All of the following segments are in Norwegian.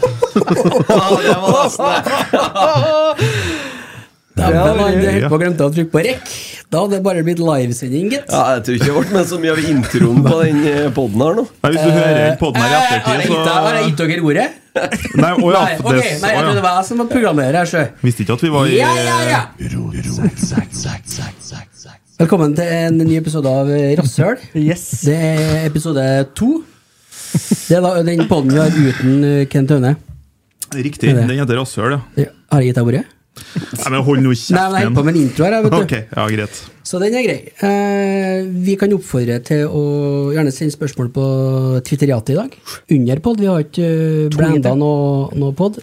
det var nesten Dæven, Ja, han det- drev på og glemte å trykke på rekk. Da hadde det bare blitt livesending, gitt. Ja, jeg tror ikke det ble med så mye av introen på den eh, podden her nå. Nei, hvis du hører podden her i Eh, har jeg ettertid, gitt deg- har jeg så gitt dere ordet? Nei, å ja. Nei, ok, det- nei, jeg å ja. trodde det var jeg som var programleder her, sjø. Visste ikke at vi var i Ja, ja, ja. Velkommen til en ny episode av Rasshøl. Yes. Det er episode to. Det er da den podden vi har uten eh, Kent Aune. Riktig. Den heter Rasshøl, ja. Ja, Har jeg gitt deg ordet? Nei, men hold nå Nei, men jeg holder på kjeften med en intro her. jeg, Vet du. Ok, ja, greit. Så den er grei. Eh, vi kan oppfordre til å gjerne sende spørsmål på Twitteriatet i dag. Under pod. Vi har ikke eh, blanda noe, noe pod.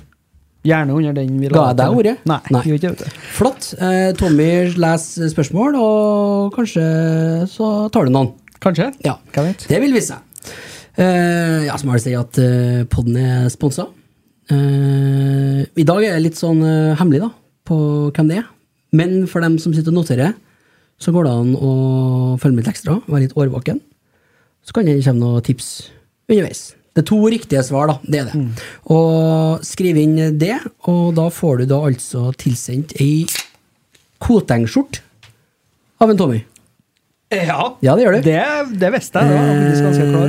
Gjerne under den vi Ga jeg til. deg ordet? Nei. Nei. gjorde ikke det, vet du. Flott. Eh, Tommy leser spørsmål, og kanskje så tar du noen. Kanskje? Ja, Hva vet? Det vil vise seg. Eh, ja, så må jeg si at uh, poden er sponsa. Eh, I dag er det litt sånn eh, hemmelig da, på hvem det er. Men for dem som sitter og noterer, så går det an å følge med litt ekstra, være litt årvåken. Så kan det komme noen tips underveis. Det er to riktige svar, da. Det er det. Og skriv inn det, og da får du da altså tilsendt ei Koteng-skjort av en Tommy. Ja. Ja, det gjør du. Det, det visste jeg. Det var jeg faktisk ganske klar. over.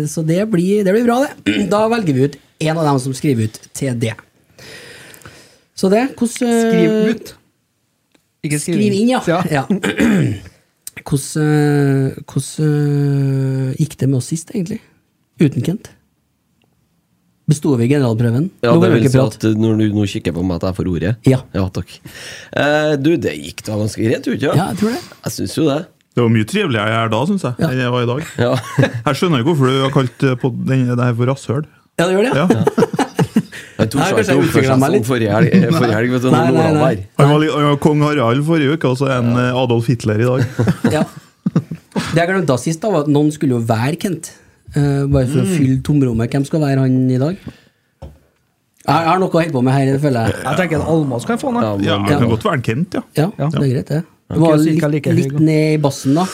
Eh, Så det blir, det blir bra, det. Da velger vi ut en av dem som skriver ut til det. Så det hvordan, eh, Skriv ut. Ikke skriv, Skriv inn, ja. ja. ja. Hvordan, eh, hvordan eh, gikk det med oss sist, egentlig? Uten Kent? Besto vi generalprøven? Ja, det Nå kan vi vil ikke si prate. at når du nå kikker på meg at jeg får ordet Ja. takk. Eh, du, det gikk da ganske greit, tror du ikke? Ja, jeg tror det. Jeg syns jo det. Det var mye triveligere her da, syns jeg, Ja. enn jeg var i dag. Ja. Jeg skjønner ikke hvorfor du har kalt eh, podden- den det her for rasshøl. Ja, det gjør det, ja. Ja. Jeg tok Nei, seg ikke kanskje jeg opp for utviklet seg meg sånn litt. forrige helg, eh, forrige helg vet du, Nei, når nei, Nordland nei. var Han var, li- han var kong Harald forrige uke, og så er han eh, Adolf Hitler i dag. ja. Det jeg glemte sist, da, var at noen skulle jo være Kent. Eh, bare for å fylle tomrommet. Hvem skal være han i dag? Jeg har noe å holde på med her, føler jeg. Jeg tenker at Almås kan få noe. Ja, men- Det kan godt være en Kent, ja. Ja, det er greit, det. Det Ok, var cirka litt, like høy, litt da. ned i bassen, da.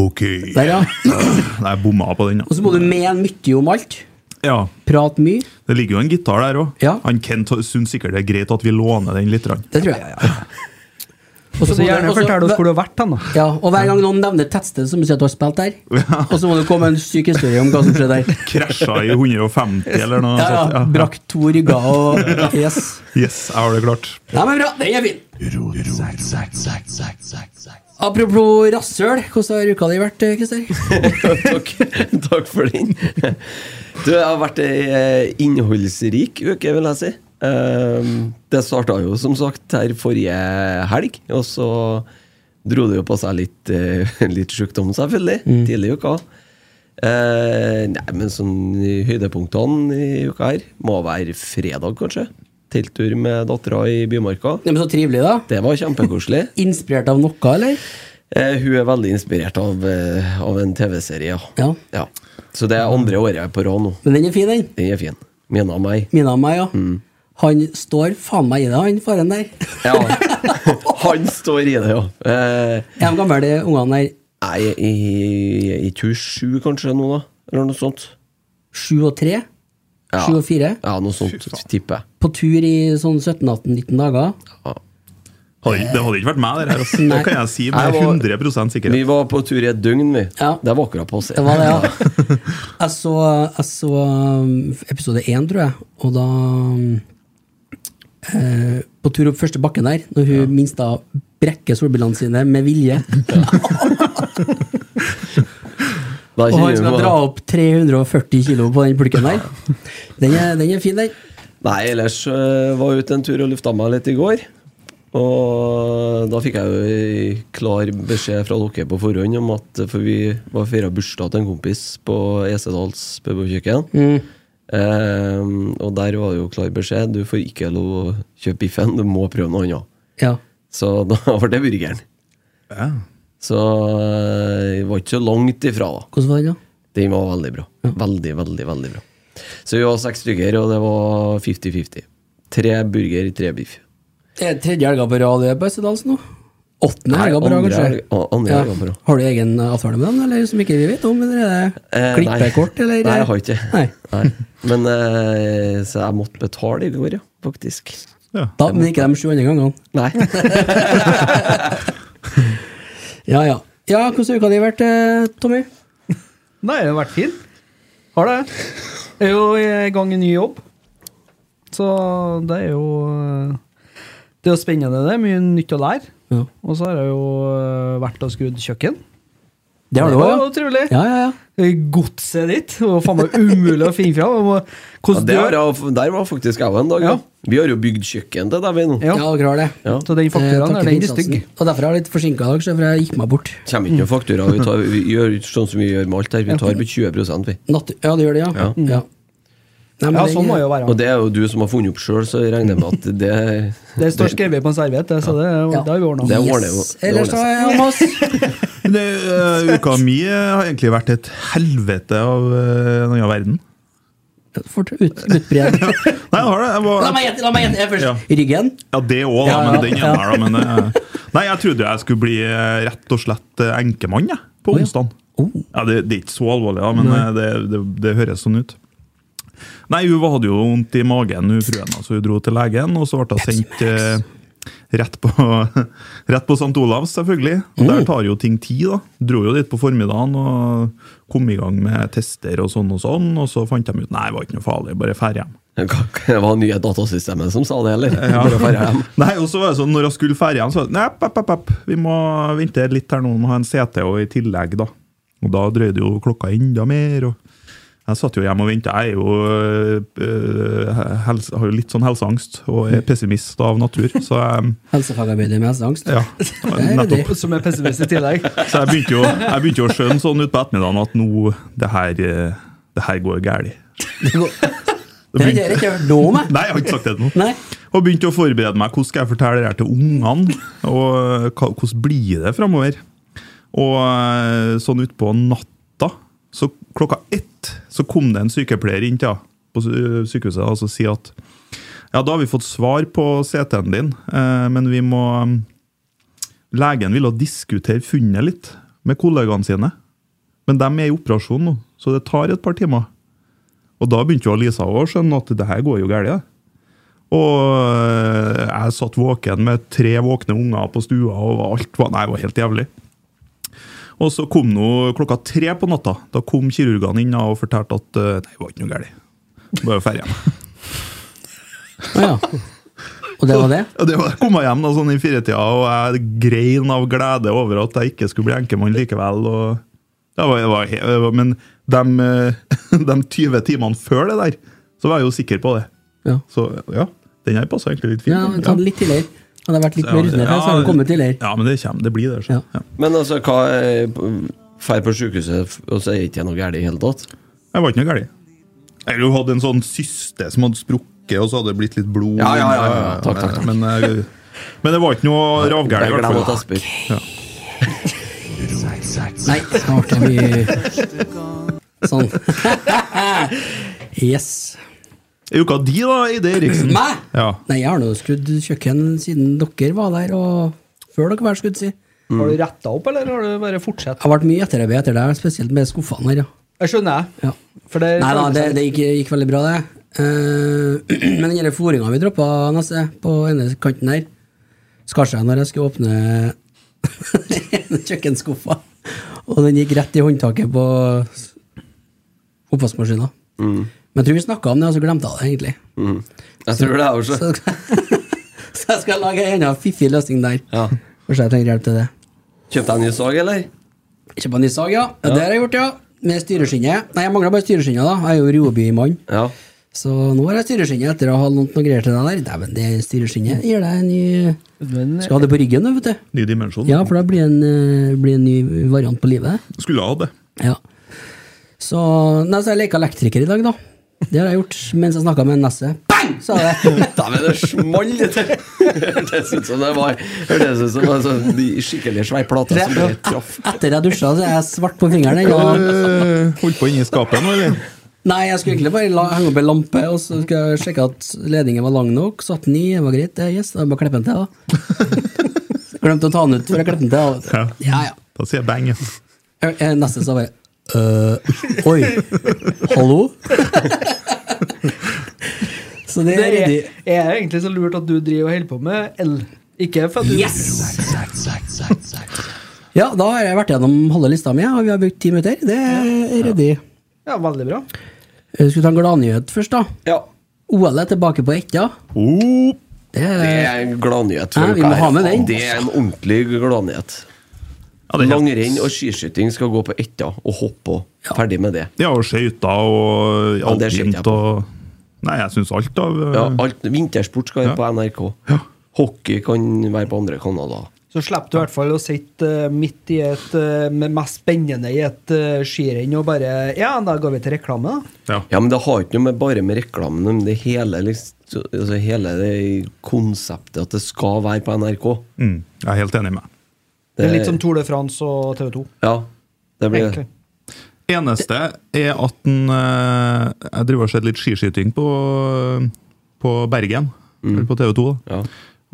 Ok. Der, ja. Nei, jeg bomma på den, Og ja. så må du mene mye om alt. ja. Prate mye. Det ligger jo en gitar der òg. Ja. Han Kent syns sikkert det er greit at vi låner den litt. grann. Det tror jeg. Og Så gjerne og så- fortell oss hvor du har vært hen, da. ja, og hver gang noen nevner et tettsted, så må du si at du har spilt der. Og så må du komme med en syk historie om hva som skjedde der. Krasja i 150 eller noe. Ja, sånt, ja. Brakk to rygger og Yes. Yes, jeg har det klart. Nei, men bra. Den er fin. Apropos rasshøl, hvordan har uka di vært, Christer? takk, takk for den. Du, jeg har vært ei eh, innholdsrik uke, vil jeg si. Ehm, Det starta jo som sagt her forrige helg, og så dro det jo på seg litt, eh, litt sjukdom, selvfølgelig, tidlig i uka. Eh, nei, men sånn i høydepunktene i uka her må være fredag, kanskje. Telttur med dattera i Bymarka. Ja, men så trivelig, da. Det var kjempekoselig. Inspirert av noe, eller? Eh, hun er veldig inspirert av, eh, av en TV-serie, ja. Ja. Så det er andre året jeg er på rad nå. Men den er fin, den. Den er fin. Mina og meg. Mina og meg, ja. Han står faen meg i det, han faren der. Ja. Han står i det, ja. Eh, Er de gamle, de ungene der? nei, jeg er 27 kanskje nå, da? Eller noe sånt. Sju og tre? Ja. Sju og fire? Ja, noe sånt, tipper jeg. På tur i sånn 17-18-19 dager? Ja. Hadde, ikke- det hadde ikke vært meg, det her. altså. Nei. Det kan jeg si Jeg med var- 100 Vi sikkerhet. var på tur i et døgn, vi. Ja. Det var akkurat på å se. Det var det, ja. Jeg så, jeg så um, episode én, tror jeg, og da um, eh, På tur opp første bakken der, når hun minst da brekker solbrillene sine med vilje, Da og han kjenner vi skal på- dra opp 340 kilo på den pulken der, den er, den er fin, den. Nei, ellers øh, var jeg ute en tur og lufta meg litt i går. Og da fikk jeg jo ei klar beskjed fra dere på forhånd om at eh, For vi var feira bursdag til en kompis på Esedals pubkjøkken. Ehm, og der var det jo klar beskjed. Du får ikke lov å kjøpe biffen, du må prøve noe annet. Ja. Så da ble det burgeren. Ja. Så øh, jeg var ikke så langt ifra, da. Hvordan var den, da? Den var veldig bra. Veldig, veldig, veldig bra. Så vi var seks stykker, og det var 50-50. Tre burger, tre biff. Det er tredje helga på rad jeg er på Østerdals nå. Åttende helga bra, andre kanskje? helga- å, andre Ja. helga bra. Har du egen avtale med dem, eller som ikke vi vet om? Eller er det Eh, nei. klippekort, eller? Nei, jeg har ikke. Nei. Nei. Men eh, Så jeg måtte betale i går, ja. Faktisk. Ja. Da, men ikke de sju andre gangene. Nei. Ja, ja. Ja, Hvordan uka di har vært, eh, Tommy? Nei, det har vært fin. Har det. Jeg er jo i gang i ny jobb. Så det er jo eh, Det er jo spennende. Det er mye nytt å lære. Ja. Og så har jeg jo eh, vært og skrudd kjøkken. Det har du var òg, jo trivelig. ja? Ja, ja, ja. Godset ditt. Det var faen meg umulig å finne fram. Jeg må- Ja, Hvordan det har dør jeg, der var faktisk jeg en dag, ja. Ja. Vi har jo bygd kjøkken til deg, vi nå. Ja. Ja, dere har det. Ja. Så den Eh, fakturaen takk er for den er innsatsen. stygg. Og derfor er jeg litt forsinka i dag, så for jeg gikk meg bort. Kommer ikke noen faktura. Vi, tar, vi gjør sånn som vi gjør med alt her. Vi tar på 20 vi. Natt ja, det gjør det, ja. Ja. ja. Nei, Ja, den- sånn må det jo Og være. det er jo du som har funnet opp sjøl, så jeg regner med at det Det står skrevet på en serviett, det, så det, er jo- Ja. det har vi ordna. Det yes. ordner jo- det Ellers ordner da, Almas? Men Det, eh, uka mi eh, har egentlig vært et helvete av eh, en annen verden. Fort ut, utbred. Nei, jeg har det. Jeg La var, meg gjette, la meg gjette jeg først. Ja. Ryggen? ja, det òg, da. Ja, ja, Men den ja. ene her, da. Men, eh, nei, jeg trodde jeg skulle bli eh, rett og slett eh, enkemann jeg, på Å, ja. onsdag. Oh. Ja, det, det er ikke så alvorlig, da, men eh, det, det, det høres sånn ut. Nei, hun hadde jo vondt i magen, hun fruen, så hun dro til legen. Og så ble hun sendt eh, rett på, rett på St. Olavs, selvfølgelig. Og Der tar jo ting tid, da. Dro jo dit på formiddagen og kom i gang med tester og sånn og sånn. Og så fant de ut nei, det var ikke noe farlig, bare drar hjem. Det var nye datasystemet som sa det, eller? Ja. Bare færre hjem. Nei, og så var det sånn, når jeg skulle ferdig igjen, så var det, nei, pep, pep, pep, vi må vente litt her nå, vi må ha en CT og i tillegg da. Og da drøyde jo klokka enda mer, og jeg satt jo hjemme og ventet, jeg er jo, øh, helse, har jo litt sånn helseangst, og er pessimist av natur, så jeg, Helsefagarbeider med helseangst? ja, er nettopp. Som er pessimist i tillegg. Så jeg begynte jo, jeg begynte jo å skjønne sånn ut på ettermiddagen at nå, det her, eh, det her går gærlig. Det går- Det har dere ikke hørt noe om, jeg. Nei, jeg har ikke sagt det nå. Nei. Og begynte å forberede meg. Hvordan skal jeg fortelle det her til ungene? Og eh, hva- hvordan blir det framover? Og eh, sånn utpå natta, så klokka ett, så kom det en sykepleier inn til henne på sy- eh, sykehuset og så sier at ja, da har vi fått svar på CT-en din, eh, men vi må Legen ville diskutere funnet litt med kollegaene sine. Men de er i operasjon nå, så det tar et par timer. Og da begynte jo Lisa å skjønne at det her går jo galt. Og eh, jeg satt våken med tre våkne unger på stua, og alt var, nei, det var helt jævlig. Og så kom nå klokka tre på natta. Da kom kirurgene inn og fortalte at eh, nei, det var ikke noe galt. Bare ferdig hjem. Å ja. Og det var det? Og det var, kom jeg hjem da, sånn i firetida, og jeg grein av glede over at jeg ikke skulle bli enkemann likevel. Og det var, det var, he- det var, men de, eh, de 20 timene før det der, så var jeg jo sikker på det. Ja. Så ja, den her passa egentlig litt fint. ja Ja. ta det litt tidligere. Hadde jeg vært litt mer rutinert, her, så hadde jeg kommet tidligere. Ja, men det kommer. Det blir det. Så. Ja. Ja. Men altså, hva er Drar på sykehuset, og så er det ikke noe galt i det hele tatt? Jeg var ikke noe galt. Eller hun hadde en sånn syste som hadde sprukket, og så hadde det blitt litt blod. Ja, ja, ja, ja, ja. Takk, takk, takk. Men, eh, men det var ikke noe Jeg ravgæli, i glemmer at jeg hvert fall. spør. Nei, snart er vi Sånn. Yes. Er uka di, da, Eide Eriksen? Meg? Ja. Nei, jeg har nå skrudd kjøkken siden dere var der, og før dere var der, skulle jeg si. Har du retta opp, eller har du bare fortsatt? Det har vært mye etterarbeid etter deg, spesielt med skuffene her, ja. Jeg skjønner, jeg. ja. For det Nei da, det, det gikk, gikk veldig bra, det. Eh, men den fòringa vi droppa neste, på ene kanten her, skar seg når jeg skulle åpne kjøkkenskuffa. Og den gikk rett i håndtaket på s- oppvaskmaskina. Men jeg tror vi snakka om det, og så glemte jeg det, egentlig. Mm. Jeg tror det, jeg også. Så, så jeg skal lage en enda fiffig løsning der. Ja. Kanskje jeg trenger hjelp til det. Kjøpte jeg en ny sag, eller? Kjøpa ny sag, ja. ja. Det har jeg gjort, ja. Med styreskinnet. Nei, jeg mangler bare styreskinnet, da. Jeg er jo Rjoby-mann. Ja. Så nå er det styreskinnet etter å ha lånt noe greier til deg der. Dæven, det styreskinnet gir deg en ny Men- Skal ha det på ryggen, da, vet du. Ny dimensjon. Ja, for da blir det en, eh, blir en ny variant på livet. Skulle ha det. Ja. Så Nei, så jeg leka elektriker i dag, da. Det har jeg gjort mens jeg snakka med Nesse. Bang! Sa jeg det. Dæven, det small det til! Hørtes ut som det var Hørtes ut som en sånn skikkelig svær plate som bare traff. Etter jeg dusja, så er jeg svart på fingeren. ennå. Øh, Holdt på inni skapet nå, eller? Nei, jeg skulle egentlig bare la, henge opp ei lampe, og så skulle jeg Eh, sjekke at ledningen var lang nok. Satt den i, det var greit. det, Yes, da er det bare å klippe den til, da. Glemte å ta den ut før jeg klemte den til. Ja. da, vet du. Ja, ja. Da sier jeg bang. ja. Jeg- jeg- Neste så bare øh, Oi! Hallo? så det er Det er, ryddig. er egentlig så lurt at du driver og holder på med el. Ikke for at du Yes! Ja, da har jeg vært gjennom halve lista mi, og vi har brukt ti minutter. Det er ryddig. Ja, veldig bra. Jeg Skulle ta en gladnyhet først, da. Ja. OL er tilbake på Etja. Oh, Det Det er er en gladnyhet. for Ja, vi dere må her. ha med den. Det er en ordentlig gladnyhet. ja, det er helt- Langrenn og skiskyting skal gå på etta og hoppe og ferdig med det. Ja, og skøyter og Ja, det skjønte jeg alpint og Nei, jeg syns alt av eh, Ja, alt, vintersport skal være Ja. på NRK. Hockey kan være på andre kanaler. Så slipper du i hvert fall å sitte eh, midt i et eh, med mest spennende i et eh, skirenn og bare Ja, da går vi til reklame, da. ja. Ja, men det har ikke noe med bare med reklamen men det hele, liksom, altså hele det konseptet at det skal være på NRK. Mm, jeg er helt enig med deg. Det er litt som Tour de France og TV 2. Ja, det blir Egentlig. Eneste er at den, eh, jeg driver og ser litt skiskyting på, på Bergen, eller på TV 2. Ja.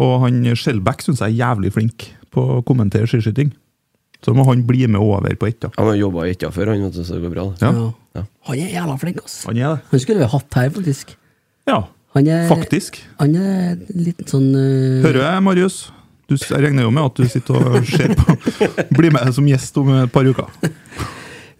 Og han Skjelbæk syns jeg er jævlig flink på å kommentere skiskyting. Så må han bli med over på ett. da. Han har jobba i Etja før, han, vet du, så det går bra. det. Ja. ja. Ja. Han er jævla flink, ass. Han er det. Han skulle vi hatt her, faktisk. Ja, Han er, faktisk. Han er en liten sånn øh, Hører jeg, Marius? Du, jeg regner jo med at du sitter og ser på. Bli med som gjest om et par uker.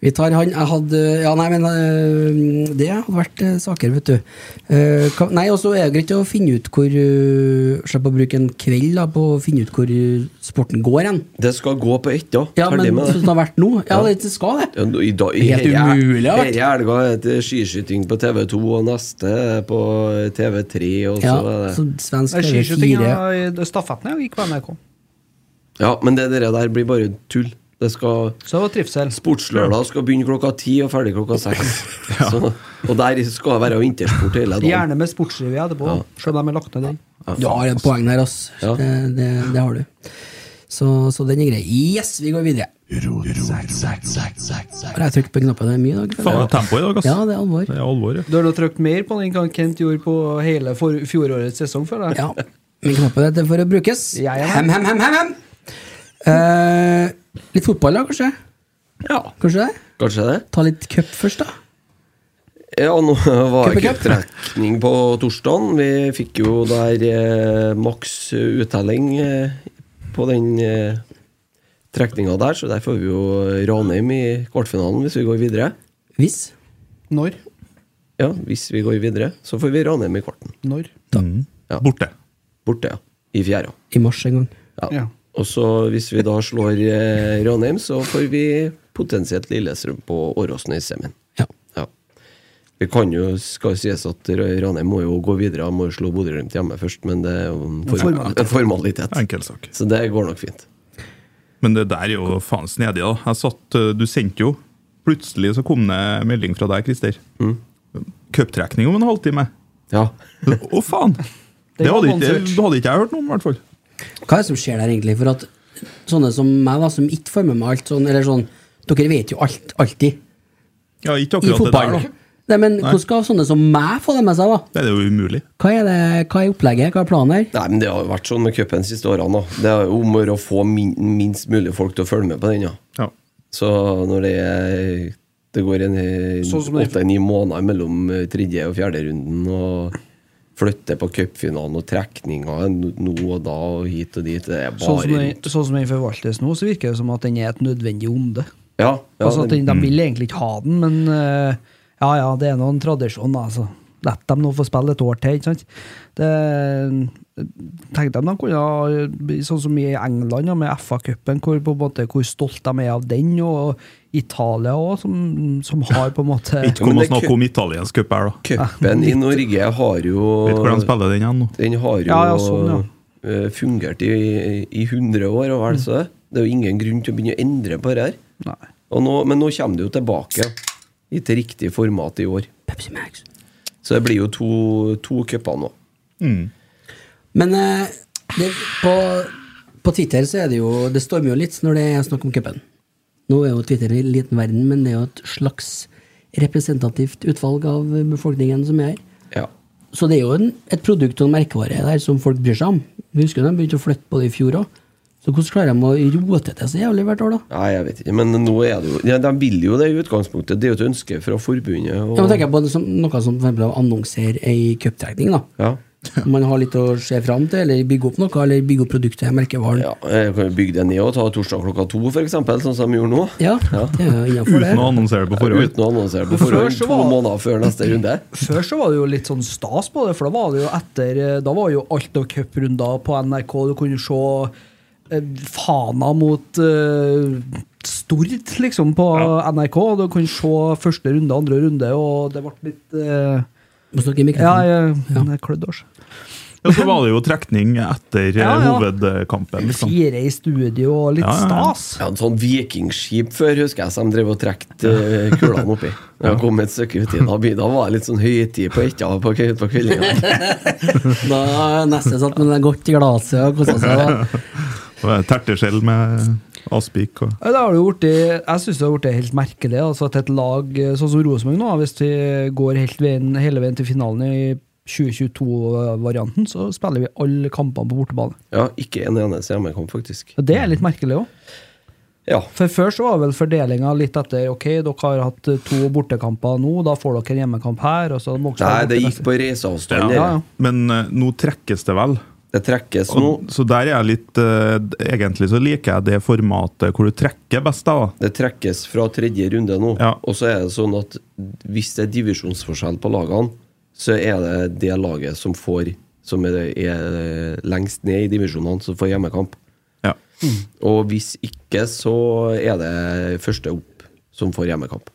Vi tar han Jeg hadde Ja, nei, men øh, det hadde vært øh, saker, vet du. Eh, hva- nei, og så er det greit å finne ut hvor øh, Slippe å bruke en kveld da, på å finne ut hvor øh, sporten går hen. Det skal gå på Etja. Ja, ferdig men med sånn det. som det har vært nå Ja, det skal det. Ja, nå- I dag, i Helt her- umulig, ja, vet du. Her i helga er det skiskyting på TV2, og neste er på TV3, og så Ja, er så det svensk Nei, TV4 Skiskytinga i stafetten gikk på NRK. Ja, men det der der blir bare tull. Det skal Så det var trivsel. Sportslørdag skal begynne klokka ti og ferdig klokka seks. Så- Og der skal det være vintersport hele dagen. Gjerne med sportsrevy etterpå, Ja. selv om de har lagt ned den. Du har et poeng der, ass. Ja. Det, det, det har du. Så, så den er grei. Yes, vi går videre. Har jeg trykt på knappen det er mye i dag? Faen, det er tempo i dag, ass. Ja, det er alvor. Det er alvor, ja. Du har nå trykt mer på den enn Kent gjorde på hele for, fjorårets sesong, føler jeg. Ja, min knapp er til for å brukes. Jeg er med. Hem, hem, hem, hem, hem. Eh, litt fotball, da, kanskje? Ja, Kanskje det? kanskje det. Ta litt cup først, da. Ja, nå var det Cup er cup. cuptrekning på torsdagen. Vi fikk jo der eh, maks uttelling eh, på den eh, trekninga der, så der får vi jo Ranheim i kvartfinalen hvis vi går videre. Hvis. Når? Ja, hvis vi går videre, så får vi Ranheim i kvarten. Når? Mm. Ja. Borte. Borte, ja. I fjerde. I mars en gang. Ja. Ja. Og så hvis vi da slår eh, Ranheim, så får vi potensielt Lillestrøm på Åråsen i semien. Ja. Ja. Det kan jo skal jo sies at Ra- Ranheim må jo gå videre, han må jo slå Bodø-Glimt hjemme først, men det er jo en form formalitet. en formalitet. Enkel sak. Så det går nok fint. Men det der er jo faen snedig, da. Jeg satt, eh, du sendte jo Plutselig så kom det melding fra deg, Christer. Cuptrekning om en halvtime. Ja. Å, faen! Det hadde ikke, det hadde ikke jeg hørt noe om, i hvert fall. Hva er det som skjer der, egentlig? For at sånne som meg, da, som ikke får med meg alt sånn, eller sånn Dere vet jo alt, alltid. Ja, I ikke akkurat det der, fotball. da. Nei, men Nei. hvordan skal sånne som meg få det med seg, da? Nei, Det er jo umulig. Hva er, det, hva er opplegget? Hva er planen her? Nei, men Det har jo vært sånn med cupen de siste årene. da. Det er jo om å gjøre å få min, minst mulig folk til å følge med på den. Ja. Ja. Så når det, er- det går en Sånn som det- åtte-ni måneder mellom eh, tredje og fjerde runden og flytter på cupfinalen og trekninger nå og da og hit og dit Det er Sånn bare som, den, rot. sånn som den forvaltes nå, så virker det som at den er et nødvendig onde. Ja, ja, altså at det- den, De vil egentlig ikke ha den, men eh, ja ja, det er nå en tradisjon, da, altså. La dem nå få spille et år til, ikke sant. Det, tenk dem de kunne ha bli Sånn som i England, ja, med FA-cupen, hvor, på en måte- hvor stolt de er av den, og Italia òg, som, som har på en måte Ikke men kom og det er snakk om italiensk cup her, da. Ah, Cupen i Norge har jo Vet hvor de spiller den igjen nå. Den har jo Ja, ja, sånn, ja. eh, fungert i, i 100 år, og vel så det. Det er jo ingen grunn til å begynne å endre på det her. Nei. Og nå, men nå kommer det jo tilbake i til riktig format i år. Pepsi Max. Så det blir jo to, to cuper nå. Mm. Men eh, det, på, på Twitter så er det jo Det stormer jo litt når det er snakk om cupen. Nå er jo Twitter en liten verden, men det er jo et slags representativt utvalg av befolkningen som er her. Ja. Så det er jo en, et produkt og en merkevare der som folk bryr seg om. Vi husker jo de begynte å flytte på det i fjor òg. Så hvordan klarer de å rote til så jævlig hvert år, da? Nei, jeg vet ikke. Men nå er det jo ja, De vil jo det i utgangspunktet. Det er jo et ønske fra forbundet. Og, Ja, men tenker jeg på det som, noe som for eksempel annonserer ei cuptrekning, da. Ja. Om Man har litt å se fram til, eller bygge opp noe, eller bygge opp produktet, merkevaren. Ja, Ja, jeg kan jo bygge det ned og ta torsdag klokka to, for eksempel, sånn som de gjorde nå. det er jo innafor det. Uten å annonsere det på forhånd. Uten å annonsere på Før forhånd så to var- måneder før neste runde. Før så var det jo litt sånn stas på det, for da var det jo etter eh, Da var jo alt av cuprunder på NRK. Du kunne se eh, Fana mot eh, Stord, liksom, på NRK. Og du kunne se første runde, andre runde, og det ble litt eh, Må snakke i Ja, mikrofonen. jeg, Ja. jeg klødde også. Ja, så var det jo trekning etter eh, Ja, ja. hovedkampen. Liksom. Fire i studio og litt Ja, ja, ja. stas. Ja, en sånn vikingskip før, husker jeg, som drev og trekte eh, kulene oppi. Da jeg kom et stykke uti, da, by- da var det litt sånn høytid på etta på, kve- på kveldinga. Da er neste satt med det godt i glasset og kosa seg. da. Og det er Terteskjell med Aspik og Ja, Det har det jo blitt, jeg syns det har blitt helt merkelig altså at et lag eh, sånn som Rosenborg nå, hvis vi går helt veien, hele veien til finalen i 2022-varianten, så spiller vi alle kampene på bortebane. Ja, ikke en eneste hjemmekamp, faktisk. Og Det er litt merkelig òg. Ja. For før så var vel fordelinga litt etter ok, dere har hatt eh, to bortekamper nå, da får dere en hjemmekamp her. Og så må Nei, dere spille det borte gikk på reiseavstand. Ja, ja. dere. Men eh, nå trekkes det vel. Det trekkes nå. Og, så der er jeg litt eh, Egentlig så liker jeg det formatet hvor du trekker best, da. Det trekkes fra tredje runde nå. Ja. Og så er det sånn at hvis det er divisjonsforskjell på lagene, så er det det laget som får som er, er lengst ned i divisjonene, som får hjemmekamp. Ja. Og hvis ikke, så er det første opp som får hjemmekamp.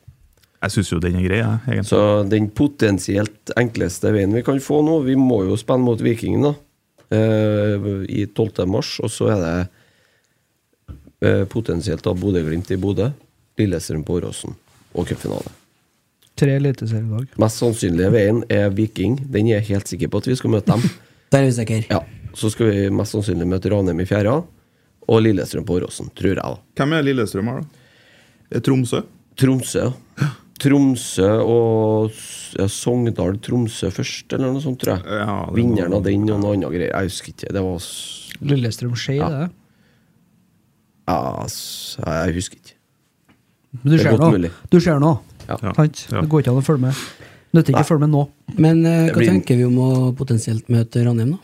Jeg syns jo den er grei, jeg. Egentlig. Så den potensielt enkleste veien vi kan få nå Vi må jo spille mot Vikingen da eh, i 12. mars, og så er det eh, potensielt da Bodø-Glimt i Bodø, Lillestrøm på Åråsen og cupfinale. Tre eliteserielag. Mest sannsynlige veien er Viking. Den er jeg helt sikker på at vi skal møte dem. Der er vi sikre. Ja, Så skal vi mest sannsynlig møte Ranheim i fjerde og Lillestrøm på Åråsen, tror jeg. da Hvem er Lillestrøm her, da? Er Tromsø? Tromsø. ja. Tromsø og S- ja, Sogndal Tromsø først, eller noe sånt, tror jeg. Ja, det Vinneren var- av den og noe annet greier. Jeg husker ikke. Det var s- Lillestrøm Skei, Ja. det. ja, s- Jeg husker ikke. Men du Det er ser godt nå. mulig. Du ser nå. Ja. Ja. Sant? Ja. Det går ikke an å følge med. Nytter ikke å følge med nå. Men eh, hva blir- tenker vi om å potensielt møte Ranheim, da?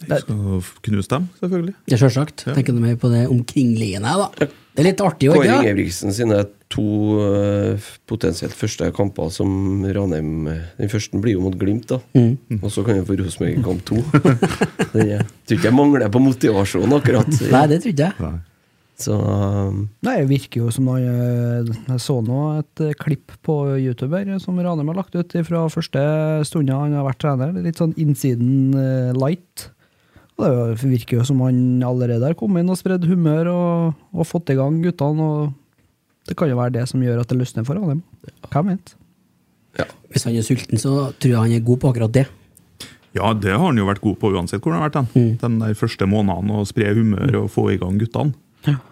Vi skal knuse dem, selvfølgelig. Ja, Sjølsagt. Tenker du mer på det omkringliggende, da? Det er litt artig òg, Kåre ikke det? Ingebrigtsen sine to eh, f- potensielt første kamper som Ranheim eh, Den første blir jo mot Glimt, da. Mm. Og så kan vi få Rosenborg i kamp to. Den er- Tror ikke jeg mangler på motivasjon, Nei, akkurat. det trodde jeg. Nei. Så um, Nei, det virker jo som noe eh, Jeg så nå et eh, klipp på YouTube her eh, som Ranheim har lagt ut fra første stunda han har vært trener. Litt sånn innsiden eh, light. Og det er jo- virker jo som han allerede har kommet inn og spredd humør og, og fått i gang guttene. og Det kan jo være det som gjør at det løsner for Ranheim. Hvem vet? Hvis han er sulten, så tror jeg han er god på akkurat det. Ja, det har han jo vært god på uansett hvor han har vært. Den, den der første måneden å spre humør og få i gang guttene.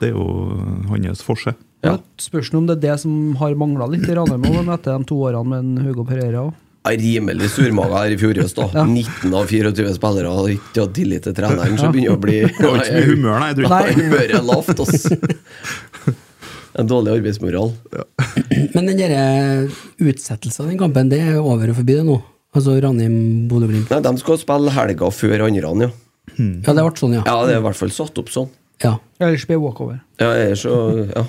Det er jo eh, hans forse. Ja. Ja. Spørs om det er det som har mangla litt i Ranheim også, men etter de to årene med en Hugo Pereira òg. Ja, Rimelig surmaga her i fjor høst. da 19 av 24 spillere har ikke hatt tillit til treneren, så begynner det å bli Det var ikke så mye humør, nei. Jeg tror Nei, ikke. humøret er lavt, ass. En dårlig arbeidsmoral. Men den derre utsettelsen av den kampen, det er over og forbi det nå. Altså Ranheim-Bodø-Glimt. Nei, De skal spille helga før andre. Ja. Ja, det ble sånn, ja. ja, det er i hvert fall satt opp sånn. ja. Ellers blir det walkover. Ja, ellers så Ja,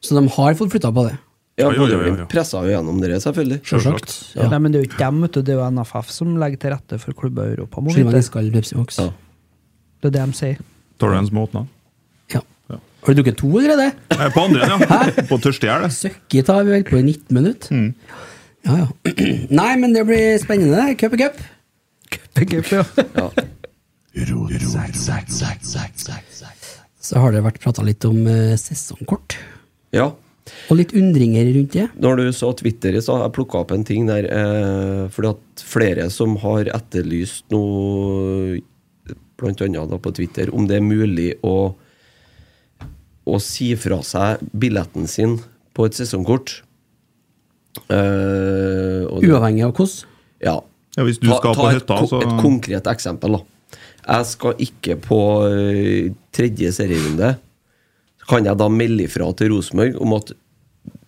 Så de har fått flytta på det. ja Ja, ja, ja, ja, ja. Bodø-Glimt pressa jo gjennom dere, selvfølgelig. Sjølsagt. Ja. Nei, men det er jo ikke dem, vet du. Det er jo NFF som legger til rette for klubber i Europa. Må Skylder meg vite. diskall Pepsi Max. Ja. Det er det de sier. Tar du en smååtna? Ja. Ja. Har du drukket to allerede? Eh, På andre, ja. På tørstehjel. det. Søkket har vi vel på i 19 minutter. Ja, ja. Nei, men det blir spennende. Cup i cup. Ja. Så har det vært prata litt om eh, sesongkort, ja. og litt undringer rundt det. Når du så Twitter i stad, jeg plukka opp en ting der eh, Fordi at flere som har etterlyst noe, blant annet da på Twitter, om det er mulig å å si fra seg billetten sin på et sesongkort. Eh, og det- Uavhengig av hvordan. Ja. Ja, hvis du skal på hytta, et, ko- så- et konkret eksempel, da. Jeg skal ikke på ø, tredje serierunde. Kan jeg da melde ifra til Rosenborg om at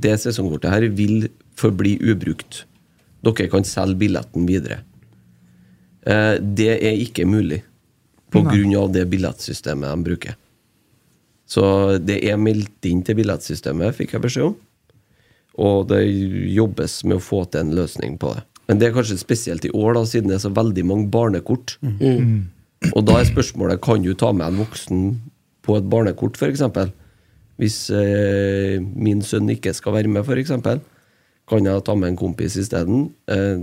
det sesongkortet her vil forbli ubrukt? Dere kan selge billetten videre. Eh, Det er ikke mulig på grunn av det billettsystemet de bruker. Så det er meldt inn til billettsystemet, fikk jeg beskjed om. Og det jobbes med å få til en løsning på det. Men det er kanskje spesielt i år, da, siden det er så veldig mange barnekort. Og da er spørsmålet kan du ta med en voksen på et barnekort, f.eks. Hvis eh, min sønn ikke skal være med, f.eks. Kan jeg ta med en kompis isteden? Eh,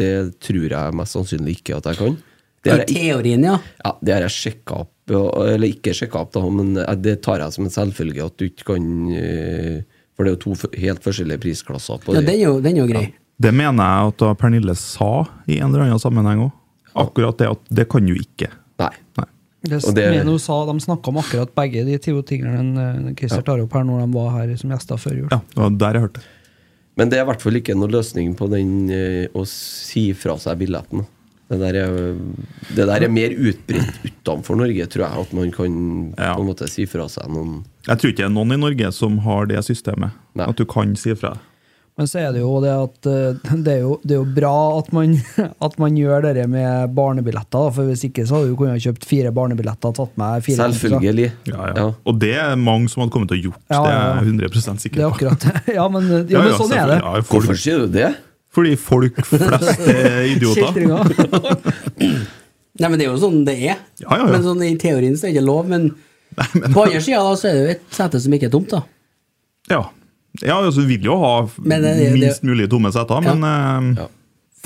det tror jeg mest sannsynlig ikke at jeg kan. Det har I jeg ikke- teorien, ja. ja, det har jeg sjekka opp, og- eller ikke sjekka opp, da, men eh, det tar jeg som en selvfølge at du ikke kan eh, For det er jo to f- helt forskjellige prisklasser på ja det. den, er jo, den er jo grei. Det mener jeg at da Pernille sa i en eller annen sammenheng òg. Akkurat det at det kan du ikke. Nei. Nei. Det Og det- Meno sa, De snakka om akkurat begge de to tingene eh, Christer tar opp her når de var her som gjester før jul. Ja, det var der jeg hørte det. Men det er i hvert fall ikke noen løsning på den eh, å si fra seg billetten. Det der, er, det der er mer utbredt utenfor Norge, tror jeg, at man kan Ja. på en måte si fra seg noen Jeg tror ikke det er noen i Norge som har det systemet. Nei. At du kan si fra. Men så er det jo det at eh, det er jo, det er jo bra at man, at man gjør det med barnebilletter, da, for hvis ikke så hadde du kunnet kjøpt fire barnebilletter og tatt med fire. Selvfølgelig. Ja, ja. Ja. Og det er mange som hadde kommet til å gjort. Ja, ja, ja. Det er jeg 100 Det er sikker på. akkurat det. Ja, men, ja, men sånn er selvfølgelig. det. Ja, Hvorfor folk, sier du det? fordi folk flest er idioter. Skiltringa. Nei, men Det er jo sånn det er. Ja, ja, ja. Men sånn I teorien så er det ikke lov, men, på andre sida da, så er det jo et sete som ikke er tomt. da. Ja. ja, altså, vi vil jo ha f- Men eh, det- det- minst mulig tomme seter, men eh, Ja.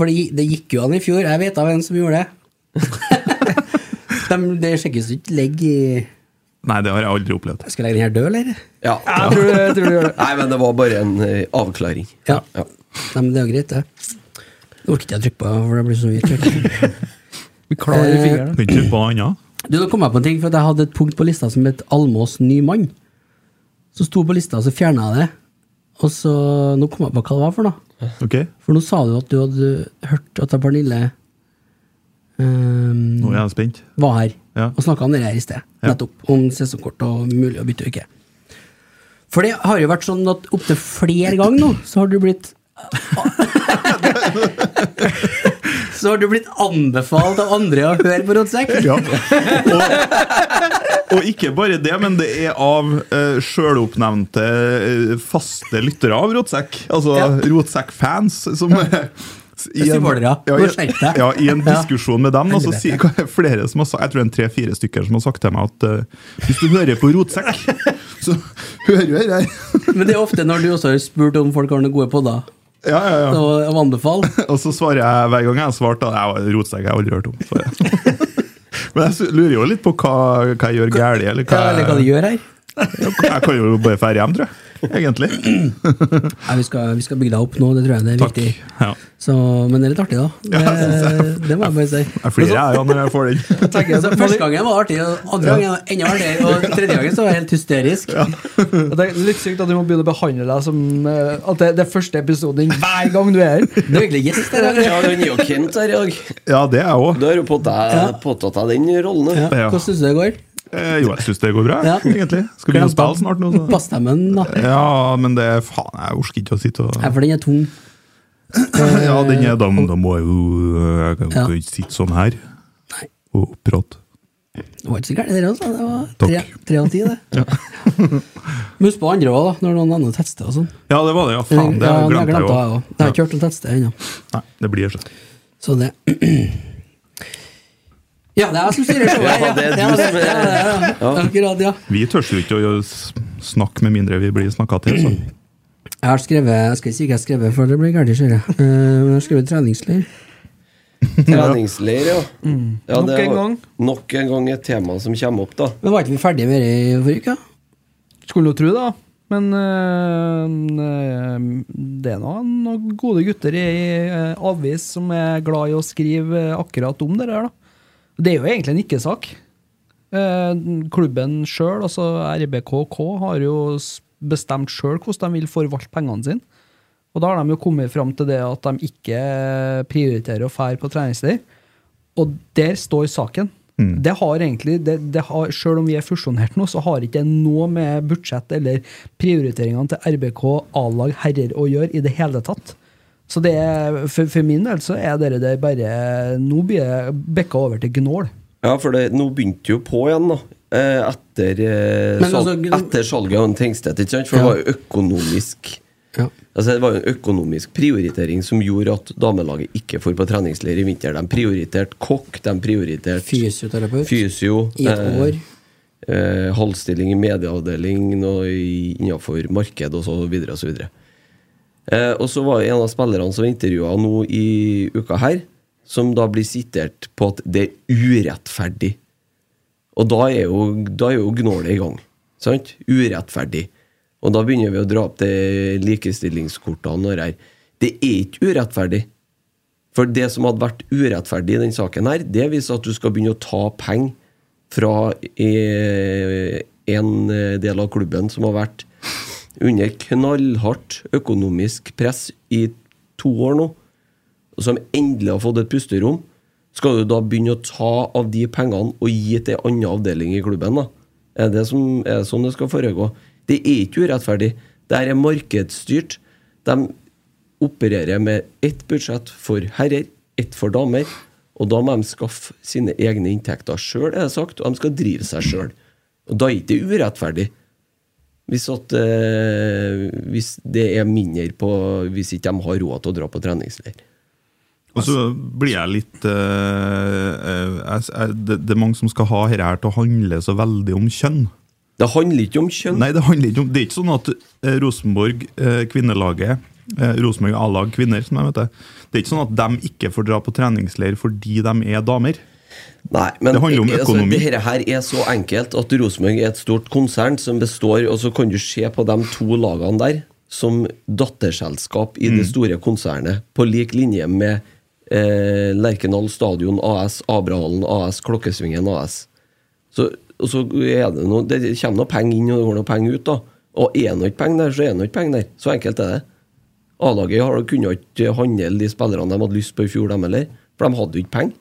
Fordi det gikk jo an i fjor. Jeg vet av en som gjorde det. De, det sjekkes jo ikke legg i Nei, det har jeg aldri opplevd. Skal jeg legge den her død, eller? Ja. Jeg tror, du- jeg tror du gjør det. Nei, men det var bare en eh, avklaring. Ja. Nei, men det er jo greit, det. Det orker ikke jeg å trykke på, for det blir så vidt. Vi klarer i fingrene. Kan ikke tro på noe annet. Du, Nå kom jeg på en ting, for at jeg hadde et punkt på lista som het Almås ny mann. Så sto på lista, og så fjerna jeg det. Og så Nå kom jeg på hva det var for noe. Ok, For nå sa du at du hadde hørt at Pernille ehm, Nå er jeg spent. var her Ja. og snakka om det her i sted. Ja. Nettopp. Om sesongkort og mulig å bytte og ikke. For det har jo vært sånn at opptil flere ganger nå, så har du blitt Så har du blitt anbefalt av andre å høre på Rådsekk. Ja. Og, og ikke bare det, men det er av uh, sjøloppnevnte eh, faste lyttere av Rotsekk. Altså Ja. Rotsekk-fans som eh, i en- Supportere. Ja, Nå skjerp deg. i- ja, I en Ja. diskusjon med dem, altså, og så sier flere som har sagt Jeg tror det er tre-fire stykker som har sagt til meg at eh, hvis du hører på Rotsekk, så hører du her. Men det er ofte når du også har spurt om folk har noen gode podder, Ja, ja, ja. og, og anbefalt. Og så svarer jeg hver gang jeg har svart at jeg rotsekk jeg har aldri hørt om. Så, ja. Men jeg s- lurer jo litt på hva, hva jeg gjør galt, eller Hva, hva eller hva de gjør her? Jeg kan jo bare dra hjem, tror jeg. Egentlig. Nei, vi, skal, vi skal bygge deg opp nå, det tror jeg det er Takk. viktig. Ja. Så, men det er litt artig, da. Det, Ja, jeg synes det må jeg bare si. Jeg flirer jeg ja, når jeg får den. Tenker jeg Så så- første gangen var artig, og andre gangen var enda artigere, og tredje gangen så var jeg helt hysterisk. Det er litt sykt at du må begynne å behandle deg som eh, At det, det er første episoden din hver gang du er her. Det er egentlig gjest, det der. Ja, den er jo Kent her i dag. Ja, det er jeg òg. Da har du påtatt Ja. påtatt deg den rollen. du. Ja. Ja. Hvordan syns du det går? Eh, jo, jeg syns det går bra, Ja. egentlig. Skal begynne å spille snart nå. Så. Bassstemmen, da. Ja, men det Faen, jeg orker ikke å sitte og Nei, for den er tung. Ja, den er da, da må jeg jo Jeg kan Ja. jo ikke sitte sånn her og prate. Det var ikke så gærent, det der også. Det var tre, Takk. tre av ti, det. Men Husk på andre òg, da, når noen andre tester og sånn. Ja, det var det. Ja, faen, det Ja, nå har jeg glemte jeg glemt jo. det, jeg også. Jeg har ikke hørt noen tester ennå. Nei, det blir sånn. Så det Ja, det er jeg som styrer showet. Ja, det er du ja, det, som er- ja, ja, ja. Akkurat, ja. Vi tør jo ikke å s- snakke med mindre vi blir snakka til. Så. Jeg har skrevet Jeg skal ikke si hva jeg har skrevet, for det blir gærent, ser jeg. Eh, Men jeg har skrevet treningsleir. Treningsleir, ja. Mm. ja Nok det en var- gang. Nok en gang et tema som kommer opp, da. Men var ikke vi ferdige med det i forrige uke? Skulle jo tro det, da. Men øh, øh, det er noen, noen gode gutter i øh, avis som er glad i å skrive øh, akkurat om det der, da. Det er jo egentlig en ikke-sak. Eh, klubben sjøl, altså RBKK, har jo s- bestemt sjøl hvordan de vil forvalte pengene sine. Og da har de jo kommet fram til det at de ikke prioriterer å fære på treningsleir. Og der står saken. Det har egentlig, det, det har, Selv om vi er fusjonert nå, så har ikke det noe med budsjett eller prioriteringene til RBK, A-lag, herrer å gjøre i det hele tatt. Så det er, for, for min del så er dere der bare Nå blir det bikka over til gnål. Ja, for det, nå begynte jo på igjen, da. eh, Etter, eh, Men salg, altså, gn- etter salget av en Tengstedt, ikke sant? For Ja. det var jo økonomisk Ja. Altså Det var jo en økonomisk prioritering som gjorde at damelaget ikke får på treningsleir i vinter. De prioriterte kokk, de prioriterte Fysioterapeut. fysio, I et eh, år. eh, halvstilling i medieavdeling noe i- innenfor marked og så videre og så videre. Eh, og så var det en av spillerne som intervjua nå i uka her, som da blir sitert på at det er urettferdig. Og da er jo, da er jo gnålet i gang. Sant? Urettferdig. Og da begynner vi å dra opp de likestillingskortene og det her. Det er ikke urettferdig. For det som hadde vært urettferdig i den saken her, det viser at du skal begynne å ta penger fra eh, en eh, del av klubben som har vært under knallhardt økonomisk press i to år nå, og som endelig har fått et pusterom. Skal du da begynne å ta av de pengene og gi til en annen avdeling i klubben? da? Er det som, er det sånn det skal foregå? Det er ikke urettferdig. Dette er markedsstyrt. De opererer med ett budsjett for herrer, ett for damer. Og da må de skaffe sine egne inntekter sjøl, er det sagt, og de skal drive seg sjøl. Og da er ikke det urettferdig. Hvis, at, eh, hvis det er mindre på Hvis ikke de har råd til å dra på treningsleir. Og så blir jeg litt eh, eh, jeg, jeg, det, det er mange som skal ha dette her til å handle så veldig om kjønn. Det handler ikke om kjønn. Nei, det handler ikke om Det er ikke sånn at eh, Rosenborg, eh, kvinnelaget eh, Rosenborg A-lag kvinner, som jeg heter Det er ikke sånn at de ikke får dra på treningsleir fordi de er damer. Nei, men Det handler om økonomi. Altså, dette her er så enkelt at Rosenborg er et stort konsern som består, og så kan du se på de to lagene der som datterselskap i Mm. det store konsernet, på lik linje med eh, Lerkendal Stadion AS, Abrahallen AS, Klokkesvingen AS. Så, og så er det noe, det kommer noe penger inn, og det går noe penger ut, da. Og er det noe penger der, så er det noe penger der. Så enkelt er det. A-laget har- kunne ikke handle de spillerne de hadde lyst på i fjor, dem heller. For de hadde jo ikke penger.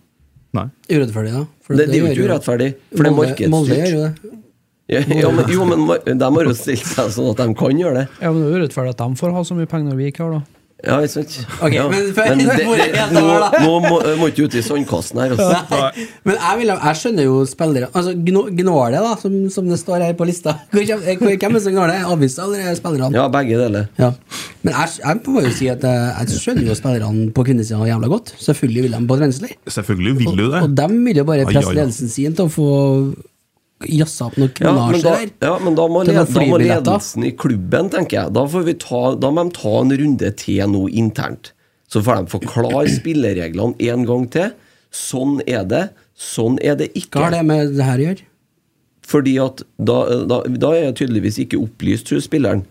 Nei. Urettferdig, da. For Det, det er jo gjør ikke urettferdig, for det er Molde- Molde gjør markedsstyrt. jo det. Ja, ja, men, jo, men ma- de har jo stilt seg sånn at de kan gjøre det. Ja, men Det er jo urettferdig at de får ha så mye penger når vi ikke har, da. Ja, ikke sant? Ok, ja. men for- det, hvor er det, jeg nå, da, da? nå må, må ikke ut i sandkassen her. altså. Også. Nei, men jeg, vil, jeg skjønner jo spillere Altså gno- Gnåle, da, som, som det står her på lista. Hvor kjem- eh, hvor- Hvem er det som gnåler? Avisa eller spillerne? Ja, begge deler. Ja. Men jeg, jeg må jo si at eh, jeg skjønner jo spillerne på kvinnesida jævla godt. Selvfølgelig vil de på treningsleir. Selvfølgelig vil du Og, det. og dem vil jo bare Ai, presse ai, ai. ledelsen sin til å få jazza opp noen Ja, men da, kronasjer her. ja, men da må, Til led, noen da må flybilletter. ledelsen i klubben, tenker jeg. Da, får vi ta, da må de ta en runde til nå internt. Så får de forklare spillereglene en gang til. Sånn er det, sånn er det ikke. Hva har det med det her å gjøre? Fordi at da, da, da er jeg tydeligvis ikke opplyst, tror spilleren,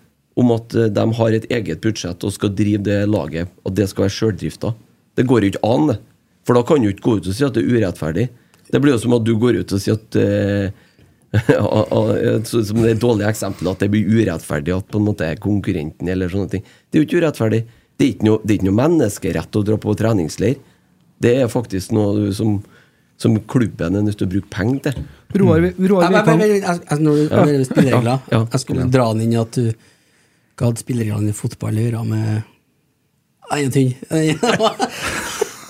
om at eh, de har et eget budsjett og skal drive det laget, og det skal være sjøldrifta. Det går jo ikke an, det. For da kan du ikke gå ut og si at det er urettferdig. Det blir jo som at du går ut og sier at eh, a- a- så- Som det dårlige eksempelet, at det blir urettferdig at på en måte er konkurrenten eller sånne ting. Det er jo ikke urettferdig. Det er ikke noe, det er ikke noe menneskerett å dra på treningsleir. Det er faktisk noe som, som klubben er nødt til å bruke penger til. Roar, Vi- Roar Jeg, jeg, Vikvang. jeg, jeg, jeg, jeg, når du- når det gjelder spilleregler, Ja, ja, jeg skulle dra den inn i at du Hva hadde spillereglene i fotball å gjøre med Nei, Ingenting.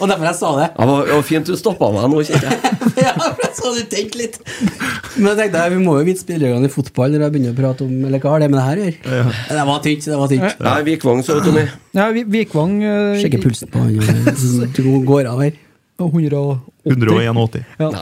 Og derfor jeg sa det. Ja, det var, det var fint du stoppa meg nå, kjente jeg. ja, for jeg så du tenkte litt. Men jeg tenkte jeg, vi må jo vite spillereglene i fotball når jeg begynner å prate om Eller hva har det med det her å gjøre? Det var tynt. det var tynt. Nei, Vikvang så ut som jeg. Ja, Vi- Vikvang eh, Sjekke pulsen på han og- så du går av her. 180. 181. Ja.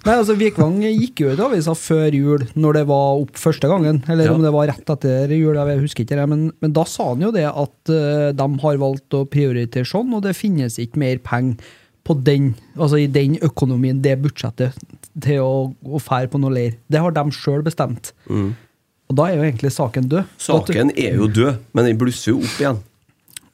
Nei, altså Vikvang gikk jo ut i avisa før jul, når det var opp første gangen. Eller Ja. om det var rett etter jul, jeg husker ikke det. Men, men da sa han jo det at eh, de har valgt å prioritere sånn, og det finnes ikke mer penger på den, altså i den økonomien, det budsjettet, til å, å fære på noe leir. Det har de sjøl bestemt. Og da er jo egentlig saken død. Mm. Saken er jo død, men den blusser jo opp igjen.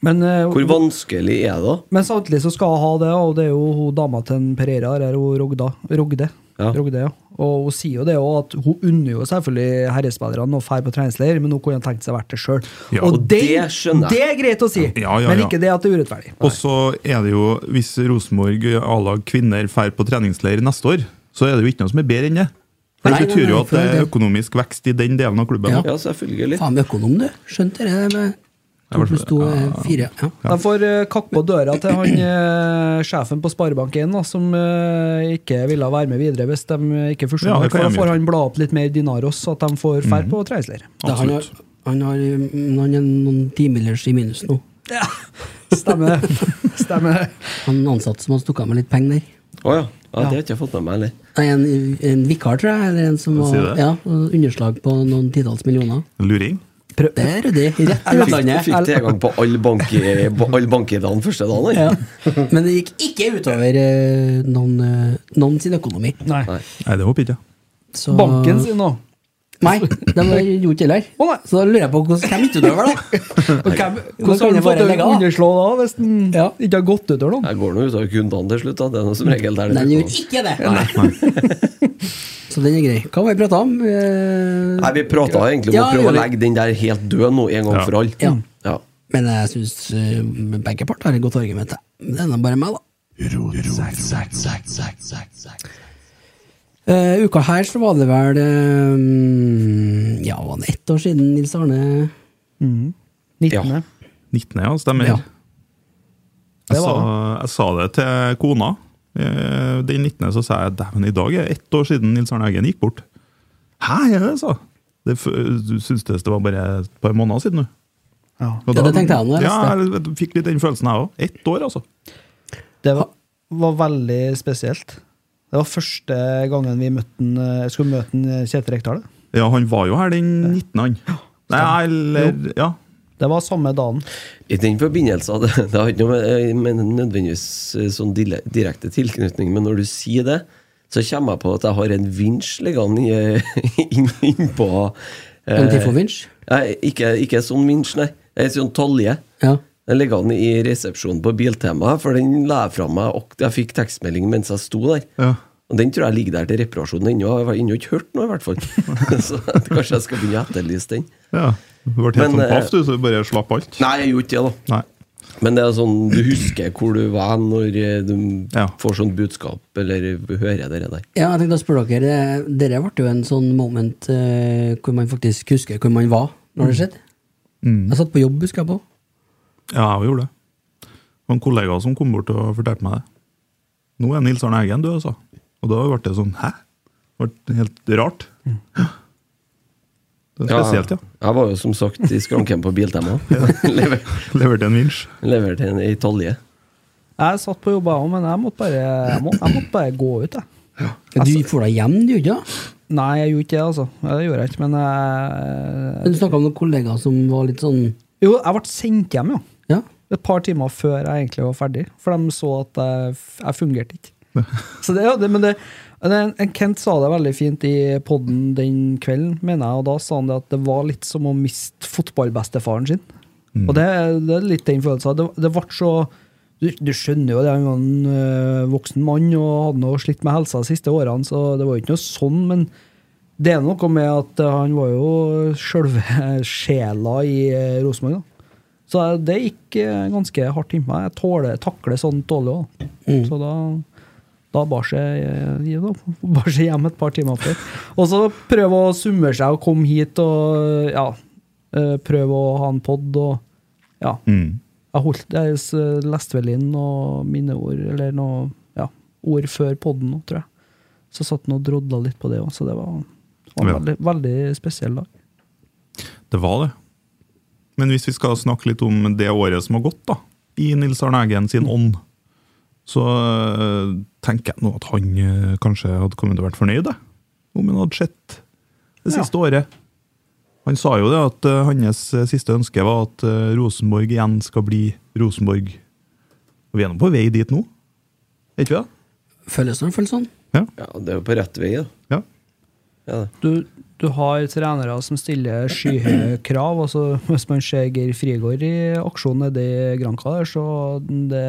Men, eh, Hvor vanskelig er det, da? Men samtidig så skal hun ha det, og det er jo hun dama til en Pereira, her er hun Rogda, Rogde. Ja. Rogde ja. Og hun sier jo det også, at hun unner jo selvfølgelig herrespillerne å dra på treningsleir, men hun kunne tenkt seg å være det sjøl. Ja, og og det, det skjønner jeg. det er greit å si, Ja, ja, men ja. ikke det at det er urettferdig. eh, Og så er det jo, hvis Rosenborg A-lag kvinner drar på treningsleir neste år, så er det jo ikke noe som er bedre enn det. For Nei, Det nei, betyr jo nei, at det er for det- økonomisk vekst i den delen av klubben. Ja. da. Ja, selvfølgelig. Faen med økonom, du. Skjønte det med Ja, to for- pluss to er ja. fire. Ja. De får eh, kakke på døra til han eh, sjefen på Sparebank1, da, som eh, ikke ville være med videre hvis de eh, ikke forsto Ja, ja, det kan For da de Mhm. får gjøre. han bla opp litt mer dinaros, så at de får fær på treisler. Da, han, har, han, har, mm, han er noen timillers i minus nå. Stemmer det. Stemmer det. Han ansatte som har stukket av med litt penger der. Å ja. ja. Det har ikke jeg fått med meg heller. Nei, En, en vikar, tror jeg. Eller en som Sier var, det? ja, underslag på noen titalls millioner. Luring. Det er ryddig. Rett i Fikk, utlandet. fikk tilgang på alle banke- på alle bankedagen første dagen. han. Ja. Men det gikk ikke utover eh, noen, eh, noen sin økonomi. Nei. Nei. Nei, det håper jeg ikke. Så, Banken sin nå. Nei, de har gjort det heller. Å, nei. Så da lurer jeg på hvordan, hvem utøver det? Og hvem- Hvordan kan jeg Hvordan har du fått bare det legge av? underslå da, hvis den ikke har gått utover noen? Jeg går nå utover kundene til slutt. Da. Det er noe som regel der det Den dukker gjør opp. ikke det! Så den er grei. Hva var det vi prata om? Eh, Nei, Vi prata egentlig om Ja, å prøve å gjør vi. legge den der helt død nå, en gang Ja. for alle. Ja. Ja. Men jeg syns begge parter har et godt argument. jeg. Men Det er nå bare meg, da. Eh, uka her så var det vel eh, Ja, var det ett år siden Nils Arne 19. Ja. 19. ja, stemmer. Ja. Jeg, Det sa, var jeg sa det til kona. Eh, Den 19. så sa jeg dæven, i dag er det ett år siden Nils Arne Eggen gikk bort. Hæ, er det, sa det, f- Du syntes det var bare et par måneder siden, du? Ja. Og Ja, da- det tenkte jeg nå, jeg Ja, jeg fikk litt den følelsen, jeg òg. Ett år, altså. Det var, var veldig spesielt. Det var første gangen vi møtte den, eh, skulle møte den, eh, Kjetil Rekdal. Ja, han var jo her den 19., han. Nei, eller Ja. Det var samme dagen. I den forbindelse hadde- Det har ikke noe med, eh, med nødvendigvis eh, sånn dile- direkte tilknytning, men når du sier det, så kommer jeg på at jeg har en vinsj liggende i- inn- innpå En Eh. Tifo-vinsj? Nei, ikke, ikke sånn vinsj, nei. En sånn talje. Ja. Den ligger an i resepsjonen på Biltema, for den la jeg fra meg. Og jeg fikk tekstmelding mens jeg sto der. Ja. Og Den tror jeg ligger der til reparasjon ennå. Jeg har ennå ikke hørt noe, i hvert fall. så kanskje jeg skal begynne å etterlyse den. ja. Du ble helt Men, sånn eh, paff, du, så du bare slapp alt? Nei, jeg gjorde ikke det, da. Nei. Men det er sånn, du husker hvor du var når eh, du Ja. får sånn budskap, eller hører det der. Ja, jeg tenkte å spørre dere. det- Dere ble jo en sånn moment eh, hvor man faktisk husker hvor man var når det skjedde. Mm. Jeg satt på jobb, husker jeg på. Ja, jeg gjorde det. Det var en kollega som kom bort og fortalte meg det. Nå er Nils Arne Eggen død, altså. Og da ble det sånn Hæ? Det ble helt rart. Det er spesielt, ja. Jeg var jo som sagt i skranken på Biltema. Lever- Leverte en vinsj. Leverte en i talje. Jeg satt på jobb, jeg òg, men jeg måtte bare, jeg må, jeg måtte bare gå ut. Jeg. Du Altså- får deg hjem, du, ikke? da? Nei, jeg gjorde ikke det, altså. Det gjorde jeg ikke, men jeg, Men Du snakka om noen kollegaer som var litt sånn Jo, jeg ble sendt hjem, jo. Ja. Et par timer før jeg egentlig var ferdig, for de så at jeg, f- jeg fungerte ikke. Så det, ja, det, men det, det, en Kent sa det veldig fint i poden den kvelden, mener jeg, og da sa han det at det var litt som å miste fotballbestefaren sin. Og det, det er litt den følelsen. Det, det ble så du, du skjønner jo det, han var en øh, voksen mann og hadde noe slitt med helsa de siste årene, så det var jo ikke noe sånn, men det er noe med at øh, han var jo sjølve sjela i øh, Rosenborg, da. Så det gikk eh, ganske hardt innpå meg. Jeg tåler, takler sånt dårlig òg. Så da, da bar seg eh, ja, da bar seg hjem et par timer før. Og så prøve å summere seg og komme hit og ja, eh, prøve å ha en pod og ja. Mm. Jeg, holdt, jeg s- leste vel inn noen minneord, eller noe ja, ord før podden nå, tror jeg. Så satt han og drodla litt på det òg, så det var, var en Ja. veldig, veldig spesiell dag. Det var det. Men hvis vi skal snakke litt om det året som har gått, da, i Nils Arne Eggen sin ånd, så øh, tenker jeg nå at han øh, kanskje hadde kommet til å vært fornøyd, jeg, om han hadde sett det Ja. siste året. Han sa jo det at øh, hans øh, siste ønske var at øh, Rosenborg igjen skal bli Rosenborg. Og vi er nå på vei dit nå, er ikke vi det? Føles det føles sånn? Ja, det er jo på rett vei, da. Ja. Ja, det. du, du har trenere som stiller skyhøye krav. Altså, hvis man ser Geir Frigård i aksjon nede i Granca, der, så det,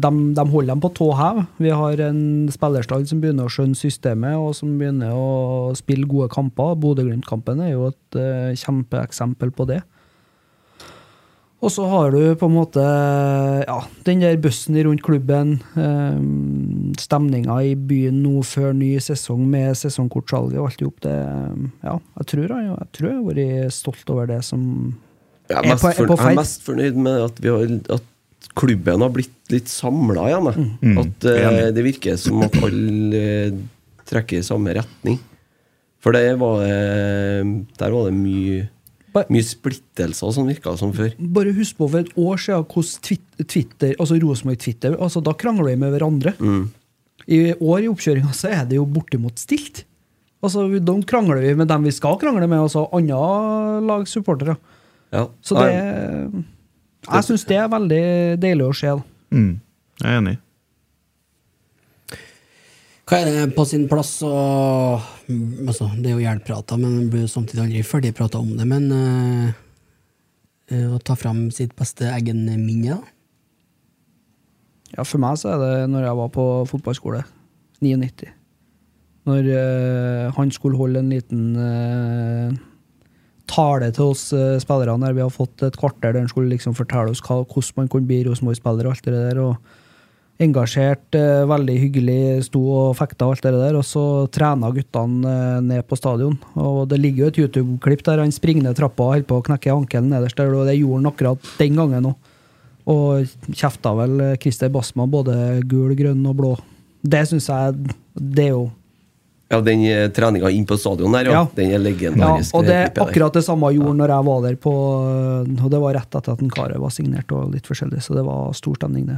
de, de holder dem på tå hev. Vi har en spillerstall som begynner å skjønne systemet, og som begynner å spille gode kamper. Bodø-Glimt-kampen er jo et eh, kjempeeksempel på det. Og så har du på en måte ja, den der bussen rundt klubben, um, stemninga i byen nå før ny sesong med sesongkortsalget og alt i hop. det, Ja, jeg tror jeg, jeg tror jeg har vært stolt over det som Jeg Er er, mest på- er fornøyd, på jeg feil. er mest fornøyd med at, vi har, at klubben har blitt litt samla igjen. jeg. Mm. At eh, det virker som at alle eh, trekker i samme retning. For det var, eh, der var det mye, Bare- mye splittelser som virka som før. Bare husk på for et år siden hvordan Twit- Twitter, altså Rosenborg-Twitter altså Da krangler de med hverandre. I år i oppkjøringa så er det jo bortimot stilt. Altså, vi- De krangler vi med dem vi skal krangle med, altså andre lags supportere. Ja. Så Nei, det Jeg syns det er veldig deilig å se. da. Mm. Jeg er enig. Hva er det på sin plass å mm, altså, Det er jo gjerne prata, men man blir jo samtidig aldri ferdig prata om det. Men eh, eh, å ta fram sitt beste Eggen-minne, da. Ja, For meg så er det når jeg var på fotballskole. 99. Når eh, han skulle holde en liten eh, tale til oss eh, spillerne der vi har fått et kvarter der han skulle liksom fortelle oss hva, hvordan man kunne bli Rosenborg-spiller og alt det der. og Engasjert, eh, veldig hyggelig, sto og fekta og alt det der. Og så trena guttene eh, ned på stadion. Og det ligger jo et YouTube-klipp der han springer ned trappa og holder på å knekke ankelen nederst der, og det gjorde han akkurat den gangen òg. Og kjefta vel eh, Christer Basma både gul, grønn og blå. Det syns jeg Det er jo ja, den eh, treninga inn på stadion der, ja. Ja. Den er Ja, legendarisk. og det er klippet der. akkurat det samme jeg gjorde når jeg var der på Og det var rett etter at en Kare var signert og litt forskjellig, så det var stor stemning, det.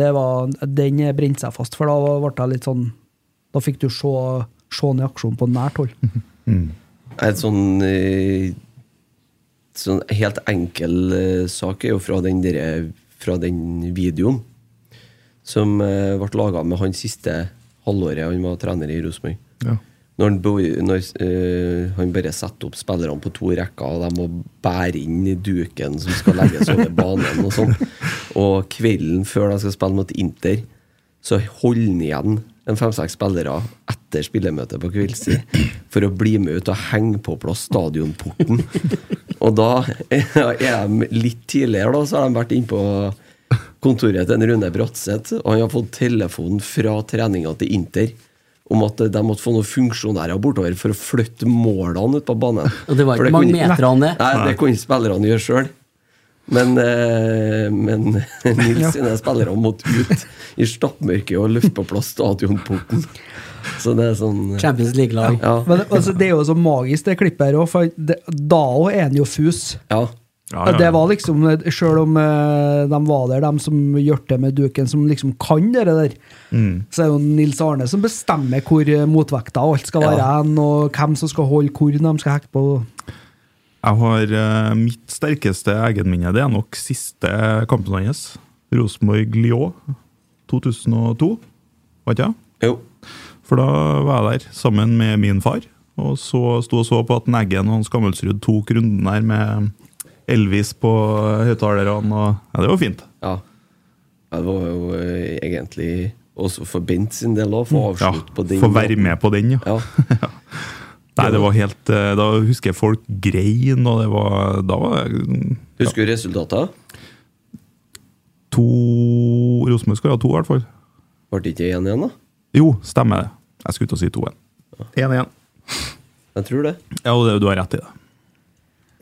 det var, den brente seg fast, for da ble jeg litt sånn Da fikk du se, se den i aksjon på nært hold. Et sånn, eh, sånn helt enkel eh, sak er jo fra den, derre- fra den videoen som eh, ble laga med han siste halvåret han var trener i Rosenborg. Ja. Når, han, bo- når eh, han bare setter opp spillerne på to rekker, og de må bære inn i duken som skal legges over banen, og sånn. Og kvelden før de skal spille mot Inter, så holder han igjen en fem-seks spillere etter spillemøtet på kveldstid for å bli med ut og henge på plass stadionporten. Og da er de litt tidligere, da, så har de vært inne på kontoret til en Rune Bratseth, og han har fått telefon fra treninga til Inter om at de måtte få noen funksjonærer bortover for å flytte målene ut på banen. Og det var For ikke mange kunne- meter han det. Nei, det kunne spillerne gjøre sjøl. Men, eh, men Nils sine spillere måtte ut i stappmørket og løfte på plass stadionporten. Så det er sånn Champions League-lag. Ja. Men altså, det er jo så magisk, det klippet her òg, for det, da òg er han jo fus. ja. Ja, ja, ja. Det var liksom, Sjøl om eh, de var der, de som gjør det med duken, som liksom kan det der, Mm. så er jo Nils Arne som bestemmer hvor eh, motvekta og alt skal Ja. være hen, og hvem som skal holde hvor de skal hekke på. Jeg har eh, mitt sterkeste egenminne. Det er nok siste kampen hans. Rosenborg-Lyon 2002, var ikke det? Jo. For da var jeg der sammen med min far, og så sto og så på at Eggen og Hans Gammelsrud tok runden her med Elvis på høyttalerne, og ja, det var fint. Ja. Ja, Det var jo eh, egentlig også for Bent sin del å få Ja, avslutt på den. Få være med på den, ja. Ja. Nei, det var helt eh, Da husker jeg folk grein, og det var Da var det Husker du resultatet? to Rosenborg skåra to, i hvert fall. Ble det ikke 1 igjen, da? Jo, stemmer det. Jeg skulle til å si 2-1. 1-1. Jeg tror det. Ja, og det, du har rett i det.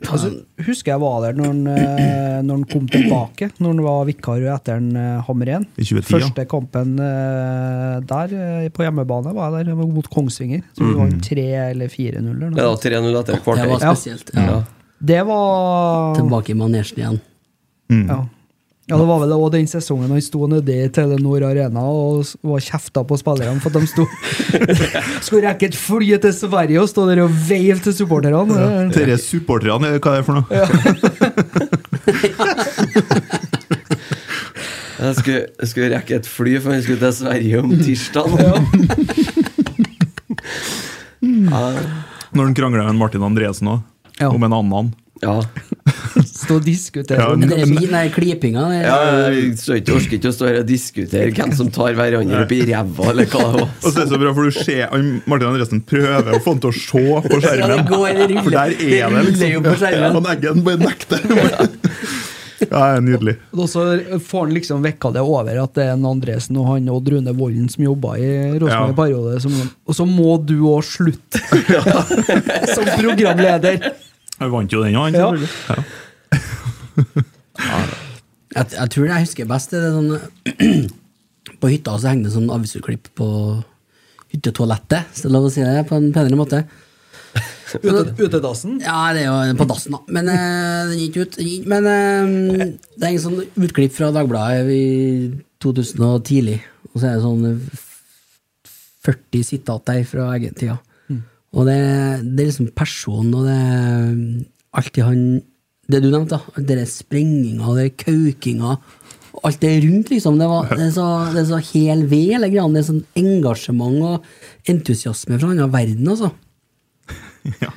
Altså, husker jeg var der når han, eh, når han kom tilbake, når han var vikar etter en eh, Hammer 1. I 2010, ja. Første kampen eh, der, eh, på hjemmebane, var jeg der mot Kongsvinger. Så Mm. vi vant 3 eller 4-0. eller noe Ja, 3-0 etter et Det kvarter. var spesielt. Ja. Ja. Det var Tilbake i manesjen igjen. Mm. ja. ja, det var vel også den sesongen han sto nede i Telenor Arena og s- var kjefta på spillerne for at de sto skulle rekke et fly til Sverige og stå der og veive til supporterne. Det- Dere supporterne, eller hva er det for noe? Jeg skulle, jeg skulle rekke et fly, for jeg skulle til Sverige om tirsdag. Ja. Når han krangla med Martin Andresen òg, Ja. om en annen. ja. Stå og diskutere. Ja, Men det er fin, den klipinga. det er- ja jeg står ikke, orker ikke å stå her og diskutere hvem som tar hverandre opp i ræva, eller hva det var. Og så er det så bra, for du ser han- Martin Andresen prøver å få han til å se på Ja, det skjermen. går, det ruller. For der er det, Det ruller jo liksom. på skjermen. Ja, og Eggen bare nekter. Ja, det er nydelig. Og så får han liksom vekka det over at det er en Andresen og han Odd Rune Volden som jobba i Rosenborg Ja. i periode. Som, og så må du òg slutte som programleder! Han vant jo den, han. Ja. selvfølgelig. Ja. Jeg, jeg tror det jeg husker best, det er sånn På hytta så henger det sånn avisutklipp på hyttetoalettet, hvis det er lov å si det på en penere måte. Ute- Utedassen. Ja, det er jo på dassen, da. Men eh, den gikk ut. Den gikk, men eh, det er en sånn utklipp fra Dagbladet i 2000 og tidlig, og så er det sånn f- 40 sitat der fra egen tida. Og det, det er liksom personen og det er alltid han Det du nevnte, da. alt Det der sprenginga, det der kaukinga. Alt det rundt, liksom. Det, var, det, er så, det er så hel ved, hele greia. Det er sånn engasjement og entusiasme fra en annen verden, altså. Ja,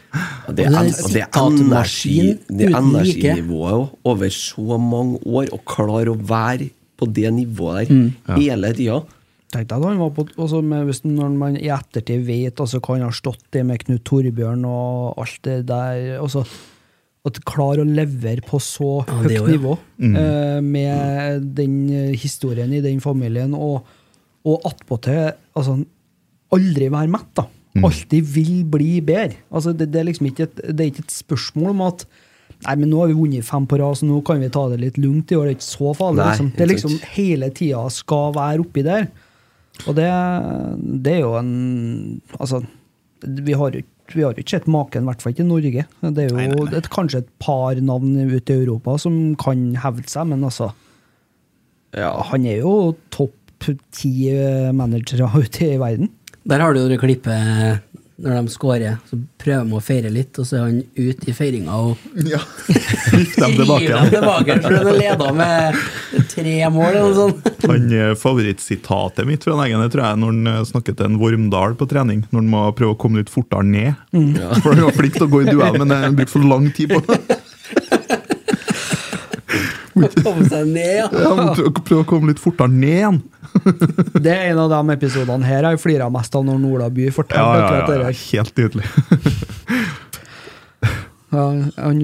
Det er, en, Altså, og det er energi, sitatmaskin det er uten like. energinivået òg, over så mange år, å klare å være på det nivået der hele tida. Tenkte jeg da han var på, altså med, hvis Når man i ettertid vet altså, hva han har stått i med Knut Torbjørn og alt det der altså, At klare å levere på så Ja, høyt det Mm. også, ja. nivå eh, med den eh, historien i den familien, og, og attpåtil altså, aldri være mett. da. Mm. Alltid vil bli bedre. Altså, det, det er liksom ikke et, det er ikke et spørsmål om at Nei, men nå har vi vunnet fem på rad, så nå kan vi ta det litt lugnt i år. Det er ikke så farlig. Nei, liksom. Det er ikke liksom sant. hele tida skal være oppi der. Og det, det er jo en Altså, vi har jo ikke- vi har jo ikke sett maken, i hvert fall ikke i Norge. Det er jo Et, kanskje et par navn ute i Europa som kan hevde seg, men altså Ja, Han er jo topp ti eh, managere ute i verden. Der har du jo det klippet eh, når de scorer, så prøver de å feire litt, og så er han ut i feiringa og Ja. Gift dem river tilbake dem igjen. tilbake for han har leda med tre mål eller noe sånt. Han eh, Favorittsitatet mitt fra han egen det tror jeg er når han eh, snakker til en Vormdal på trening. Når han må prøve å komme litt fortere ned. For han var flink til å gå i duell, men eh, han brukte for lang tid på det. Komme seg ned, ja. Ja, han prøver å- prøver å komme litt fortere ned igjen. Det er en av de episodene her jeg flira mest av når Ola By fortalte Ja, ja, akkurat det ja, ja. der. Helt nydelig. Ja, han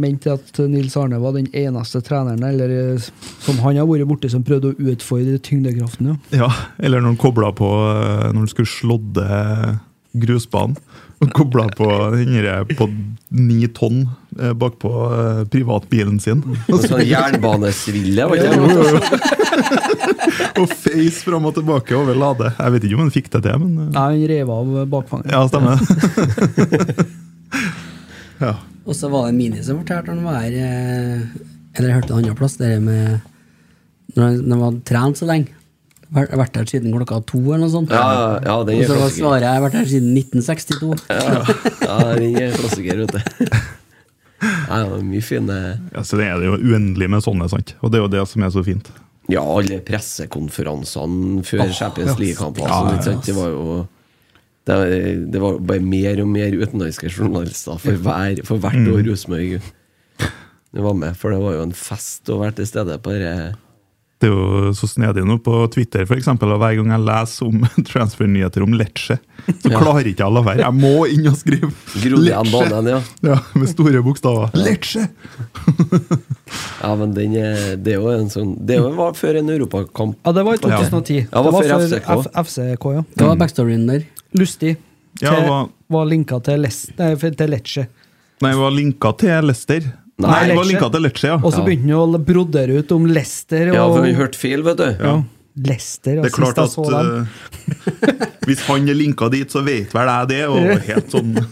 mente at Nils Arne var den eneste treneren eller, eh, som han har vært borti som prøvde å utfordre tyngdekraften. Ja. Ja, eller når han kobla på eh, Når han skulle slådde grusbanen. Og kobla på den der på ni tonn eh, bakpå eh, privatbilen sin. og sånn jernbanesville, var ikke Jo, det? jo, jo. og feis fram og tilbake over Lade. Jeg vet ikke om han fikk det til, men eh, Nei, han rev av bakfanget. Ja, stemmer det. ja. Og så var det Mini som fortalte han var her eh, Eller jeg hørte en annen plass, det der med Når han- de hadde trent så lenge. Vært vært her siden klokka to eller noe sånt. Ja, ja, den og er så var klassiker. svaret jeg har vært her siden 1962. Ja, den er klassiker, vet du. Ja, det er mye fine ja, så det er det jo uendelig med sånne, sant. Og det er jo det som er så fint. Ja, alle pressekonferansene før Champions League-kampen. og sånn, ikke sant? Det var jo det, var- det var bare mer og mer utenlandske journalister for, hver, for hvert Mm. år Rosenborg det var med. For det var jo en fest å være til stede på det. Det er jo så snedig nå på Twitter, for eksempel, og hver gang jeg leser om transfernyheter om Lecce, så klarer ikke jeg å la være. Jeg må inn og skrive Grodde igjen banen, ja. Ja, Med store bokstaver. Lecce! Ja, men den er, det er jo en sånn Det er jo- var før en europakamp. Ja, det var i 2010. Ja, det var før FCK. F- FCK, ja. Det var backstoryen der. Lustig. Til, Ja, det var- var... linka til, Les, nei, f- til Lecce. Nei, det var linka til Lester. Nei, Nei, det var Lecce. linka til Lecce, Og ja. så Ja. begynte han å brodere ut om Leicester og Ja, for vi hørte feil, vet du. Ja, Leicester. Det er klart at eh, hvis han er linka dit, så vet vel jeg det. Og helt sånn eh,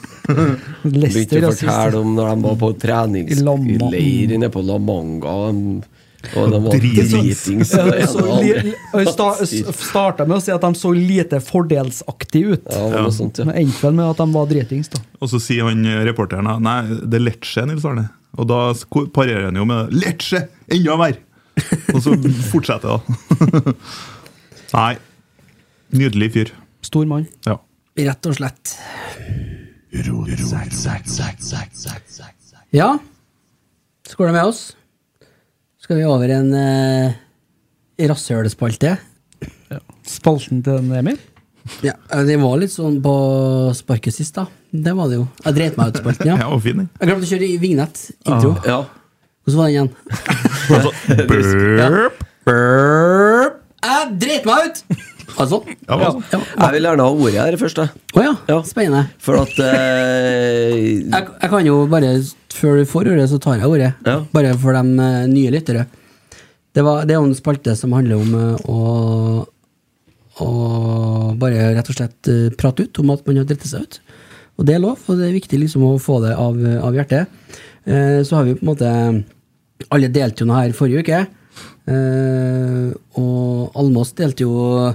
Begynte Lester, å fortelle om når de var på I Lama. treningsleir nede på La Manga. de- Og de var Dritings. dritings. Ja, og det de ene så og det li- andre. sta, starta med å si at de så lite fordelsaktige ut. Ja, det var noe sånt, ja. Men endte vel med at de var dritings, da. Og så sier han eh, reporteren da, Nei, det er Lecce, Nils Arne. Og da sko- parerer han jo med Lecce! Enda mer! Og så fortsetter det, da. Nei. Nydelig fyr. Stor mann. Ja. Rett og slett. Ja, skål med oss. Skal vi over en eh, rasshølspalte? Spalten til den Emil. Ja, det var litt sånn på sparket sist, da. Det var det jo. Jeg dreit meg ut i spalten, ja. Ja, og fin, den. Ah. Jeg glemte å kjøre i vignett. Intro. Ja. Hvordan var den igjen? Altså, burp, burp. Jeg dreit meg ut! Altså. Ja, hva så? Ja. Jeg vil gjerne ha ordet her først, jeg. Å ja. Ja. Spennende. For at eh, Jeg, jeg kan jo bare, før du får ordet, så tar jeg ordet. Ja. Bare for de eh, nye lyttere. Det, var, det er jo en spalte som handler om eh, å, å bare rett og slett eh, prate ut om at man har dritt seg ut. Og det er lov, og det er viktig liksom å få det av, eh, av hjertet. Eh, Så har vi på en måte Alle delte jo noe her forrige uke. eh, Og Almås delte jo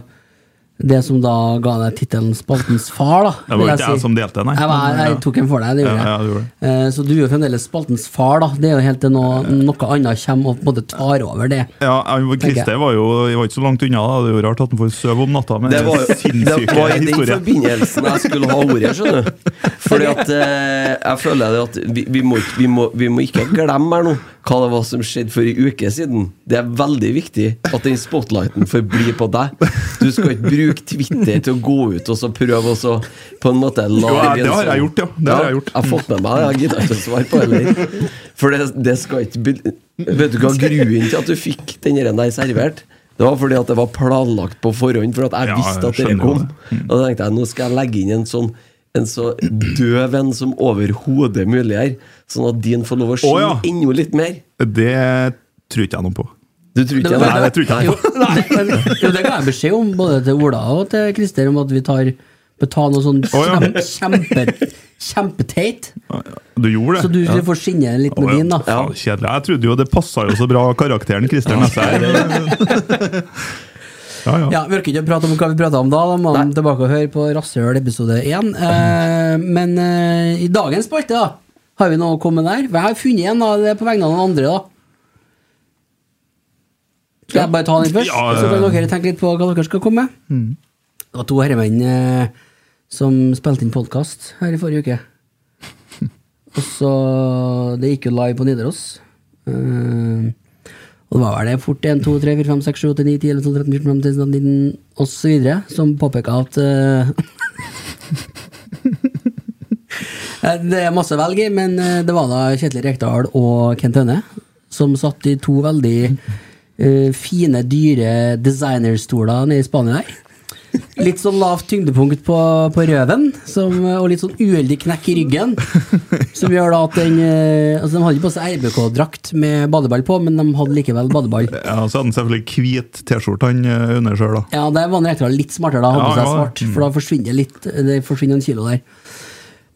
det som da ga deg tittelen Spaltens far, da. Det vil var ikke si. jeg som delte, nei. Jeg, var, jeg tok en for deg, det gjorde Ja, ja, jeg. du gjorde Eh, Så du er jo fremdeles spaltens far, da. Det er jo helt til noe, noe annet kommer og på en måte tar over det. Ja, han- Tenker Christer var jo jeg var ikke så langt unna. da Det er jo rart at han får sove om natta med det var, jo- det sinnssyke var i den historier. forbindelsen jeg skulle ha ordet, skjønner du. Fordi at eh, jeg føler det at vi, vi, må, ikke- vi, må, vi må ikke glemme her nå hva det var som skjedde for en uke siden. Det er veldig viktig at den spotlighten forblir på deg. Du skal ikke bruke Twitter til å gå ut og så prøve å så på en måte la Jo, jeg- bli det en har jeg sånn- gjort, ja. Det har jeg gjort. Jeg har fått med meg det. Jeg gidder ikke å svare på det heller. For det, det skal ikke be- Vet du hva grunnen til at du fikk den der der servert? Det var fordi at det var planlagt på forhånd, for at jeg Ja, visste at dere jeg skjønner jo Mm. kom. Og da tenkte jeg nå skal jeg legge inn en sånn en så døv en som overhodet mulig her, sånn at din får lov å skinne ja. enda litt mer. Det tror ikke jeg noe på. Du tror ikke var- Nei, det tror jeg ikke. Jo, det- jo, det ga jeg beskjed om, både til Ola og til Christer, om at vi tar betaler noe sånn Å, ja. kjem, kjempe, kjempeteit. Du gjorde det? Så du får skinne litt med din, da. Ja, faen, kjedelig. Jeg trodde jo det passa jo så bra karakteren Christer Nesse her. Ja, ja. Ja, Vi orker ikke å prate om hva vi prata om da. Da må man tilbake og høre på Rasshøl episode 1. Eh, men eh, i dagens spalte da, har vi noe å komme med der. Jeg har funnet en da, det er på vegne av noen andre. da Skal jeg bare ta den først? Ja, Mm. Så kan ja. dere tenke litt på hva dere skal komme med. Det var to herremenn eh, som spilte inn podkast her i forrige uke. Og så Det gikk jo live på Nidaros. Eh, og det var vel det fort 1, 2, 3, 4, 5, 6, 7, 8, 9, 10, 11, 12, 13, 14, 15, 16, 19 og så videre som påpeka at eh, eh, Det er masse å velge i, men eh, det var da Kjetil Rekdal og Kent Høne som satt i to veldig eh, fine, dyre designerstoler nede i Spania her. Litt sånn lavt tyngdepunkt på, på røven som, og litt sånn uheldig knekk i ryggen. Som gjør da at den eh, Altså, de hadde ikke på seg RBK-drakt med badeball på, men de hadde likevel badeball. ja så hadde han selvfølgelig hvit T-skjorte han eh, under sjøl, da. Ja, der var han rektor litt smartere da, hadde Ja, på seg ja, Mm. svart, for da forsvinner litt, det forsvinner en kilo der.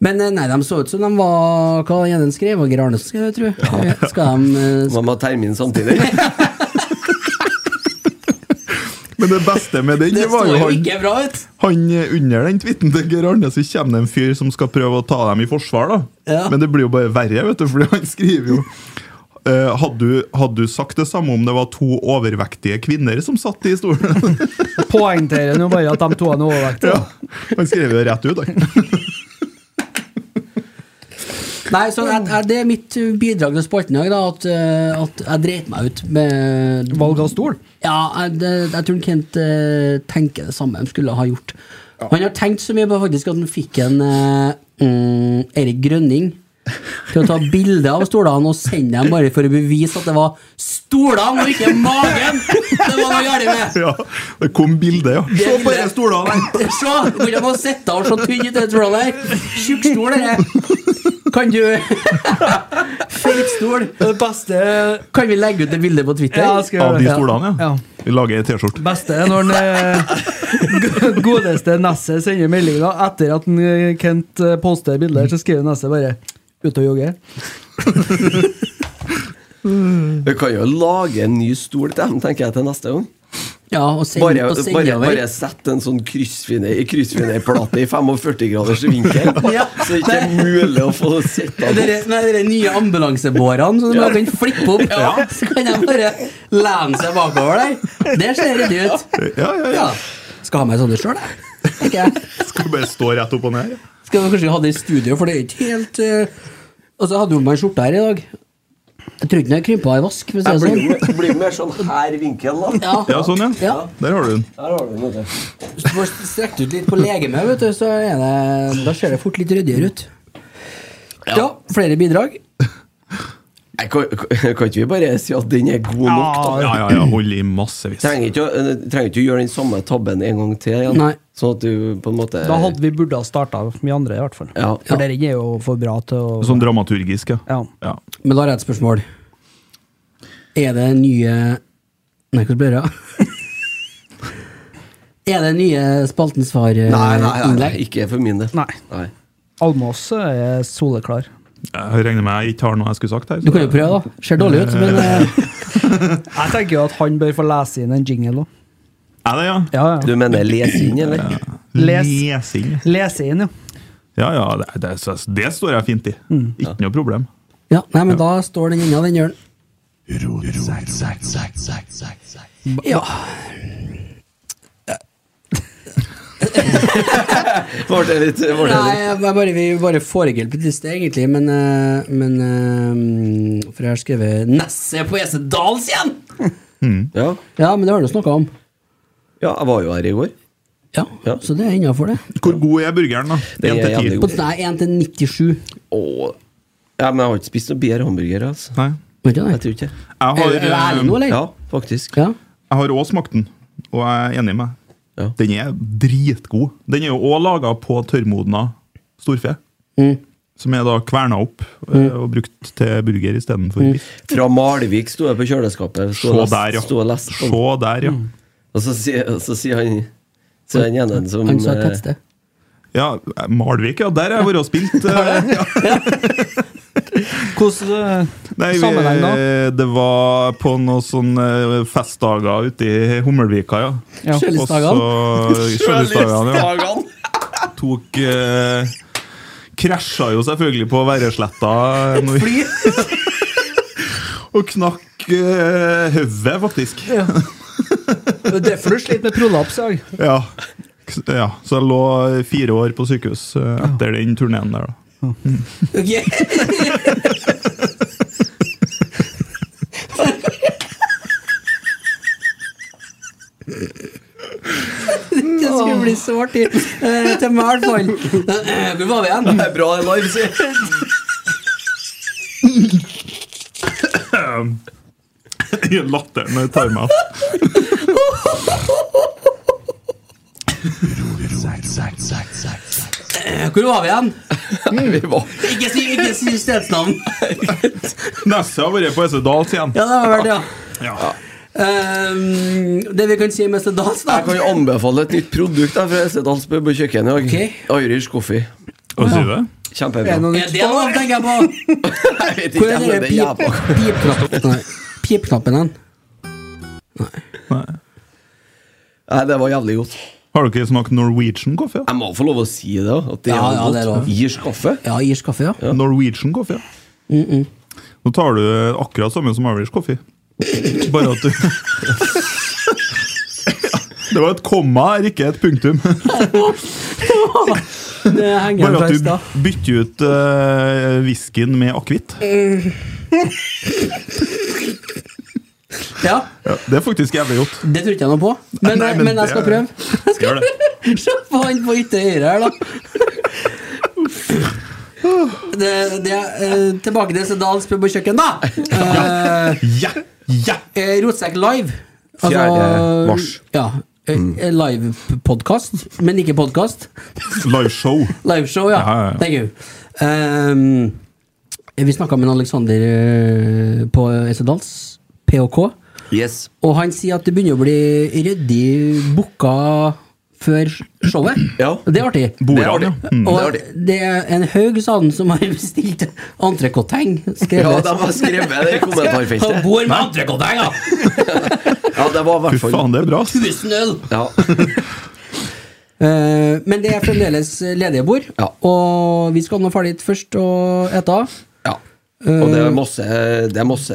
Men eh, nei, de så ut som de var Hva var det den skrev? Var Gerarne som skrev det, tror jeg? Skal de eh, Man må ha termin samtidig. Men det beste med den Det var står jo jo han, ikke bra ut! han eh, under den tweeten til Geir Arne, så kommer det en fyr som skal prøve å ta dem i forsvar, da. Ja. Men det blir jo bare verre, vet du, fordi han skriver jo eh, hadde du, hadde du sagt det samme om det var to overvektige kvinner som satt i stolen? Poengterer nå bare at de to er overvektige. ja. Han skrev jo rett ut, han. Nei, så jeg, jeg, det er mitt bidrag til spalten i dag, da, at, eh, at jeg dreit meg ut med Valg av stol. Ja, jeg, det, jeg tror Kent eh, tenker det samme han skulle ha gjort. Han har tenkt så mye på faktisk at han fikk en eh, mm, Erik Grønning til å ta bilde av stolene og sende dem bare for å bevise at det var stolene og ikke magen det var noe galt med! Ja, det kom bilde, ja. Se på bildet. de stolene! her. Se! Hvordan man sitter og så tynn ut den stolen der. Tjukk stol, dette. Kan du Feit stol. Det beste Kan vi legge ut det bildet på Twitter? Ja, jeg skal Av de gjøre det. stolene, ja. Ja. Vi lager ei T-skjorte. beste er når den, eh, godeste Nesset sender melding da, etter at den, eh, Kent eh, poster bilder, så skriver Nesset bare 'ute og jogge'. Vi kan jo lage en ny stol til dem, tenker jeg, til neste gang. Ja, og send, Bare, og send bare, over. bare sett en sånn kryssfine- kryssfinerplate i 45 graders vinkel, Ja. så det ikke er mulig å få sett den. Dere, nei, dere nye ambulansebårene som du bare kan flippe opp, så kan de bare lene seg bakover der. Det ser ryddig ut. Ja, ja, ja. Ja. Skal ha meg sånne sjøl, jeg. tenker jeg. Skal vi bare stå rett opp og ned? ja. Skal vi kanskje ha det i studio, for det er ikke helt eh, Og så hadde hun meg en skjorte her i dag. Jeg tror ikke den har krympa i vask. Hvis det Det er blir, sånn. jo- blir mer sånn her vinkel, da. Ja. Ja, sånn, ja. Ja. Der har du den. Her har du den, vet du. Hvis du får strekt ut litt på legemet, vet du, så er det, da ser det fort litt ryddigere ut. Ja, flere bidrag. Nei, Kan kan- kan ikke vi bare si at den er god nok, da? Ja, ja, ja, hold i massevis. Trenger ikke, å- eh, trenger ikke å gjøre den samme tabben en gang til igjen. Nei. Sånn at du på en måte Da hadde vi burde ha starta mye andre, i hvert fall. Ja. For dere er jo for bra til å Sånn dramaturgisk, ja. Ja. ja. Men da har jeg et spørsmål. Er det nye Nei, hvordan blir det? er det nye Spaltens Nei, nei, eh, nei, nei, svar-innlegg? ikke for min del. Nei. Nei. Almås eh, er soleklar. Jeg regner med jeg ikke har noe jeg skulle sagt her. så- Du kan jo prøve, da. Ser dårlig ut, men eh, Jeg tenker jo at han bør få lese inn en jingle òg. Er det, ja? Ja, ja. Du mener les inn, eller? Les. Lesing. Lese inn, jo. Ja, ja, det, det, det står jeg fint i. Mm. Ikke noe problem. Ja, nei, men da står den inna, den gjør den. Ja. Var det litt var det Nei, litt- jeg bare, vi bare foregrepet litt sted, egentlig, men, eh, men eh, For jeg har skrevet Nesse på Esedals igjen! Ja. Ja, men det har du snakka om. ja, jeg var jo her i går. Ja, Ja. så det er innafor, det. Hvor god er burgeren, da? Den En er til ti. jævlig På, nei, 1 til 97. Åh. Ja, men jeg har ikke spist noe bedre hamburger, altså. Nei. Vet du Jeg det? tror ikke det. Jeg Er er det har, eh, ærlig nå, eller? Ja, faktisk. Ja. jeg har også smakt den, og jeg er enig med Ja. deg. Den er dritgod. Den er jo òg laga på tørrmodna storfe. Mm. Som er da kverna opp eh, og brukt til burger istedenfor Mm. biff. Fra Malvik sto jeg på kjøleskapet. Sto Se og lest- der, ja. Sto og leste på den. Se der, Mm. ja. Og så sier, og så sier han Så den ene som Han sa eh, tettsted. ja. Malvik, ja. Der har jeg vært og spilt. eh, Ja. Hvordan eh, Nei, vi, eh, Sammenheng da? det var på noen sånne eh, festdager ute i Hummelvika, ja. Ja. Og så- Kjølestagene, ja. Kjølestagene. Tok eh, Krasja jo selvfølgelig på Værøysletta. eh, når vi- og knakk eh, hodet, faktisk. Ja. Det er derfor du sliter med prolaps i dag. K- ja. Så jeg lå fire år på sykehus eh, etter den turneen der, da. Ok. Det skulle bli så artig. Eh, Til meg, i hvert fall. Eh, Hvor var vi igjen? Det er bra det er live, sier Latteren tar meg igjen. Eh, Hvor var vi igjen? Vi var Ikke si, ikke si stedsnavn. Neste har vært på SE Dals igjen. Ja, det var vel det, ja. Ja. Eh, det vi kan si med Sedals, da Jeg kan jo anbefale et nytt produkt der fra Esedalsbø på kjøkkenet i dag. Irish coffee. Hva sier du? Kjempebra. Er det noe Er Eh, det noe, tenker jeg på? Jeg vet Hvor ikke, er men den det er jævla pip- pipknappen? Nei, Pipknappen hen? Nei. Nei, det var jævlig godt. Har dere smakt Norwegian kaffe? Jeg må få lov å si det, da, at det er Ja, ja, det er godt. lov. Irsk kaffe. Ja, irsk kaffe, ja. Norwegian kaffe, ja. Nå tar du akkurat samme som Irish coffee. Bare at du Det var et komma her, ikke et punktum. Det henger Bare igjen at fra i du stad. bytter ut uh, whiskyen med akevitt. Ja, Ja, det er faktisk jævlig godt. det tror ikke jeg noe på, men, Nei, men, men jeg skal det- prøve. Jeg skal Gjør det. Se på han på ytre høyre her, da. Det, det, eh, tilbake til Sedals pub og kjøkken, da. Eh, Ja, ja. eh, Rotsekk live. Altså, Fjerde mars. Ja. eh, Mm. eh, Live-podkast, men ikke podkast. Liveshow. Liveshow, ja. Ja, ja, ja. Thank you. Ehm, vi snakka med en Alexander eh, på Esedals, PHK. Yes. Og han sier at det begynner å bli ryddig booka før showet. Ja. Og Det er artig. Det Bordene, er ja. Mm. det er Og artig. det er en haug sånn som har bestilt entrecôteng. Ja, de har skrevet det i Han kommentarfeltet. bor med entrecôteng, da! Ja, det var i Fy hvert fall faen, det er bra. ass. Tusen øl! Ja. Eh, men det er fremdeles ledige bord, Ja. og vi skal nå ferdig dit først og ete av. ja. Og det er masse, det er masse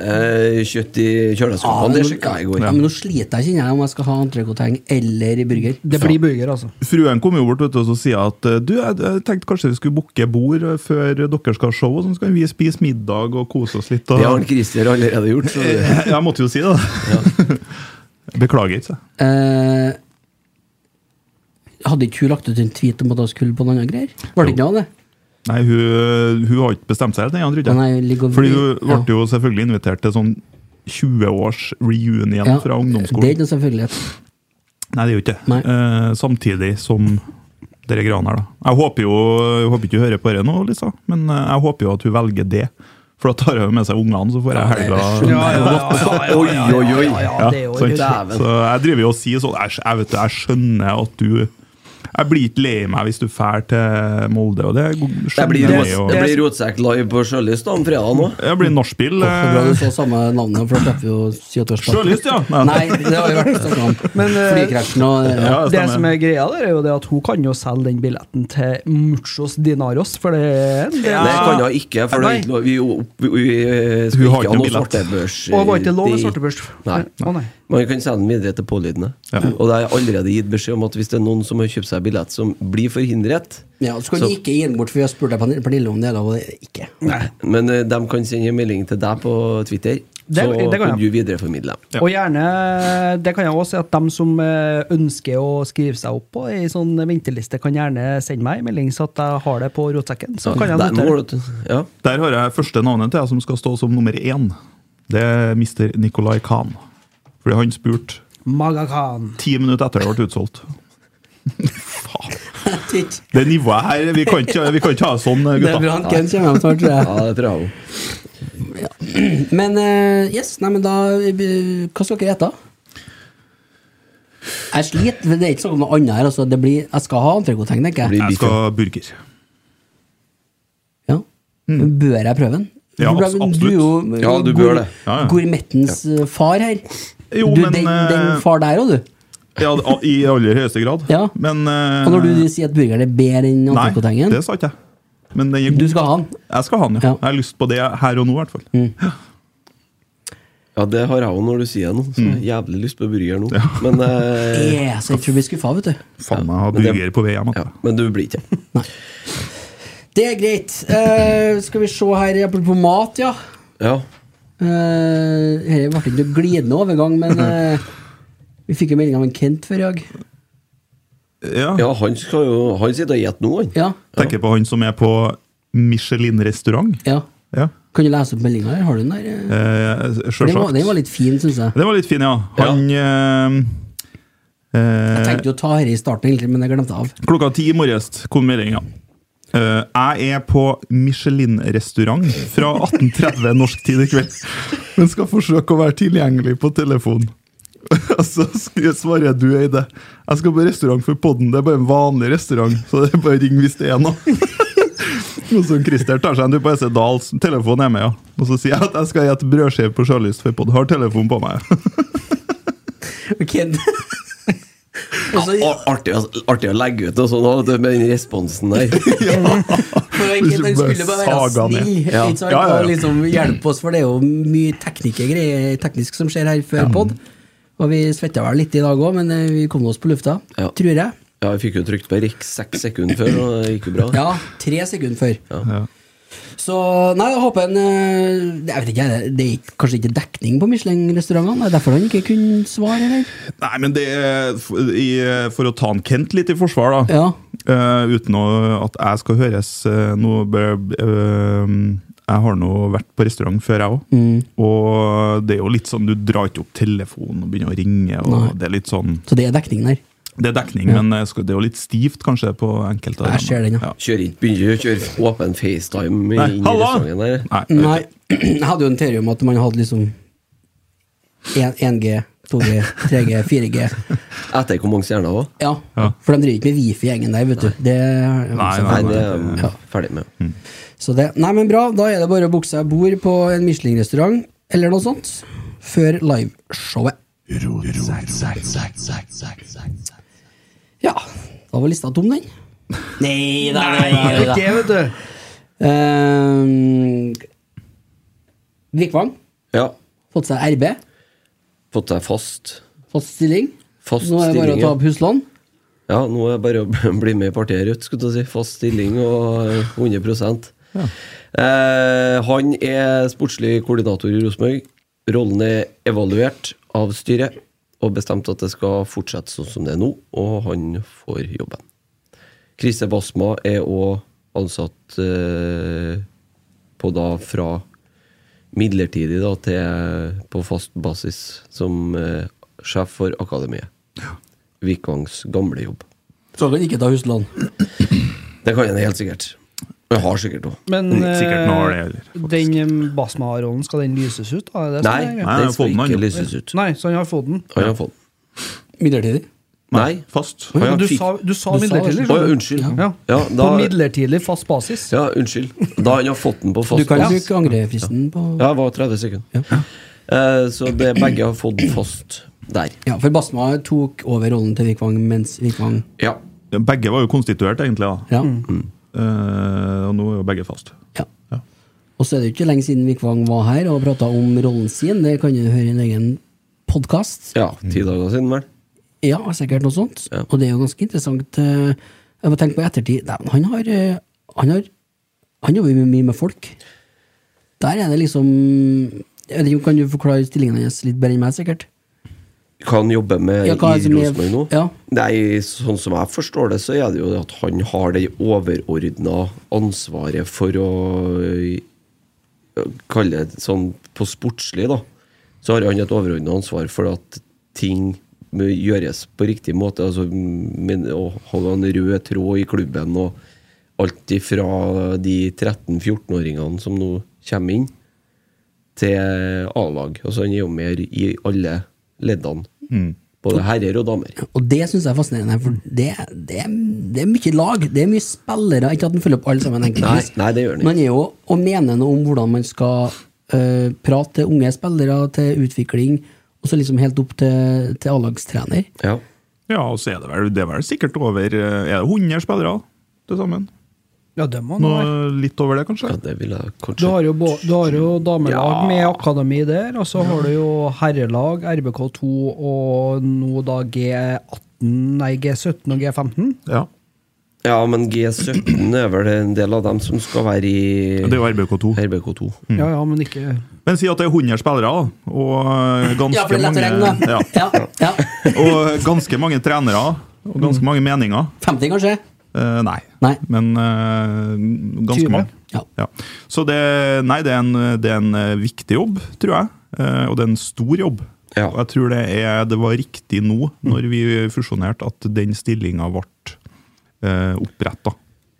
kjøtt i kjøleskapene. Det sjekka jeg i går. Ja, men nå sliter jeg, kjenner jeg, om jeg skal ha entrecôteng eller burger. Det blir burger, altså. Fruen kom jo bort vet du, og så sier jeg at eh, du, jeg, jeg tenkte kanskje vi skulle booke bord eh, før dere skal ha show, og så kan vi spise middag og kose oss litt. Og... Det har han Christer allerede gjort. Så det. Jeg, jeg måtte jo si det, da. Beklager ikke. Eh, hadde ikke hun lagt ut en tweet om at hun skulle på noen andre greier? Var det ikke noe av det? Nei, hun, hun har ikke bestemt seg helt ennå, tror Han jeg. er jo ligger og- Fordi hun ble ja. jo selvfølgelig invitert til sånn 20-års reunion Ja, fra Det er ungdomsskolen. ikke noe selvfølgelighet. Nei, det er jo ikke det. Nei. Eh, samtidig som dere greiene her, da. Jeg håper jo jeg håper ikke hun hører på det nå, Lisa, men eh, jeg håper jo at hun velger det. For da tar hun jo med seg ungene, så får jeg helga Ja, ja, ja, ja, Oi, ja, ja, oi, oi. ja, Sånn. ja, det er jo sant? litt- Dæven. Så jeg driver jo og sier sånn Jeg, jeg vet det, jeg skjønner at du Jeg blir ikke lei meg hvis du drar til Molde, og det Det skjønner blir, jeg. ros- jo. det blir Rotsekk live på Sjølyst da, om fredag nå. Det blir nachspiel. Det er bra eh, du så samme navnet, for da slipper vi jo 70-årsdag. Sjølyst, ja. Nei, det har vi vært snakket om. Men, eh, Flykrasjen og ja. Ja, det Det stemmer. som er greia der, er jo det at hun kan jo selge den billetten til Muchos Dinaros, for det er en del Det kan hun ikke, for det er Nei. ikke lov Vi, opp- vi, eh, skal Hun ikke har ikke ha noe billett. svartebørs. Og det var ikke lov med i- svartebørs. Nei. Å, nei. Man kan sende den videre til pålydende. Ja. Og det er allerede gitt beskjed om at hvis det er noen som har kjøpt seg billett som blir forhindret, ja, så kan du ikke gi den bort, for vi har spurt deg Pernille- Pernille om det, da, og det er ikke. men eh, de kan sende en melding til deg på Twitter, Det- så det kan kan du jeg. videreformidle dem. Ja. Og gjerne, det kan jeg også si, at de som eh, ønsker å skrive seg opp på ei sånn venteliste, kan gjerne sende meg en melding, så at jeg har det på rotsekken. Så kan jeg Der må notere. du- Ja. Der har jeg første navnet til jeg som skal stå som nummer én. Det er Mr. Nicolay Khan. Fordi han spurte Magakan. ti minutter etter det ble utsolgt. Faen. Titt. Det nivået her Vi kan ikke, vi kan ikke ha det sånn, Det er gutta. bra, han Ken kommer hjem snart, tror jeg. ja, det tror jeg òg. Men eh, yes, nei, men da eh, Hva skal dere ete? Jeg sliter, men det er ikke sånn noe annet her. Altså, det blir, jeg skal ha entrecôte, tenker jeg. Blir- Jeg skal ha burger. Ja. Men Bør jeg prøve den? Ja, For abs- Du er jo Ja, du bør det. Ja, ja. Gourmettens eh, far her. Jo, du, men, den, den eh, far der òg, du. Ja, I aller høyeste grad. Ja. Men eh, Og når du sier at burgeren er bedre enn Nei, entrecôte-hengen det sa ikke jeg. Men den er Du god. skal ha den. Jeg skal ha den, ja. Ja. Jeg har lyst på det her og nå, i hvert fall. Ja, det har jeg òg når du sier det nå. Så jeg har Mm. jævlig lyst på burger nå. Men, eh, Eh, så jeg tror jeg blir skuffa, vet du. Faen, jeg har Men det- burger på vei hjem. altså. ja, Ja. men du blir ikke. Det er greit. Eh, skal vi se her, apropos mat, ja. Ja. Uh, her ble det ikke noe glidende overgang, men eh, vi fikk jo melding av en Kent før i dag. Ja. ja, han skal jo Han sitter og gjeter nå, han. Ja, Tenker på han som er på Michelin-restaurant. ja. Ja. Kan du lese opp meldinga her? Har du den der? eh? Eh, For Den var, Sjølsagt. den var litt fin, syns jeg. Det var litt fin, ja. Han eh, eh, Jeg tenkte jo å ta dette i starten, egentlig, men jeg glemte av. Klokka ti i morges kom meldinga. Eh, jeg er på Michelin-restaurant fra 18.30 norsk tid i kveld, men skal forsøke å være tilgjengelig på telefon. Og så skri- svarer jeg, du, Eide. Jeg skal på restaurant for podden. Det er bare en vanlig restaurant, så det er bare ring hvis det er noe. Og så Christer tar seg en tur på SC Dahls. Telefonen er med, ja. Og så sier jeg at jeg skal gjette brødskive på Sjølyst for podd. Har telefon på meg. Kent. Altså, Å, artig, å- artig å legge ut og sånn vet du, med den responsen der. for en Kent, han skulle bare være Saga ned. snill Ja. ikke sant, Liksom Ja, ja, ja. og liksom hjelpe oss, for det er jo mye tekniske greier teknisk som skjer her før pod. Og vi svetta vel litt i dag òg, men eh, vi kom oss på lufta, Ja. tror jeg. Ja, jeg fikk jo trykt på RIK seks sekunder før, og det gikk jo bra. Ja, tre sekunder før. Ja. Så nei, jeg håper en eh, Jeg vet ikke, jeg, det er ikke- kanskje ikke dekning på Michelin-restaurantene? Det er derfor han ikke kunne svare, eller? Nei, men det er f- i, eh, For å ta han Kent litt i forsvar, da. Ja. Eh, uten å, at jeg skal høres eh, noe bør- eh, Jeg har nå vært på restaurant før, jeg òg. Mm. Og det er jo litt sånn, du drar ikke opp telefonen og begynner å ringe. Og Nei. Det er litt sånn, Så det er dekningen her. det er dekning, men eh, skal, det er jo litt stivt kanskje på enkelte. av Jeg ser den, ja. Kjør ikke, begynner å kjøre åpen FaceTime Nei, inn i hallo! restauranten der. Nei, det er Nei, ikke- jeg hadde jo en teori om at man hadde liksom 1G, 2G, 3G, 4G. Etter hvor mange stjerner òg? Ja. Ja. For de driver ikke med Wifi-gjengen der, vet du. Det har jeg Nei, også Nei, fått det med. er Ja. Mm. jeg ferdig med. Så det, nei, men bra. Da er det bare å booke seg bord på en Michelin-restaurant eller noe sånt før liveshowet. Ja, da var lista tom, den. Nei da, nei da. Ikke, vet du. Ehm, Vikvang. Ja. Fått seg RB. Fått deg fast. Fått stilling. Fast Nå er det bare stilling. å ta Ja. opp huslån. ja, nå er det bare å bli med i partiet Rødt, skulle jeg til å si. Fast stilling og eh, 100 eh, Han er sportslig koordinator i Rosenborg. Rollen er evaluert av styret og bestemt at det skal fortsette sånn som det er nå, og han får jobben. Krise Basma er òg ansatt eh, på da fra midlertidig da, til på fast basis som eh, sjef for akademiet. Vikangs gamle jobb. Så kan ikke ta huslån. Det kan en helt sikkert. Og jeg har sikkert òg. Men Mm, sikkert nå har det, eh, eller, faktisk. den eh, Basma-rollen, skal den lyses ut? da? Er det Nei, sånn, ja? Nei, den jeg har skal fått den, ikke han, jo. lyses ut. Nei, så han har fått den. Han har fått den. Midlertidig. Nei. Fast. Å, ja, du, fikk- sa, du sa Du sa midlertidig. Å, ja, det. skjønner du? unnskyld. Ja. Ja, da, På midlertidig fast basis. ja, unnskyld. Da han har fått den på Du fast kan basis. bruke angrefristen på Ja, det var 30 sekunder. Ja. Eh, så det begge har fått fast der. Ja, for Basma tok over rollen til Vikvang mens Vikvang Ja. Begge var jo konstituert, egentlig. da. Ja. Eh, og nå er jo begge fast. ja. Mm. Ja. Og så er det jo ikke lenge siden Vikvang var her og prata om rollen sin. Det kan du høre i en egen podkast. ja, ti dager siden, vel. Ja, sikkert noe sånt. Ja. Og det er jo ganske interessant. eh, Jeg må tenke på i ettertid Nei, men han har eh, Han har Han jobber mye- mye med folk. Der er det liksom jeg vet ikke, Kan du forklare stillingen hans litt bedre enn meg, sikkert? Kan jobbe med Ja, i hva er det som er- Rosenborg nå. ja. Nei, sånn som jeg forstår det, så er det jo det at han har det overordna ansvaret for å øh, Kalle det sånn på sportslig, da. Så har han et overordna ansvar for at ting må gjøres på riktig måte. Altså men, å holde en rød tråd i klubben og alt ifra de 13-14-åringene som nå kommer inn, til A-lag. Altså han er jo med i alle leddene. Mm. Både herrer og damer. Og det syns jeg er fascinerende, for det, det, det er mye lag, det er mye spillere. Ikke at han følger opp alle sammen, enkeltvis. Nei, nei, det gjør han ikke. Men han er jo og mener noe om hvordan man skal eh, prate til unge spillere, til utvikling, og så liksom helt opp til, til A-lagstrener. Ja. Ja, og så er det vel, det er vel sikkert over eh, Er det 100 spillere til sammen? Ja, det må han Noe være. litt over det, kanskje? ja, det vil jeg Du kanskje har jo, bå- du har jo damelag med akademi der, og så har du jo herrelag, RBK2 og nå da G18, nei G17 og G15. Ja. Ja, men G17 er vel en del av dem som skal være i Det er jo RBK2. RBK2. Ja, ja, men ikke Men si at det er 100 spillere, da, og eh, ganske Ja, for det er lett å regne, mange da. ja, Ja, ja. Og ganske mange trenere, og ganske mange meninger. 50, kanskje? Eh, nei. Mm. Nei. Men eh, ganske 20. mange. Ja. Ja. Så det, nei, det, er en, det er en eh, viktig jobb, tror jeg. Eh, og det er en stor jobb. Ja. Og jeg tror det, er, det var riktig nå, når vi fusjonerte, at den stillinga ble uh, oppretta.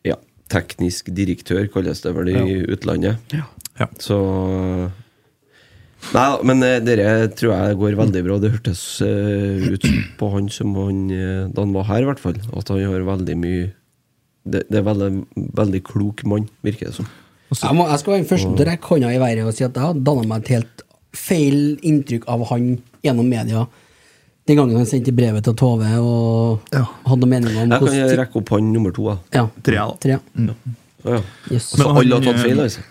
Ja. Teknisk direktør kalles det vel i utlandet. Ja. Så Nei, men eh, dere tror jeg går veldig bra. Det hørtes eh, ut på han som han eh, da han var her, i hvert fall, at han har veldig mye Det, det er veldig, veldig klok mann, virker det som. Jeg, må, jeg skal være den første til å rekke hånda i været og si at jeg har danna meg et helt feil inntrykk av han gjennom media. Den gangen han sendte brevet til Tove og Ja. hadde noen meninger om Jeg kan hvordan rekke opp han nummer to, jeg. ja. Trea, da. Trea. Ja. Yes. Så Men han- eh, alle har tatt feil, altså?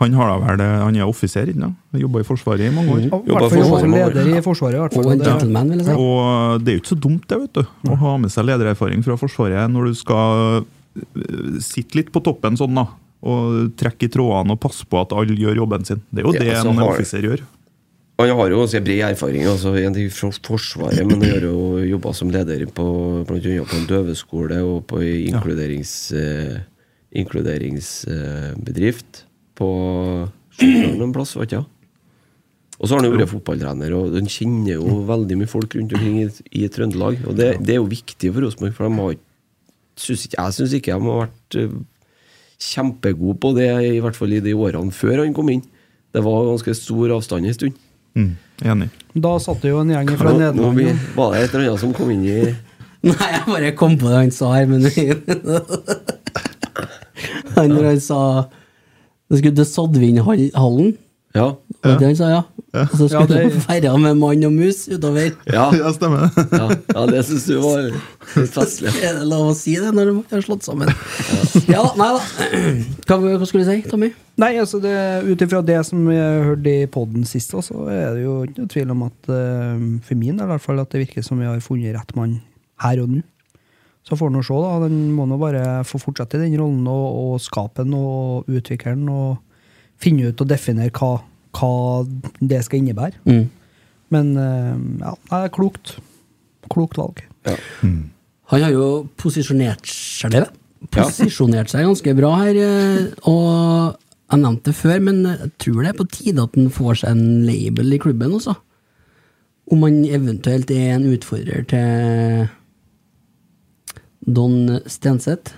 Han, har da vel, eh, han er offiser ennå. Jobba i Forsvaret i mange år. Mm. I Jobber hvert fall for jobber Forsvaret. leder i Forsvaret, i hvert Og en fall. Det, gentleman, vil jeg si. Og det er jo ikke så dumt det, vet du. Å ha med seg ledererfaring fra Forsvaret når du skal øh, sitte litt på toppen sånn, da. Og trekke i trådene og passe på at alle gjør jobben sin. Det er jo Ja, det så en har- offiser gjør. Han har jo ganske bred erfaring altså, en ting fra Forsvaret, men han har jo jobba som leder på blant annet på en døveskole og på en inkluderings, eh, inkluderingsbedrift på Stjørdal en plass, vet ikke jeg. Og så har han jo vært fotballtrener, og han kjenner jo veldig mye folk rundt omkring i, i Trøndelag. Og det, det er jo viktig for Rosenborg, for de har ikke synes ikke, jeg syns ikke de har vært eh, kjempegode på det, i hvert fall i de årene før han kom inn. Det var ganske stor avstand en stund. Mm, enig. da satt det jo en gjeng fra Nå, nå Nederland. vi, ja. var det et eller annet som kom inn i Nei, jeg bare kom på det han sa her, men Han når han sa Det skulle til Sodvindhallen. Ja. Var det det han sa, ja? Og så Ja, skulle de det- ferja med mann og mus utover. Ja, Ja, stemmer det. ja, ja det syns du var litt festlig. Er det lov å si det når de har slått sammen? Ja da, nei da. Hva, hva skulle du si, Tommy? Nei, altså det, ut ifra det som jeg hørte i poden sist, også, så er det jo ikke noe tvil om at eh, for min del i hvert fall, at det virker som vi har funnet rett mann her og nå. Så får han jo se, da. Den må nå bare få fortsette i den rollen og, og skape den og utvikle den og finne ut og definere hva, hva det skal innebære. Men eh, ja, nei, det er klokt. Klokt valg. Ja. Han har jo posisjonert seg, det, posisjonert seg ganske bra her. eh, Og jeg nevnte det før, men jeg tror det er på tide at han får seg en label i klubben også. Om han eventuelt er en utfordrer til Don Stenseth.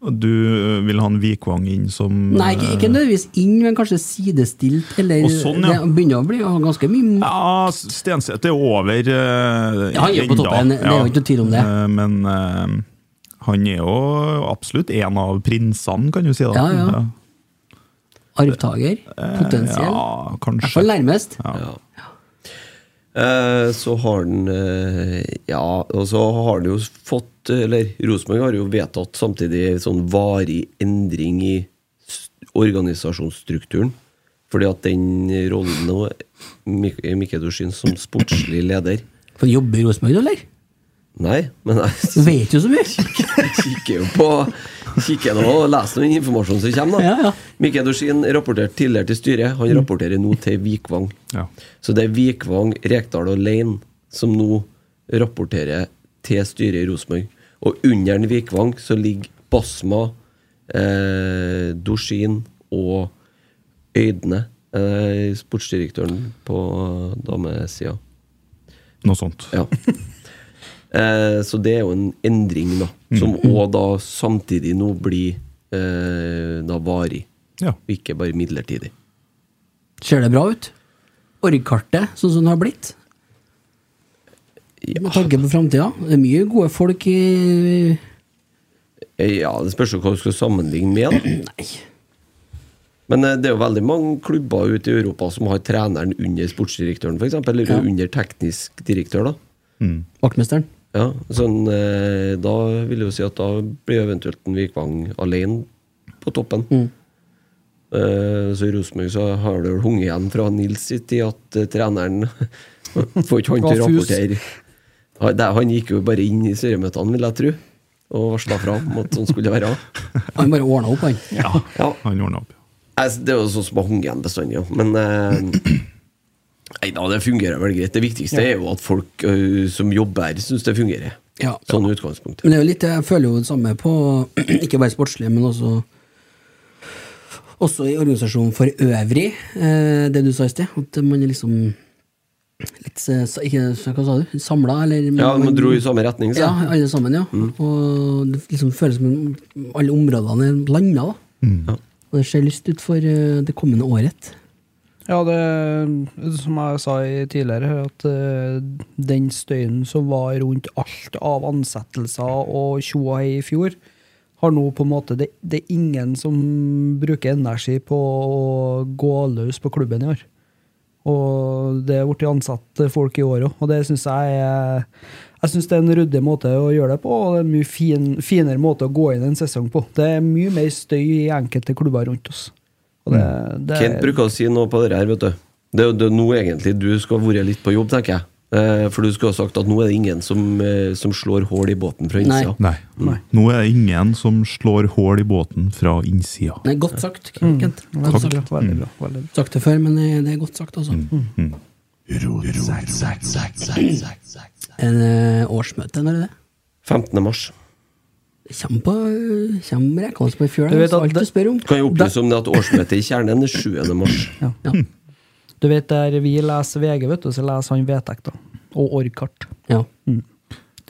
Og Du eh, vil ha en Vikvang inn som eh, Nei, ikke, ikke nødvendigvis inn, men kanskje sidestilt. Eller, Og sånn, ja. Det begynner å bli å ha ganske mye Ja, Stenseth er over eh, Ja, han er jo på enda. toppen, det er jo ikke noe tvil om det. Eh, Men eh, han er jo absolutt en av prinsene, kan du si. da. Ja, ja. arvtaker. Potensiell. Eh, Ja, I hvert fall kanskje. nærmest. Ja. Eh, Så har den eh, Ja, og så har den jo fått Eller Rosenborg har jo vedtatt samtidig sånn varig endring i s- organisasjonsstrukturen. Fordi at den rollen nå Mik- Mikkel Dorsin som sportslig leder For jobber i Rosenborg, du, eller? Nei, men jeg Du vet jo så mye! kikker jo på Kikker nå og leser noen informasjon som kommer. da Ja, ja. Mm. Mikkel Dorsin rapporterte tidligere til styret. Han rapporterer nå til Vikvang. Ja. Så det er Vikvang, Rekdal og Lein som nå rapporterer til styret i Rosenborg. Og under den Vikvang så ligger Basma, eh, Dorsin og Øydene, eh, sportsdirektøren på damesida. Noe sånt. Ja. Eh, så det er jo en endring, da. Som Mm. òg da samtidig nå blir eh, da varig, Ja. og ikke bare midlertidig. Ser det bra ut? Orgkartet, sånn som det har blitt? Med tanke på framtida. Det er mye gode folk i Eh, Ja, det spørs jo hva du skal sammenligne med, da. Nei. Men eh, det er jo veldig mange klubber ute i Europa som har treneren under sportsdirektøren, f.eks. Eller Ja. under teknisk direktør, da. Mm. Vaktmesteren. Ja, sånn, eh, da vil jeg jo si at da blir eventuelt en Vikvang alene på toppen. Eh, så i Rosenborg så har det vel hunget igjen fra Nils i tid at eh, treneren får ikke han til å Var fus. rapportere. Han, det- han gikk jo bare inn i styremøtene, vil jeg tro, og varsla fra om at sånn skulle det være. Han bare ordna opp, han. Ja, Ja, han ordna opp. Altså, det er jo sånn som har hunget igjen bestandig, ja. men eh, Nei da, det fungerer vel greit. Det viktigste er jo at folk eh, som jobber her, syns det fungerer. Ja. Sånn i utgangspunktet. Men det er jo litt, jeg føler jo det samme på Ikke bare sportslig, men også Også i organisasjonen for øvrig, eh, det du sa i sted. At man er liksom litt eh, sa- ikke, Hva sa du? Samla, eller Ja, man dro i samme retning, sa Ja, jeg. Mm. alle sammen, ja. Og det liksom føles som om alle områdene er blanda, da. Ja. Og det ser lyst ut for eh, det kommende året. Ja, det som jeg sa i tidligere, at eh, den støyen som var rundt alt av ansettelser og tjo og hei i fjor, har nå på en måte det, det er ingen som bruker energi på å gå løs på klubben i år. Og det er blitt ansatt folk i år òg, og det syns jeg er jeg synes det er en ryddig måte å gjøre det på, og det er en mye fin, finere måte å gå inn en sesong på. Det er mye mer støy i enkelte klubber rundt oss. Og det, det Kent bruker å si noe på det her, vet du. Det er jo det er nå egentlig du skal ha vært litt på jobb, tenker jeg. Eh, For du skulle ha sagt at nå er det ingen som, eh, som slår hull i båten fra Nei. innsida. Nei. Nå er det ingen som slår hull i båten fra innsida. Nei, godt sagt, Mm. Kent. Godt Veldig sagt. bra, veldig bra, veldig bra. sagt det før, men eh, det er godt sagt, altså. Mm. En eh, årsmøte, når er det? 15. mars. Det kommer på eh, kommer Rekdal på i fjøla. Du vet Det er at alt du det- spør om. Kan jeg opplyse om det at årsmøtet i Kjernen er 7. mars. Ja. Du vet der vi leser VG, vet du, så leser han vedtekter. Og org-kart. ja.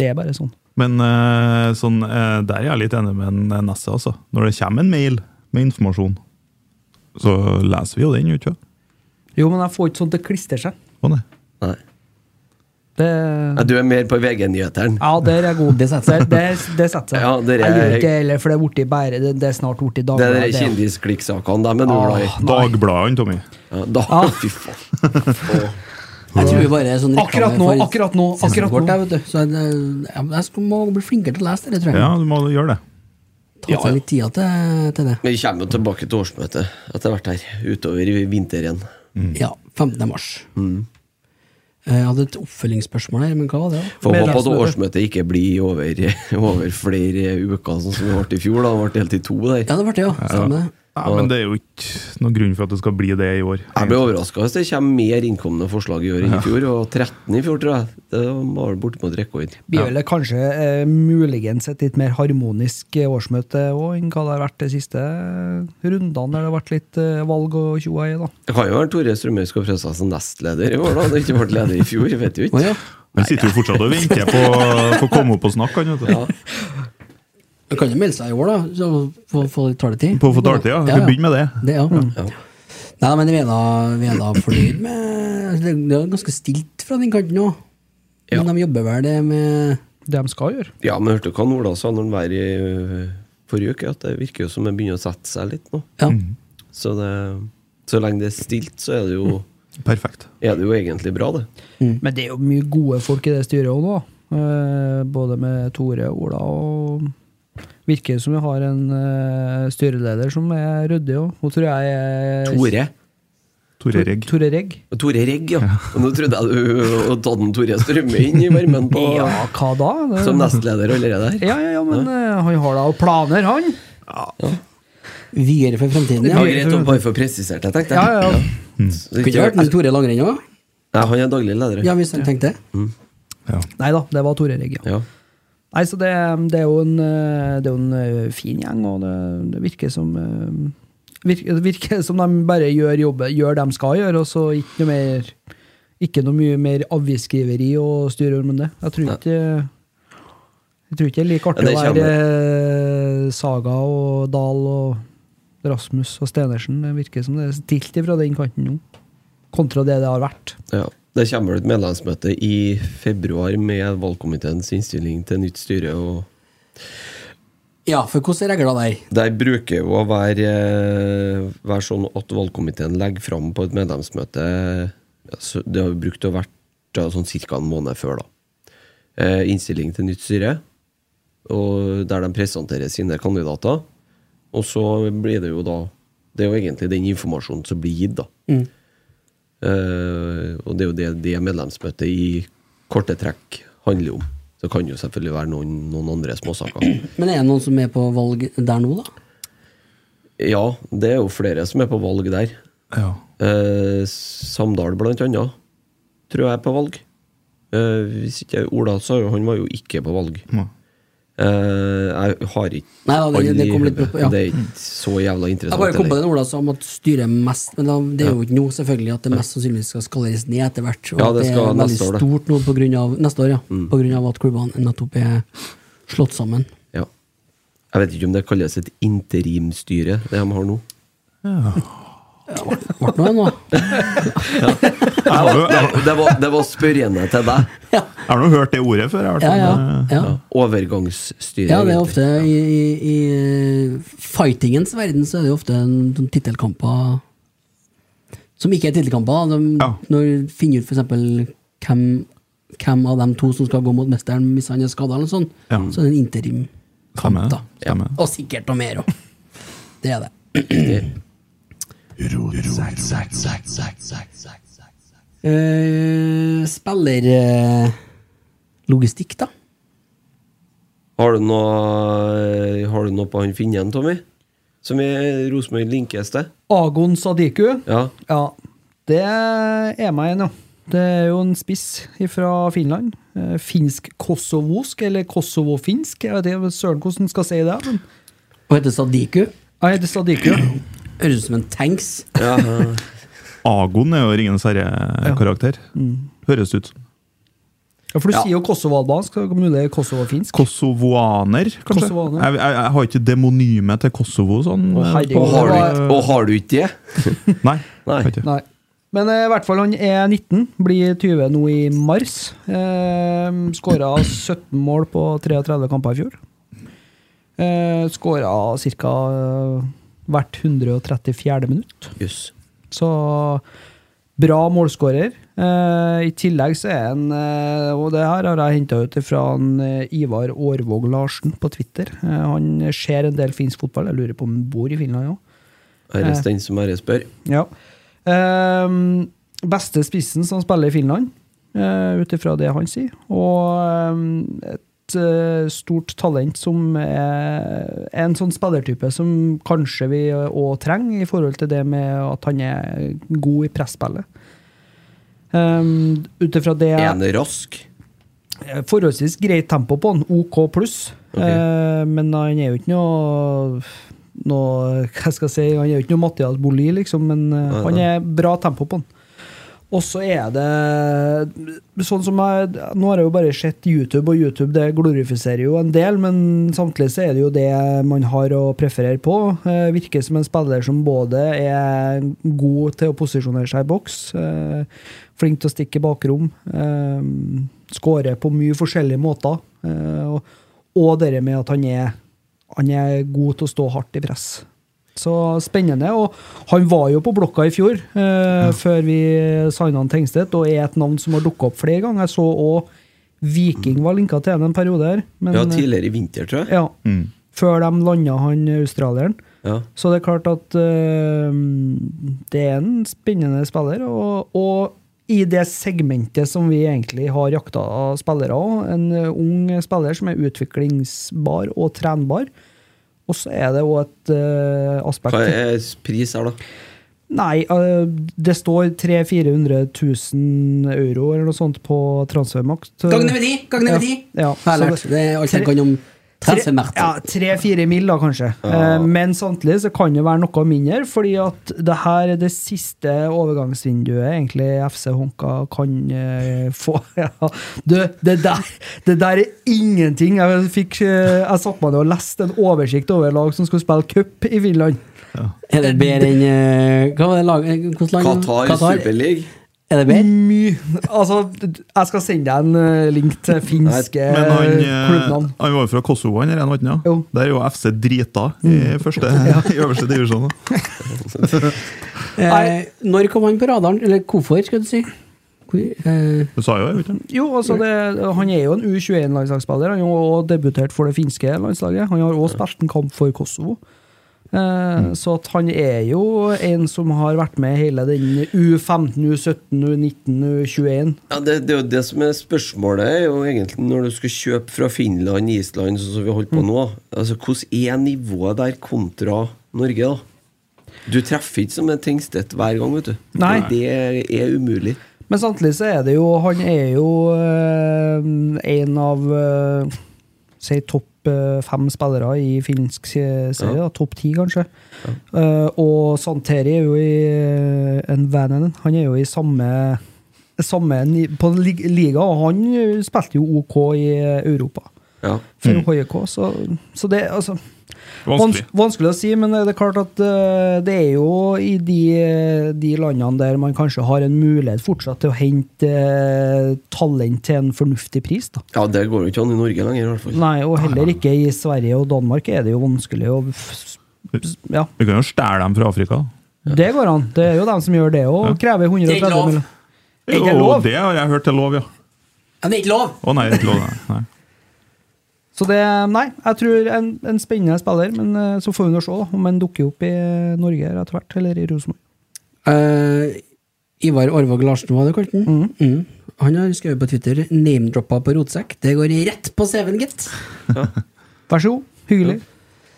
Det er bare sånn. Men eh, sånn, eh, der er jeg litt enig med en, eh, Nesse, altså. Når det kommer en mail med informasjon, så leser vi jo den, gjør vi ikke det? Jo, men jeg får ikke sånt til å klistre seg. Å, nei. Nei. Det, Ja, Du er mer på VG-nyhetene. ja, der er jeg god. Det setter seg. Det, det setter seg. Ja, der er- Jeg gjør ikke det heller, for det er, borti bære, det, det er snart borti Det er de Dagbladet. det. kjendisklikksakene de er nå glad i. Dagbladene, Tommy. Ja, Da, Ah. fy faen. Å. Jeg tror vi bare er sånn reklame Akkurat nå, for akkurat nå, akkurat sesongkort nå. her, vet du. Så jeg, jeg, jeg skal- må bli flinkere til å lese det, tror jeg. Ja, du må gjøre det. Ta seg litt tida til, til det. Vi kommer jo tilbake til årsmøtet etter hvert her, utover i vinteren. Ja, 15. mars. Eh, Jeg hadde et oppfølgingsspørsmål her, men hva var det? da? Får håpe at Medlemsmøte. årsmøtet ikke blir over, over flere uker, sånn som det ble i fjor. da Det ble delt i to der. Ja, det ble det, ja. Stemmer det. Nei, men det er jo ikke noen grunn for at det skal bli det i år. Jeg blir overraska hvis det kommer mer innkomne forslag i år enn i fjor, og 13 i fjor, tror jeg. Det var bortimot rekord. Blir vel det kanskje eh, muligens et litt mer harmonisk eh, årsmøte òg enn hva det har vært de siste rundene, der det har vært litt eh, valg og tjoa i, da. Det kan jo være Tore Strømøy skal prøve seg som nestleder i år, da. Det ikke ble leder i fjor, jeg vet jo Å ikke. ja. Men sitter jo fortsatt og venter på på å komme opp og snakke, han, vet du. Man kan jo melde seg i år, da. Så få, få litt taletid. På å få taletid, ja. Du begynner med det. Det, ja. Nei, men vi er da, vi er da fornøyd med altså, Det det er ganske stilt fra den kanten òg. Ja. Men de jobber vel det med Det de skal gjøre. Ja, men hørte du hva Ola sa når han var i ø, forrige uke? At det virker jo som det begynner å sette seg litt nå. Ja. Mm. Så, det, så lenge det er stilt, så er det jo, Perfekt. er det jo egentlig bra, det. Men det er jo mye gode folk i det styret òg nå. Eh, Både med Tore, Ola og Virker som vi har en eh, styreleder som er ryddig òg. Hun tror jeg er Tore. Tore Regg. Tore Regg. Tore Regg, ja. Og nå trodde jeg du hadde tatt en Tore Strømøy inn i varmen på, Ja, hva da? Det- som nestleder allerede her. Ja, ja, ja, men eh, han har da planer, han. videre for fremtiden. Det Ja. var greit å bare få presisert det, tenkte Ja, jeg. ja, ja. Så Kunne ikke ikke vært vært- en Tore Langrenn òg? Nei, han er daglig leder. Ja, hvis de tenkte det. Ja. Nei da, det var Tore Regg, ja. Ja. Nei, så det, det, er jo en, eh, det er jo en eh, fin gjeng, og det, det virker som eh, virker, Det virker som de bare gjør jobben, gjør det de skal gjøre, og så ikke noe mer ikke noe mye mer avisskriveri og styr med det. Jeg tror ikke jeg tror ikke det er like artig Ja, det å være eh, Saga og Dahl og Rasmus og Stenersen. Det virker som det er stilt ifra den kanten nå, kontra det det har vært. Ja. Det kommer vel et medlemsmøte i februar med valgkomiteens innstilling til nytt styre. og Ja, for hvordan er regla der? Der bruker jo å være, eh, være sånn at valgkomiteen legger fram på et medlemsmøte ja, så Det har jo brukt å vært ja, sånn ca. en måned før, da. Eh, innstilling til nytt styre, og der de presenterer sine kandidater. Og så blir det jo da Det er jo egentlig den informasjonen som blir gitt, da. Eh, og det er jo det, det medlemsmøtet i korte trekk handler om. Så kan det jo selvfølgelig være noen, noen andre småsaker. Men er det noen som er på valg der nå, da? Ja, det er jo flere som er på valg der. Ja. Eh, Samdal, blant annet, tror jeg er på valg. Eh, hvis ikke Ola sa jo han var jo ikke på valg. Ja. Eh, jeg har ikke Nei da, det- alle det i kom litt hodet. på- ja. Det er ikke så jævla Jeg interessant. bare kom på heller. den Ola sa om at styret mest Men da, det er jo ikke nå, selvfølgelig, at det mest sannsynlig skal skaleres ned etter hvert. Og Ja, at det det, skal er veldig neste år, Mm. det. stort nå på grunn av, neste år, ja. På grunn av at klubbene nettopp er slått sammen. ja. Jeg vet ikke om det kalles et interimstyre, det de har nå. Ble det noe nå? Jeg har jo- jeg har- Det var, det var spørrende til deg. Ja, jeg har nå hørt det ordet før. Jeg, i hvert ja. fall. ja, Eh, ja. Overgangsstyre. ja det er egentlig. ofte i, i, i fightingens verden så er det jo ofte en- noen tittelkamper som ikke er tittelkamper. da. De, Ja. Når du finner ut for eksempel hvem, hvem av de to som skal gå mot mesteren hvis han er skada, eller noe sånt, Ja. så er det en interimkamp, Stemmer det. da. Stemmer. Og sikkert noe mer òg. Det er det. Uh, Spillerlogistikk, eh, da. Har du noe, har du noe på han Finnen, Tommy? Som er Rosenborg linkes til? Agon Sadiku. Ja. Ja, det er meg igjen, ja. Det er jo en spiss fra Finland. Eh, Finsk-kosovosk, eller kosovo-finsk. Jeg vet ikke søren hvordan en skal si det. Men Og heter Sadiku. jeg heter Sadiku. Høres ut som en tanks. ja. Agon er jo Ringenes herre-karakter. Mm. Høres ut som. Ja, for du sier jo kosovo-albansk, så det er mulig det er kosovo-finsk. Kosovoaner, kanskje? Kosovoaner. Jeg, jeg, jeg har ikke demonymet til Kosovo sånn. Å, eh, herregud. Og, har du, Det ikke- og har du ikke det? Nei. Nei. har ikke. Nei. Men eh, i hvert fall han er 19, blir 20 nå i mars. Eh, Skåra 17 mål på 33 kamper i fjor. Eh, Skåra ca. hvert 134. minutt. Jøss. Så bra målskårer. Eh, I tillegg så er han eh, Og det her har jeg henta ut fra han, eh, Ivar Aarvåg Larsen på Twitter. Eh, han ser en del finsk fotball. Jeg lurer på om han bor i Finland òg. Æres den som æres bør. Ja. Ehm, eh, beste spissen som spiller i Finland, uh, ut ifra det han sier. Og ehm, et eh, stort talent som er er en sånn spillertype som kanskje vi òg trenger, i forhold til det med at han er god i presspillet. Um, Ut ifra det Er han rask? Eh, Forholdsvis greit tempo på han, OK pluss. Ok. Eh, men han er jo ikke noe noe, hva skal jeg si, Han er jo ikke noe Mathias Boli, liksom, men eh, Nei, han nei. er bra tempo på han. Og så er det sånn som jeg, Nå har jeg jo bare sett YouTube, og YouTube det glorifiserer jo en del, men samtidig så er det jo det man har å preferere på. Eh, virker som en spiller som både er god til å posisjonere seg i boks, eh, flink til å stikke i bakrom, eh, skårer på mye forskjellige måter, eh, og, og det med at han er, han er god til å stå hardt i press. Så spennende. Og han var jo på blokka i fjor, eh, før vi signa han Tengstedt, og er et navn som har dukka opp flere ganger. Jeg så òg Viking var linka til han en periode her. Men, eh, Ja, tidligere i vinter, tror jeg. ja, før de landa han australieren. Ja. Så det er klart at eh, det er en spennende spiller, og, og i det segmentet som vi egentlig har jakta av spillere òg, en eh, ung spiller som er utviklingsbar og trenbar. Og så er det òg et eh, aspekt Hva er pris her, da? Nei, eh, det står 300 000-400 000 euro eller noe sånt på transfermakt. Gagne med de! Gagne med de! Eh, Ja, ja. Jeg har lært. Det er alt jeg kan om transfermärter. Tre-fire mil, da, kanskje. Ja. Eh, Men samtidig så kan det være noe mindre, fordi at det her er det siste overgangsvinduet egentlig FC Honka kan eh, få. Ja. Du, det der, det der er ingenting. Jeg, fikk, eh, jeg satt meg ned og leste en oversikt over lag som skulle spille cup i Finland. Er det bedre enn eh, Hva var det laget? Hvilket land? Qatar, Super League? Er det bedre? Mye. Altså, jeg skal sende deg en eh, link til finske Men han, eh, klubbnavn. han var jo fra Kosovo, han der, han var ikke det? Jo. Mm. Der er jo FC drita i, første, i øverste divisjon. da. Eh, når kom han på radaren? Eller hvorfor, skal du si? Hvor, eh, Du sa jo det, ikke sant? Jo, altså det, Han er jo en U21-landslagsspiller. Han har også debutert for det finske landslaget. Han har også spilt en kamp for Kosovo. Eh, Så at han er jo en som har vært med hele den U15, U17, U19, U21. Ja, det, det er jo det som er spørsmålet, er jo egentlig når du skal kjøpe fra Finland, Island, sånn som vi holder på nå. Altså, Hvordan er nivået der kontra Norge, da? Du treffer ikke som en Tengstedt hver gang, vet du. Nei. Det er, er umulig. Men samtidig så er det jo Han er jo eh, en av eh, Si topp eh, fem spillere i finsk se- serie. Ja. da, Topp ti, kanskje. Eh, og Santeri er jo i eh, en Vananen. Han er jo i samme, samme ni- på en lig- liga, og han eh, spilte jo OK i eh, Europa Ja. for HJK, så, så det altså Vanskelig. Vans vanskelig å si, men det er klart at eh, det er jo i de, de landene der man kanskje har en mulighet fortsatt til å hente eh, talent til en fornuftig pris. da. ja, det går jo ikke an i Norge lenger, i hvert fall. Nei, og heller ikke i Sverige og Danmark er det jo vanskelig å f- Ja, Vi kan jo stjele dem fra Afrika. da. det går an. Det er jo dem som gjør det, og krever Det er ikke 130 lov. mill. Det er ikke Jo, lov. det har jeg hørt er lov, ja. ja, det er ikke lov! Å nei, det er ikke lov. nei. Nei. Så det Nei, jeg tror en, en spennende spiller, men eh, så får vi nå se da, om han dukker opp i eh, Norge her etter hvert, eller i Rosenborg. Eh, Ivar Orvåg Larsen, var det kalt den? Mm. Han har skrevet på Twitter 'name-droppa på rotsekk'. Det går rett på CV-en, gitt. Vær så god. Hyggelig.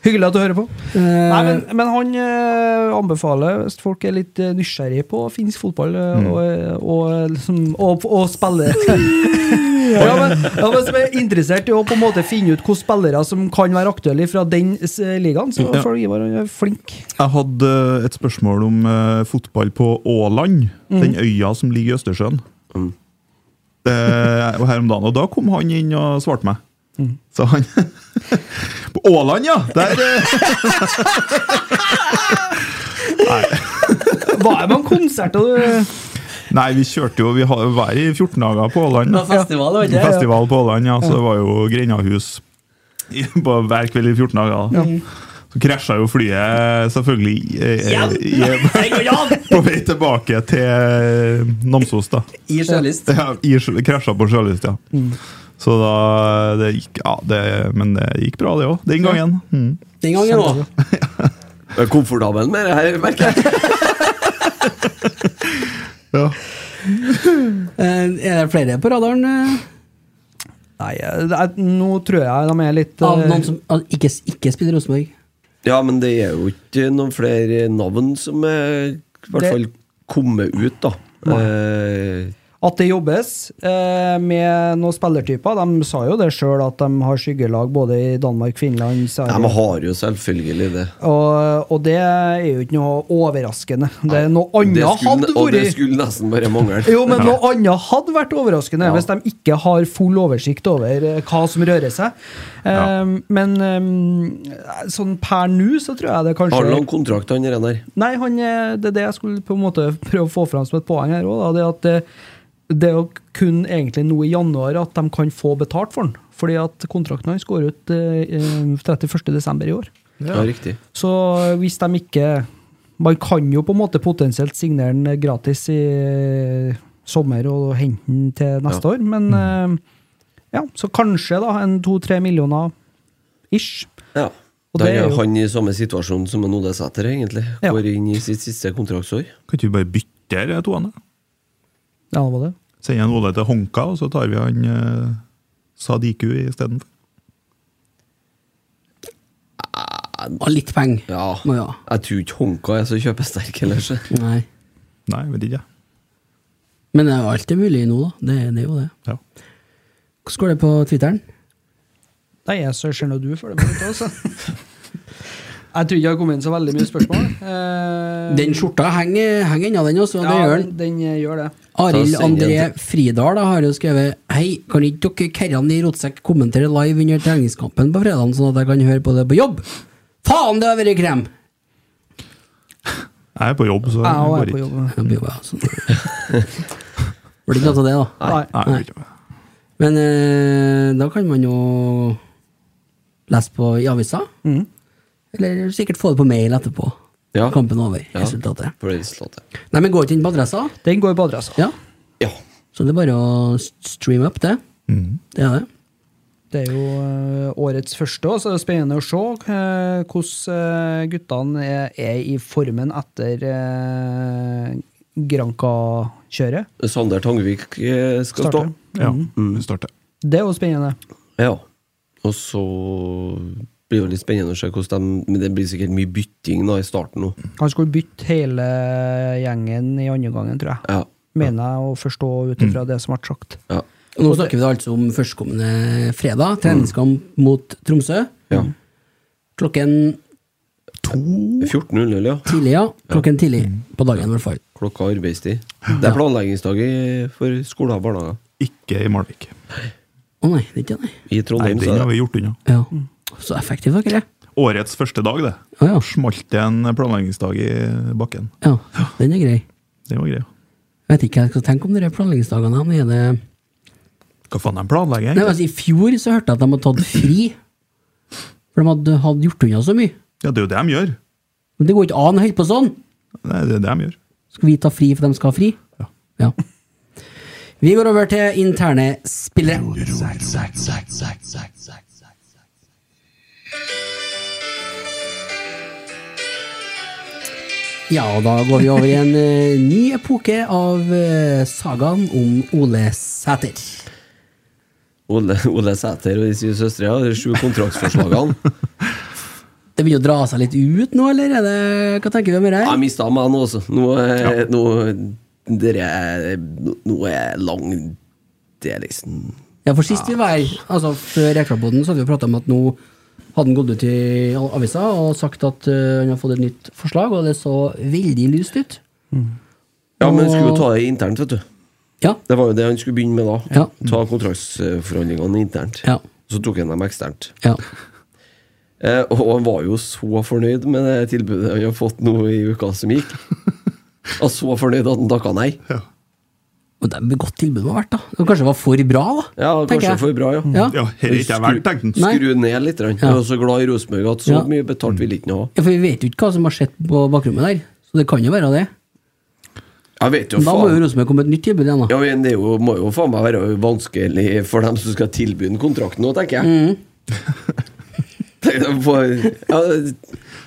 Hyggelig at du hører på. Eh, Nei, men, men han eh, anbefaler, hvis folk er litt eh, nysgjerrig på finsk fotball eh, og, og, liksom, og, og spille ja, men, ja, men som er interessert i å på en måte finne ut hvilke spillere som kan være aktuelle fra den s- eh, ligaen, så Ja. får Ivar han er eh, flink. Jeg hadde et spørsmål om eh, fotball på Åland, Mm. den øya som ligger i Østersjøen. Mm. Eh, og her om dagen, og da kom han inn og svarte meg. Mm. Så han På Åland, ja! Der eh, Hva er man konsert og Nei, vi kjørte jo Vi har- var i 14 dager på Åland. det da. var festival, det var ikke det? Festival på Åland, ja. Så det var jo grendahus i- på hver kveld i 14 dager. da. Så krasja jo flyet selvfølgelig eh, Ja. i, Det går ikke an! på vei tilbake til eh, Namsos, da. I sjølyst. Ja, i sjø- krasja på sjølyst, ja. Mm. Så da det gikk, ja, det, Men det gikk bra, det òg. Den gangen. Mm. Den gangen òg. Jeg er komfortabel med det her, merker jeg. Ja. eh, er det flere på radaren? eh? Nei, jeg- nå tror jeg de er litt Av eh, noen som al- ikke, ikke spiller Rosenborg. Ja, men det er jo ikke noen flere navn som er i hvert Det- fall kommet ut, da. Eh, At det jobbes eh, med noen spillertyper. De sa jo det sjøl, at de har skyggelag både i Danmark, Finland ja, Sverige. De har jo selvfølgelig det. og, og det er jo ikke noe overraskende. Det er noe Det annet skulle, hadde og det vært skulle nesten bare mangle. jo, men noe annet hadde vært overraskende Ja. hvis de ikke har full oversikt over eh, hva som rører seg. Ja. Eh, Men eh, sånn per nå så tror jeg det kanskje Har han lang kontrakt, han der? Nei, han, eh, det er det jeg skulle på en måte prøve å få fram som et poeng her òg. Det at eh, det er jo kun egentlig nå i januar at de kan få betalt for den. Fordi at kontrakten hans går ut eh, eh, 31. desember i år. Ja. riktig. Så eh, hvis de ikke Man kan jo på en måte potensielt signere den gratis i eh, sommer og hente den til neste år, men eh, ja, så kanskje da en to-tre millioner ish. Ja. Og Da det er er jo- han i samme situasjon som en Ole Sæter, egentlig. Ja. Går inn i sitt siste kontraktsår. Kan ikke vi bare bytte de toene? Ja, det var det. Sende en Ole til Honka, og så tar vi han eh, Sadiku istedenfor. Og litt penger. Ja. Må jo ha. Jeg tror ikke Honka er så kjøpesterk ellers. eh, Nei. Nei, jeg vet ikke. Men det er jo alt er mulig nå, da. Det, det er jo det. Ja. Hvordan går det på Twitteren? Nei, jeg ser nå du følger med litt også. Jeg tror ikke det har kommet inn så veldig mye spørsmål. Eh, Den skjorta henger henger ennå, den også. ja, det gjør den. den. Den eh, gjør det. Arild Da sender André jeg Fridal da, har jo skrevet Hei, kan ikke dere kerrene i Rotsekk kommentere live under treningskampen på fredagen, sånn at jeg kan høre på det på jobb? Faen, det har vært krem! Jeg er på jobb, så det Jeg er går ikke. på jobb. Det blir jo bare sånn. Blir ikke noe av det, da. Nei. Nei, jeg gjør ikke det. Men eh, da kan man jo lese på i avisa. Mhm. Eller sikkert få det på mail etterpå. Ja. Kampen over. Ja. Resultatet. For det slåttet. Nei, men går ikke inn på adressa? Den går på adressa. Ja. Ja. Så det er bare å streame opp det. Mhm. Det er det. Det er jo eh, årets første, og så er det spennende å se eh, hvordan eh, guttene er, er i formen etter eh, Granca-kjøret. Sander Tangvik eh, skal Starter. Ja, Mm. Mm. vi starter. Det er jo spennende. stå. Ja. Og så blir det litt spennende å se hvordan de Men det blir sikkert mye bytting da i starten nå. Mm. Han skulle bytte hele gjengen i andre gangen, tror jeg. Ja. Mener jeg å forstå ut Mm. ifra det som ble sagt. Ja. Og Nå snakker vi da altså om førstkommende fredag. Treningskamp mot Tromsø. ja. Klokken 14.00, ja. tidlig, ja. Mm. Klokken tidlig på dagen, i hvert fall. Klokka arbeidstid. Det er planleggingsdag i- for skoler og barnehager. Ikke i Malvik. Å nei, det er ikke det. nei. I Nei, Trondheim, den har så er det vi gjort unna. Ja. Så effektiv dere er. Årets første dag, det. Å ja. Smalt det en planleggingsdag i bakken. ja. Den er grei. Det var greia. Jeg vet ikke hva jeg skal tenke om de der planleggingsdagene. men Er det... Hva faen de planlegger, Nei, men egentlig? altså, I fjor så hørte jeg at de hadde tatt fri. For de hadde, hadde gjort unna så mye. Ja, det er jo det de gjør. Men det går ikke an å holde på sånn! Nei, det er det de gjør. Skal vi ta fri for de skal ha fri? Ja. Ja. Vi går over til interne spillere. Ja, og da går vi over i en eh, ny epoke av uh, sagaen om Ole Sæter. Ole, Ole Sæter og de syv søstre. Ja, de sju kontraktsforslagene. Det begynner å dra seg litt ut nå, eller er det, hva tenker vi om det her? Jeg mista meg nå også. Nå, er- nå, dere er- nå, nå er lang Det er liksom Ja, for sist vi var her, altså før Reklaboden, så hadde vi prata om at nå hadde han gått ut i avisa og sagt at eh, han har fått et nytt forslag, og det så veldig lyst ut. Ja, men skulle jo ta det internt, vet du. Ja. Det var jo det han skulle begynne med da. Ja. Ta kontraktsforhandlingene internt. Ja. Så tok han dem eksternt. ja. Eh, og han var jo så fornøyd med det tilbudet han har fått nå i uka som gikk. Og så fornøyd at han takka nei. Og det er et godt tilbud det har vært, da. Det kanskje var for bra, da. Ja, tenker kanskje for bra, ja. Ja. Ja, her er ikke jeg verdt, tenkte han. Nei. Skru ned litt. grann. Jeg er så glad i Rosenborg at så Ja. mye betalt vil ikke han ha. Ja, for vi vet jo ikke hva som har skjedd på bakrommet der, så det kan jo være det. Jeg vet jo Men da må faen jo Rosenborg komme med et nytt tilbud igjen, da. Ja, men Det er jo, må jo faen meg være vanskelig for dem som skal tilby den kontrakten nå, tenker jeg. Tenk deg på- ja,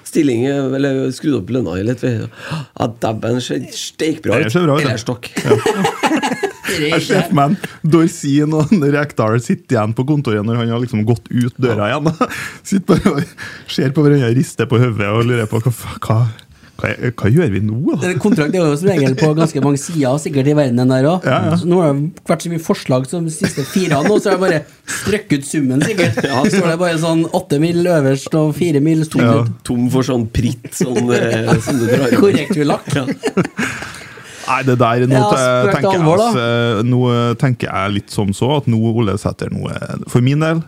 stilling Eller skrudd opp lønna litt. vi- Ja, Dæven, ser steikbra ut. Det ser bra ut, ja. Eller stokk. Det er Jeg ser ikke for meg en Dorsin og en Rekdal sitter igjen på kontoret når han har liksom gått ut døra igjen. Sitter bare og ser på hverandre, rister på hodet og lurer på hva, fa- hva, hva, hva gjør vi nå? da? Den Kontrakt er jo som regel på ganske mange sider, sikkert i verden den der òg. Ja, ja. Nå har det vært så mye forslag som de siste fire nå, så har jeg bare strøkket ut summen, sikkert. Så står det bare sånn åtte mil øverst og fire mil stort. Ja. ut. Tom for sånn pritt sånn, eh, som du drar i. Korrekt ulakk. Ja. Nei, det der nå Ja, te- spøk til tenker, jeg, alvor, da. altså, nå eh, tenker jeg litt som så at nå, Ole Sæter, nå er- for min del,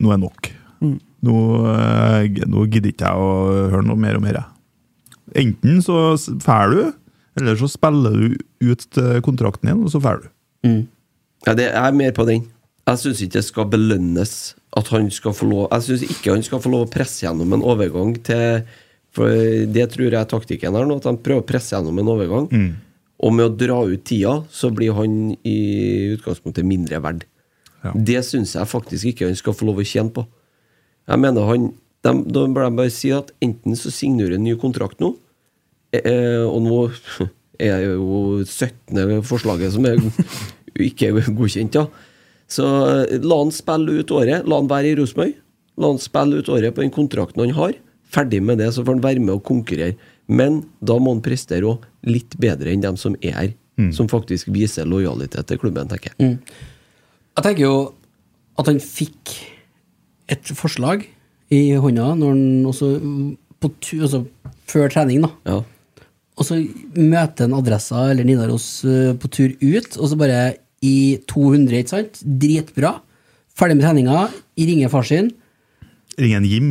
nå er nok. Mm. Nå, eh, g- nå gidder ikke jeg å høre noe mer om dette. Enten så s- fær du, eller så spiller du ut eh, kontrakten din, og så fær du. Ja, det, jeg er mer på den. Jeg syns ikke det skal belønnes at han skal få lov Jeg syns ikke han skal få lov å presse gjennom en overgang til For det tror jeg er taktikken her nå, at han prøver å presse gjennom en overgang. Og med å dra ut tida, så blir han i utgangspunktet mindre verd. Ja. Det syns jeg faktisk ikke han skal få lov å tjene på. Jeg mener han de, Da bør de bare si at enten så signerer du en ny kontrakt nå, eh, og nå er jo 17. forslaget som er ikke er godkjent, ja. Så eh, la han spille ut året. La han være i Rosenborg. La han spille ut året på den kontrakten han har. Ferdig med det, så får han være med og konkurrere. Men da må han prestere òg litt bedre enn dem som er her. Mm. Som faktisk viser lojalitet til klubben, tenker jeg. Jeg tenker jo at han fikk et forslag i hånda når han også på tu, altså før trening, da. Ja. Og så møter han adressa eller Nidaros eh, på tur ut, og så bare i 200, ikke sant? Dritbra. Ferdig med treninga, ringer far sin. Ring en Jim.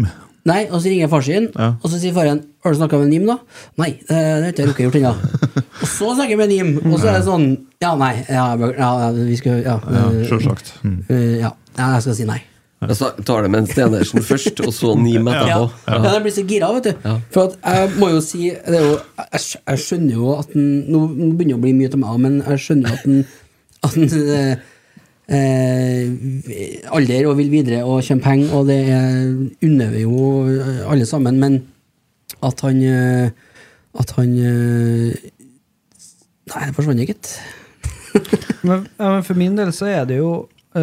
Nei, og så ringer far sin, Ja. og så sier faren Har du snakka med Nim, da? Nei, eh, det har ikke jeg rukket gjort ennå. Og så snakker jeg med Nim, og så er det sånn Ja, nei, ja, ja vi skal Ja, Ja, eh, Sjølsagt. Mm. eh, ja, ja jeg skal si nei. Jeg sa- tar det med en Stenersen først, og så Nim Ja, etterpå. ja. jeg blir så gira, vet du. For at jeg må jo si det er jo, jeg, skj- jeg skjønner jo at den, Nå nå begynner det å bli mye til meg, også, men jeg skjønner jo at den, at den eh, eh, alder og vil videre og tjene penger, og det er- unner vi jo eh, alle sammen, men at han eh, At han eh, Nei, det forsvant ikke. Men, ja, men for min del så er det jo eh,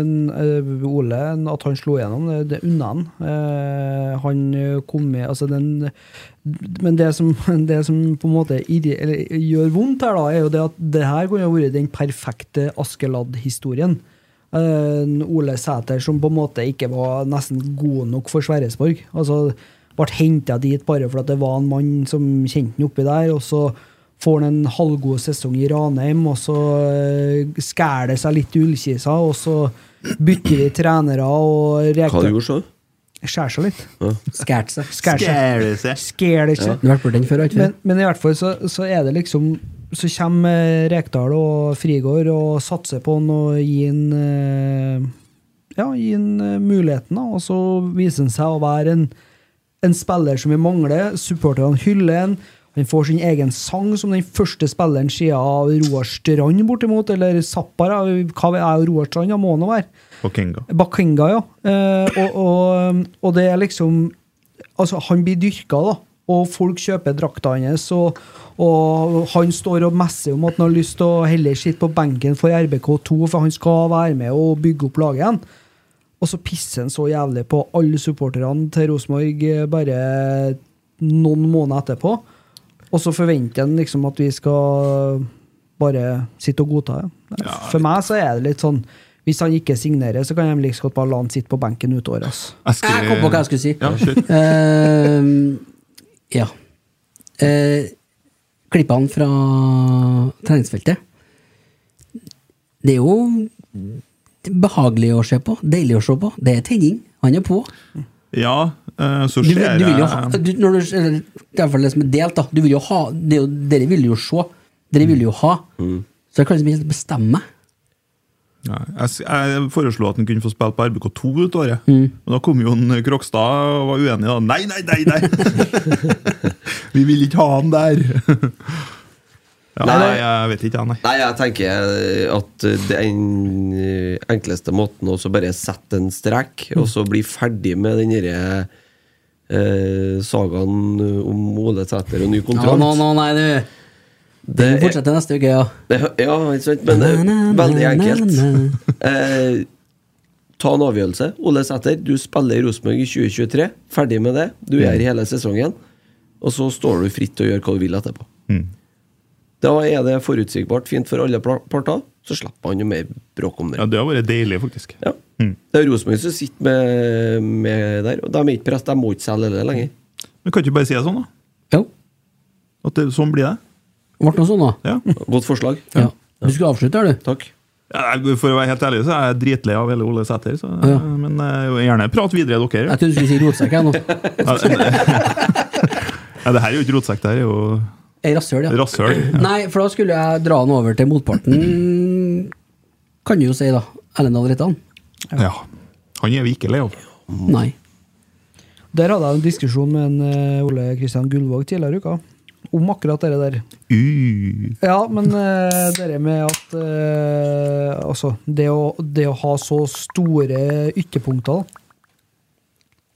en, eh, Ole, en- at han slo gjennom, det, det unna han. Eh, han eh, kom med altså den, Men det som, det som på en måte irri- eller, gjør vondt her, da, er jo det at det her kunne ha vært den perfekte Askeladd-historien. Eh, en Ole Sæter som på en måte ikke var nesten god nok for Sverresborg. Altså, ble henta dit bare for at det var en mann som kjente han oppi der, og så får han en halvgod sesong i Ranheim, og så eh, skærer det seg litt i ullkisa, og så bytter de trenere og Hva reker du gjorde så? Skjærer seg litt. Skært seg. Skærer seg. Skærer det seg. Du har vært på den før, har du ikke? Men, men i hvert fall så, så er det liksom Så kommer eh, Rekdal og Frigård og satser på han og gir han eh, Ja, gir han eh, muligheten, da, og så viser han seg å være en, en spiller som vi mangler. Supporterne hyller han. Han får sin egen sang som den første spilleren siden av Roar Strand, bortimot. Eller Zappara. Hva er jo Roar Strand? Ja, må nå være. Og Kenga. Bakenga, ja. Eh, og, og, og det er liksom Altså, han blir dyrka, da. Og folk kjøper drakta hans, og, og han står og messer om at han har lyst til å heller sitte på benken for RBK2, for han skal være med og bygge opp laget igjen. Og så pisser han så jævlig på alle supporterne til Rosenborg eh, bare noen måneder etterpå. Og så forventer han liksom at vi skal bare sitte og godta det. For meg så er det litt sånn Hvis han ikke signerer, så kan jeg like godt bare la han sitte på benken ut året. ass. Jeg kom på hva jeg skulle si. Ja, kjør. Eh, ja. Eh, klippene fra treningsfeltet. Det er jo behagelig å se på. Deilig å se på. Det er tenning. Han er på. Ja, eh, så Du, ser vil- du vil jo ha, jeg du, når du, eller, det er i hvert fall det som er delt, da. Du vil jo ha, det er jo, dere vil jo se. Dere vil jo ha. Mm. Så jeg kan liksom ikke bestemme. Nei, jeg, s- jeg foreslo at han kunne få spille på RBK2 ut året. Mm. Men da kom jo en Krokstad og var uenig. da. Nei, nei, nei! nei. Vi vil ikke ha han der! ja, Nei. nei, jeg vet ikke, jeg, nei. Nei, jeg tenker eh, at den eh, enkleste måten også bare sette en strek, og så bli ferdig med den derre eh, sagaen om Ole Sæter og ny Ja, kontrakt. nå, nå, nei, du. Det Vi er- fortsetter neste uke, ja. Ja, ja, ikke sant? Men det er veldig enkelt. Eh, ta en avgjørelse. Ole Sæter, du spiller i Rosenborg i 2023. Ferdig med det. Du er i hele sesongen. Og så står du fritt til å gjøre hva du vil etterpå. Mm. Da er det forutsigbart fint for alle pla- parter. Så slipper han jo mer bråk om det. Ja, Mm. det har vært deilig, faktisk. Ja. Det er Rosenborg som sitter med, med der. Og de er ikke press, de må ikke selge det lenger. Men kan du ikke bare si det sånn, da? Jo. At det, sånn blir det? Ble det noe sånn, da? Ja. Godt forslag. Ja. Du skulle avslutte, her, du? Takk. Ja, For å være helt ærlig, så er jeg dritlei av hele Ole Sæter. Så, Ja. Men eh, gjerne prat videre, dere. Jeg trodde du skulle si rotsekk jeg, nå. Ja, det- ja, det her er jo ikke rotsekk, det her er jo Ei rasshøl, ja. rasshøl. Nei, for da skulle jeg dra den over til motparten, kan du jo si, da. Ellendal Rettan. Ja. Han er vi ikke lei av. Nei. Der hadde jeg en diskusjon med en eh, Ole Kristian Gullvåg tidligere i uka om akkurat det der. Uh. Ja, men eh, det der med at eh, Altså, det å, det å ha så store ytterpunkter da.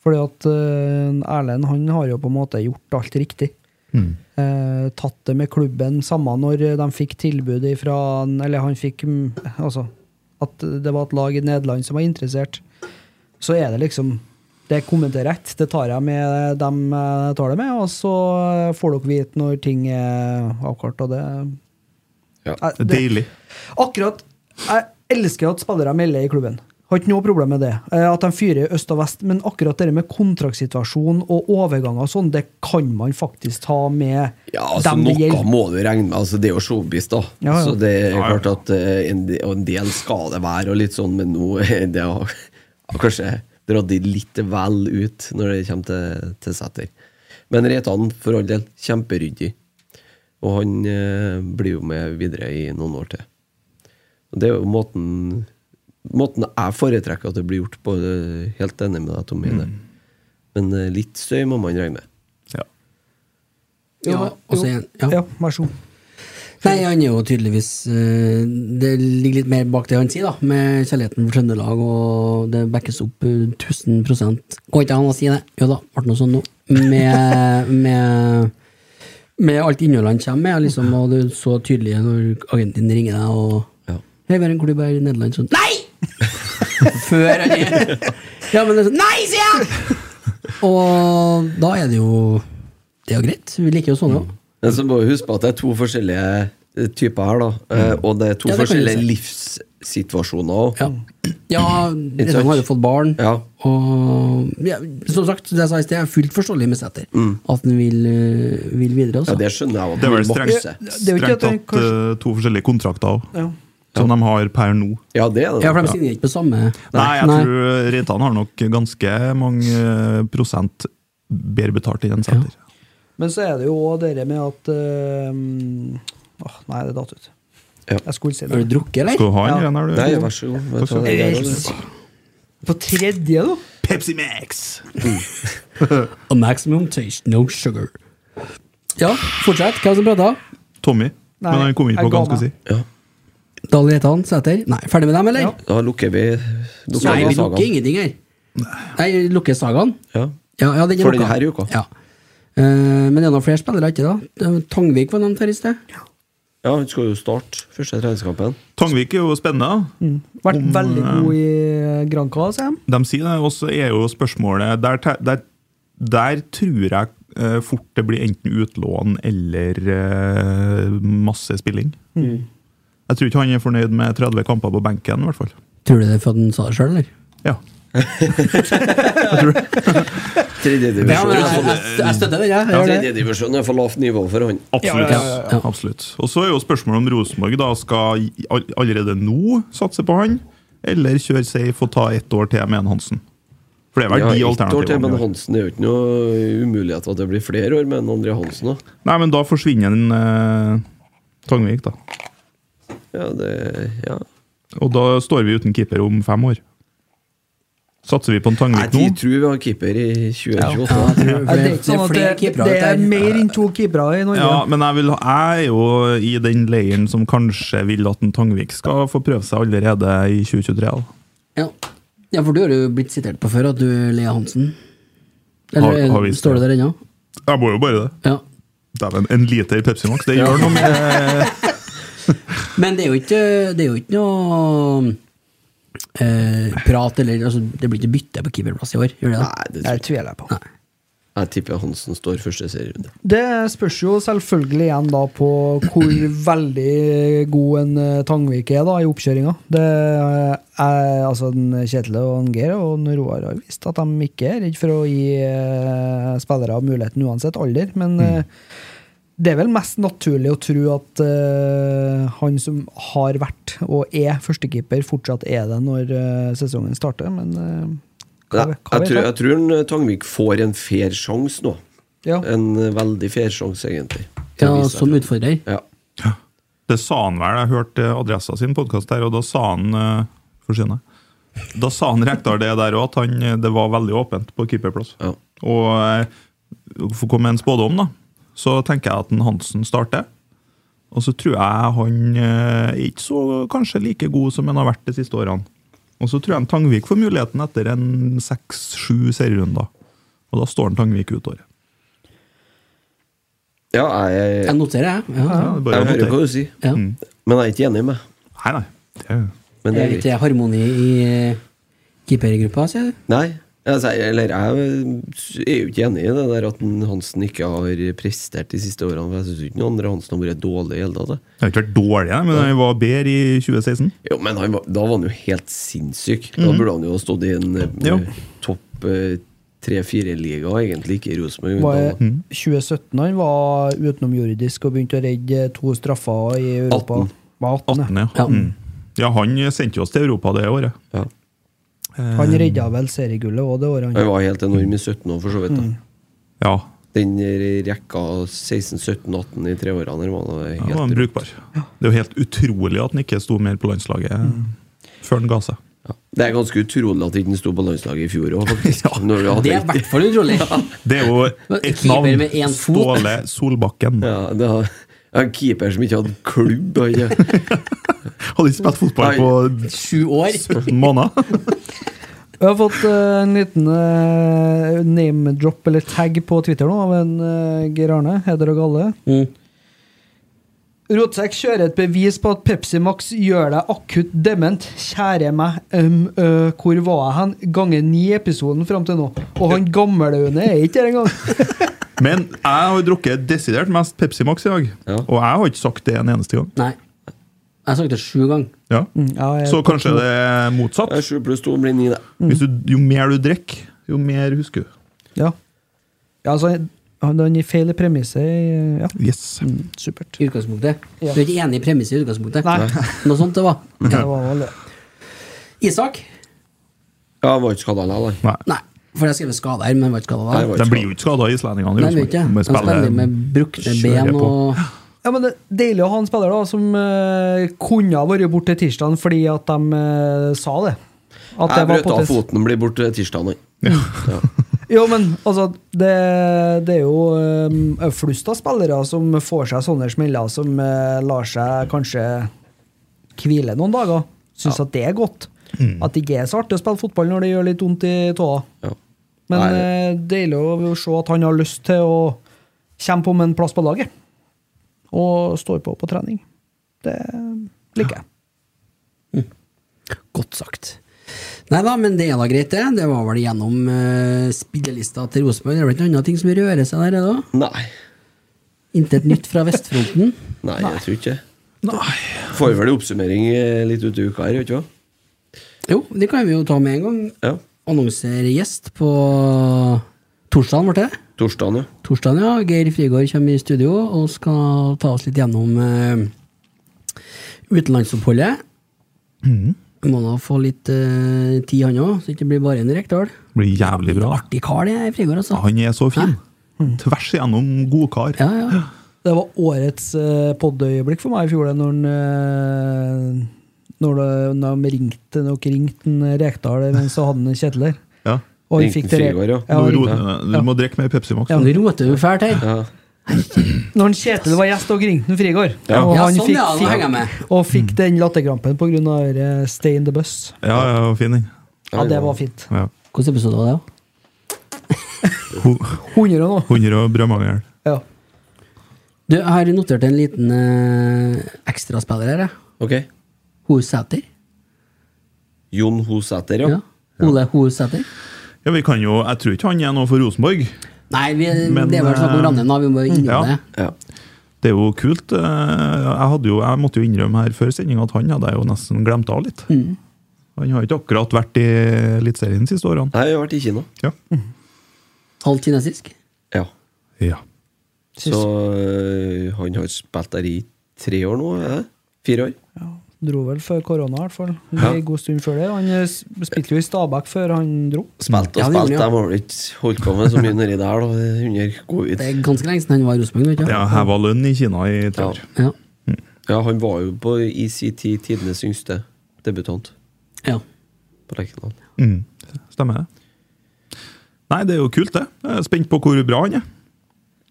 Fordi at eh, Erlend han har jo på en måte gjort alt riktig. Mm. Eh, tatt det med klubben, samme når eh, de fikk tilbud fra Eller han fikk mm, Altså, at det var et lag i Nederland som var interessert. Så er det liksom Det kommenterer rett. Det tar jeg med dem jeg tar det med, og så eh, får dere vite når ting er avklart, og det Ja. Eh, Det er Deilig. Akkurat Jeg elsker at spillere melder i klubben. Har ikke noe problem med det. Eh, At de fyrer i øst og vest. Men akkurat det med kontraktsituasjon og overganger og sånn, det kan man faktisk ta med Ja, altså Noe må du regne med. altså Det er jo showbiz, da. Ja, ja. Så det er Ja, ja. klart at eh, en, de- og en del skal det være, og litt sånn, men nå er det å- har kanskje dratt det litt vel ut når det kommer til, til Sæter. Men Reitan, for all del, kjemperyddig. Og han eh, blir jo med videre i noen år til. Og Det er jo måten Måten jeg foretrekker at det blir gjort på. eh, Helt enig med deg, Tommy. i det. Mm. Men eh, litt støy må man regne med. Ja. Ja, og så igjen. Ja. Ja, vær så god. Nei, han er jo tydeligvis eh, Det ligger litt mer bak det han sier, da, med kjærligheten for Trøndelag, og det backes opp eh, 1000 Går ikke an å si det? Jo da, ble det noe sånn nå. Med, med, med alt innholdet han kommer med, liksom, og det er så tydelig når agenten din ringer deg og Ja. Hei, vi har en klubb her i Nederland sånn Nei! Før han er Ja, men det er sånn Nei, sier jeg! Og da er det jo Det er jo greit. Vi liker jo sånn, sånne òg. Men så må vi huske på at det er to forskjellige eh, typer her, da. Eh, Og det er to Mm. Ja, det kan du forskjellige si. livssituasjoner òg. Ja, ja Ikke Redan sant? har jo fått barn. Mm. Ja. Og ja, som sagt, det jeg sa i sted, jeg er fullt forståelig med Sæter. At han vil, øh, vil videre. Mm. Ja, Også. det skjønner jeg. at Det er vel blir strengt, masse. Det er jo ikke strengt at den tatt eh, to forskjellige kontrakter også, Ja. som de har per nå. Ja, det er det. ja, for de signerer ikke på samme Nei, jeg tror Reitan har nok ganske mange eh, prosent bedre betalt enn Sæter. Men så er det jo òg det med at eh, åh, Nei, det datt ut. Ja. Jeg skulle si Har du det. drukket, eller? Skal du ha en Ja. igjen her, du? Nei, vær så god. Vet du hva, det er Eh, greit. På tredje, da? Pepsi Max! A maximum taste, no sugar. Ja, fortsett. Hvem som prata? Tommy. Nei, Men han kom ikke jeg på hva han ga skulle si. Ja. Dahl Reitan, Sæter. Nei, ferdig med dem, eller? Ja. Da lukker vi lukker Nei, vi vi lukker sagaen. ingenting her. Nei, lukker sagaen. Ja. Ja, ja, den er For lukka. denne uka. Ja. Eh, men det er noen flere spillere, ikke da? Tangvik var nevnt her i sted. ja, han skal jo starte første treningskampen. Tangvik er jo spennende. da. Vært veldig god i eh, Granca, sier de. De sier det, og så er jo spørsmålet Der, te- der, der tror jeg eh, fort det blir enten utlån eller eh, masse spilling. Mm. Jeg tror ikke han er fornøyd med 30 kamper på benken, i hvert fall. Tror du det er for at han sa det sjøl, eller? Ja. Ja, men jeg, Tredjedivisjon jeg, jeg støtter det, jeg. jeg. gjør det. Tredjedivisjon sånn- er for lavt nivå for han. Absolutt. Ja, ja, ja, ja. Absolutt. Og så er jo spørsmålet om Rosenborg da skal i- all- allerede nå satse på han, eller kjøre safe og ta ett år til med en Hansen. For det er vel Ja, de ett år til, men alternativene. vi har. Hansen er jo ikke noe umulighet for at det blir flere år med en André Hansen òg. Nei, men da forsvinner en eh, Tangvik, da. Ja, det Ja. Og da står vi uten keeper om fem år. Satser vi på en Nei, Tangvik de nå? tror vi har keeper i 2028. Ja, jeg tror Ja, det er ikke sånn at flere det, keepere ute det her. er mer enn to keepere i Norge. Ja, men jeg, vil, ha- jeg er jo i den leiren som kanskje vil at en Tangvik skal få prøve seg allerede i 2023. Da. Ja. ja, for du har jo blitt sitert på før at du er Lea Hansen. Eller Har- har vi- står det der ennå? Jeg må jo bare det. Ja. Dæven, en liter Pepsi Max, det gjør noe med Men det er jo ikke, det er jo ikke noe eh, prat eller altså, Det blir ikke bytte på keeperplass i år, gjør det Nei, det? det tror Jeg jeg. tviler på. Nei. jeg tipper Hansen står første serierunde. Det spørs jo selvfølgelig igjen da på hvor veldig god en eh, Tangvik er da i oppkjøringa. Det er altså en Kjetil og en Geir og en Roar har vist at de ikke er redd for å gi eh, spillere muligheten uansett alder, men eh, det er vel mest naturlig å tro at eh, han som har vært og er førstekeeper, fortsatt er det når eh, sesongen starter, men eh, hva, Jeg, hva jeg, vet tror, jeg? jeg tror en, eh, Tangvik får en fair sjanse nå. Ja. En eh, veldig fair sjanse, egentlig. til Ja, å vise seg som fram. utfordrer. Ja. Det sa han vel, jeg hørte Adressa sin podkast der, og da sa han eh, Forsyn deg. Da sa han Rekdal det der òg, at han, eh, det var veldig åpent på keeperplass. Ja. Og eh, for å komme med en spådom, da, så tenker jeg at en Hansen starter. Og så tror jeg han eh, er ikke så kanskje like god som han har vært de siste årene. Og så tror jeg en Tangvik får muligheten etter en seks-sju serierunder. Og da står en Tangvik ut året. ja, jeg, Jeg jeg, noterer, jeg. Ja. Mm. Ja, det er bare å hører notere. hva du sier, Ja. men jeg er ikke enig med Nei, nei. Det er men det Det er er litt greit. harmoni i eh, keepergruppa, sier du? Nei. Altså, jeg- eller jeg er jo ikke enig i det der at en Hansen ikke har prestert de siste årene. For jeg syns ikke noen andre Hansen har vært dårlig i hele tatt. Jeg har ikke vært dårlig, men jeg var bedre i 2016. Jo, men han, var- da var han jo helt sinnssyk. Da burde han jo ha stått i en eh, Jo. topp tre-fire-liga, egentlig, ikke i Rosenborg. Var men da- 2017 han var utenomjordisk og begynte å redde to straffer i Europa. 18. Var 18. 18, ja. ja. Ja. Mm. ja, han sendte jo oss til Europa det året. Ja. Han redda vel seriegullet òg det året. Han Han. var helt enorm i 17 år, for så vidt. da Ja, Den rekka 16-17-18 i treårene der var da da var han helt brukbar. Det er jo helt utrolig at han ikke sto mer på landslaget Mm. før han ga seg. ja. Det er ganske utrolig at han ikke sto på landslaget i fjor òg, faktisk. Når vi hadde Det er i hvert fall utrolig! Det er jo Men ett keeper navn. med én fot. Ståle Solbakken. Ja, det var ja, en keeper som ikke hadde klubb. Han, ja. Hadde ikke spilt fotball på Sju år! 17 måneder. Jeg har fått eh, en liten eh, name-drop eller tag på Twitter nå av en eh, Geir Arne. Heder og galle. Mm. Rotsekk kjører et bevis på at Pepsi Max gjør deg akutt dement. Kjære meg, øm, ø, hvor var jeg hen? Ganger ni i episoden fram til nå. Og han gamleunde er ikke her engang. Men jeg har jo drukket desidert mest Pepsi Max i dag, Ja. og jeg har ikke sagt det en eneste gang. Nei. Jeg har sagt det sju ganger. Ja. Mm. Ja, jeg- Så kanskje det er motsatt. Mm. Sju pluss to blir ni, det. Hvis du, jo mer du drikker, jo mer husker du. Ja. ja altså, han han gir feil premisse. Ja, Yes. Mm. supert. I utgangspunktet. Ja. Du er ikke enig i premisset i utgangspunktet? Nei. Noe sånt det var. Ja, det var vel det. Isak? Ja, han var ikke skada likevel. Nei. Nei. For jeg har skrevet skade her, men jeg var ikke skada Nei, da. var De blir jo ikke skada, islendingene. i Nei, jeg vet Rosenborg. ikke. De Han spiller med brukne Kjører ben på. og Ja, men det er Deilig å ha en spiller da, som eh, kunne ha vært borte tirsdagen fordi at de eh, sa det. At Jeg brøt av potens- foten, blir borte tirsdag. Jo, men altså, det, det er jo um, flust av spillere som får seg sånne smeller, som eh, lar seg kanskje hvile noen dager. Syns at det er godt. At det ikke er så artig å spille fotball når det gjør litt vondt i tåa. Ja. Men Nei, eh, deilig å se at han har lyst til å kjempe om en plass på laget. Og står på på trening. Det liker jeg. Godt sagt. Nei da, men det er da greit, det. Det var vel gjennom eh, spillelista til Rosenborg. Det er vel ikke noe annet ting som rører seg der ennå? Nei. Intet nytt fra vestfronten? Nei, jeg tror ikke det. Nei. Får vel en oppsummering eh, litt ut i uka her, vet du hva. Jo, det kan vi jo ta med en gang. Ja. Annonser gjest på torsdagen, ble det? Torsdagen, ja. Torsdagen, ja. Geir Frigård kommer i studio og skal ta oss litt gjennom eh, utenlandsoppholdet. Mm. Må da få litt eh, tid, han òg, så det ikke blir bare en Rekdal. Det blir jævlig bra. Artig kar, det er Frigård, altså. Han er så fin. Tvers igjennom god kar. Ja, ja. Det var årets uh, podøyeblikk for meg i fjor, det, når, han, eh, når, det, når de ringte, når dere ringte en Rekdal mens han hadde en Kjetil der. Ja. Og han Ringte fikk det Frigård, ja. Ja, Nå han ro- ringte- Du må drikke mer Pepsi Max. Ja. Nå roter du fælt her. ja. Når han Kjetil var gjest, og ringte han Frigård. Ja. Og Ja, han sånn, fikk, ja, da henger jeg med. fikk, og fikk den latterkrampen pga. eh, Stay in the bus. Ja, ja, fin den. Ja, det var fint. Ja. Hvilken episode var det? da? Ho- 100 nå. 100 og brødmangel. Ja. Du, jeg har notert en liten eh, ekstraspiller her. jeg. Ok. Horsæter. Jon Hosæter, ja. Ja. Ole Horsæter. Ja, vi kan jo, Jeg tror ikke han er noe for Rosenborg. Nei, vi, Men, det er vel snakk om eh, Ranheim, da. Vi må jo innom ja. det. ja. Det er jo kult. eh, Jeg, hadde jo, jeg måtte jo innrømme her før sendinga at han hadde jeg jo nesten glemt av litt. Han har jo ikke akkurat vært i Eliteserien de siste årene. Nei, jeg har vært i Kina. Ja. Halvt kinesisk. Ja. ja. Så øh, han har spilt der i tre år nå? Er det? Fire år? Ja, dro vel før korona, i hvert fall. Det er En god stund før det. Han eh, s- spilte jo i Stabæk før han dro. Spilt og Ja, det gjorde spilt, de han, har vel ikke holdt på med så mye nedi der da, under covid. Det er ganske lenge siden han var i Rosenborg. vet du. Det er heva lønn i Kina i tre år. Ja. Ja, han var jo på i sin tid tidenes yngste debutant ja. på Lerkendal. Mm. Stemmer det. Nei, det er jo kult, det. Jeg er spent på hvor bra han er.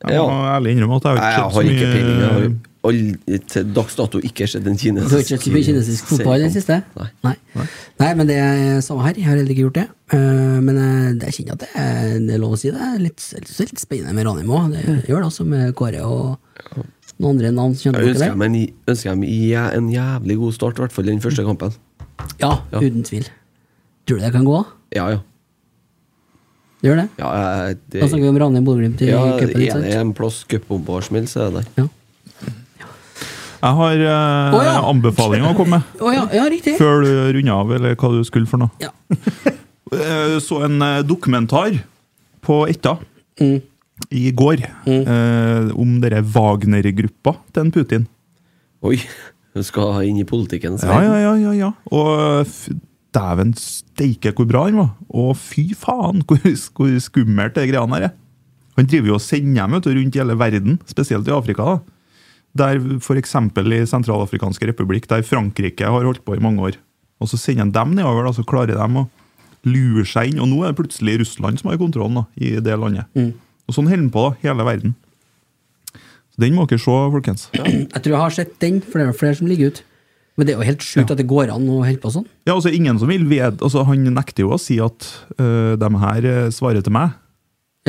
Jeg Ja. må ærlig innrømme at jeg Nei, har jeg ikke har sett ikke så peiling. Jeg har mye aldri, til dags dato ikke sett en Du har kinesisk ikke sett så mye kinesisk fotball i det siste? Nei. Nei. Nei, men det er samme her. Jeg har heller ikke gjort det. Eh, Men eh, det- jeg kjenner at det er, det er lov å si det. Det er litt, det er litt spennende med Ranheim òg. Det gjør det altså med Kåre og noen andre navn. som kjenner Jeg dere ønsker der. dem en, ønsker dem jæ- en jævlig god start, i hvert fall den første kampen. Ja, Ja. uten tvil. Tror du det kan gå? Ja, ja. Det gjør det? ja jeg- det, Da snakker vi om Ranheim Bodø-Glimt i ja cupen. ikke en, sant? en plass cupbombersmell, så er det der. Ja. Jeg har eh, Å, ja. anbefalinger å komme med. Å ja, ja, riktig! Før du runder av, eller hva du skulle for noe. Ja. Eh, så en eh, dokumentar på Etta Mm. i går Mm. eh, om dere Wagner-gruppa til en Putin. Oi! Du skal inn i politikken. så- Ja, ja, ja. ja, ja. Og eh, f- dæven steike hvor bra han var. Og fy faen, hvor, hvor skummelt det greiene her er. Han driver jo og sender dem vet du, rundt i hele verden, spesielt i Afrika. da. Der F.eks. i Sentralafrikanske republikk, der Frankrike har holdt på i mange år. Og så sender han dem nedover, da, så klarer de å lure seg inn. Og nå er det plutselig Russland som har kontrollen da, i det landet. Og sånn holder han på, da, hele verden. Så den må dere se, folkens. Jeg tror jeg har sett den, for det er flere som ligger ut. Men det er jo helt sjukt at det går an å holde på sånn. Ja, altså ingen som vil ved, altså Han nekter jo å si at øh, de her øh, svarer til meg.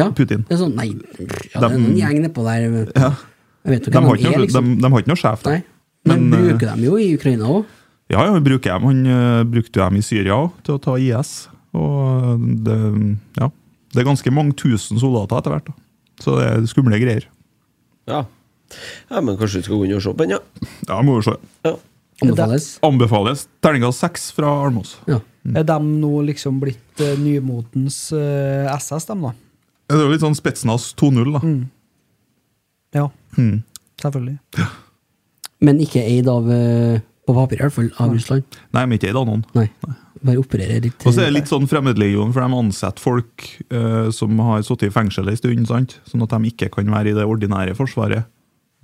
Ja. Putin. Det er sånn, nei, ja, det er Dem- en gjeng nedpå der. men Jeg vet jo De hvem har de er, ikke noe, liksom. de, de har ikke noe sjef, da. Nei. Men, Men, eh, bruker dem jo i Ukraina òg. Ja, ja, han bruker dem. Han øh, brukte jo dem i Syria også, til å ta IS. Og eh, det, ja, det er ganske mange tusen soldater etter hvert. da. Så det er skumle greier. ja. Ja, Men kanskje du skal gå inn og se på den, ja. Ja, må jo se. ja. Anbefales. Anbefales terningkast seks fra Almås. Ja. Er de nå liksom blitt eh, nymotens eh, SS, dem da? Ja, Det er jo litt sånn Spetsnaz 2.0, da. Mm. Ja, Mm. selvfølgelig. Men ikke eid av eh, På papir, i hvert fall, av Russland. Nei, men ikke i Danon. Nei. Bare opererer litt. eh, Og så er det litt sånn fremmedlegion, for de ansetter folk eh, som har sittet i fengsel en stund, sant? sånn at de ikke kan være i det ordinære forsvaret.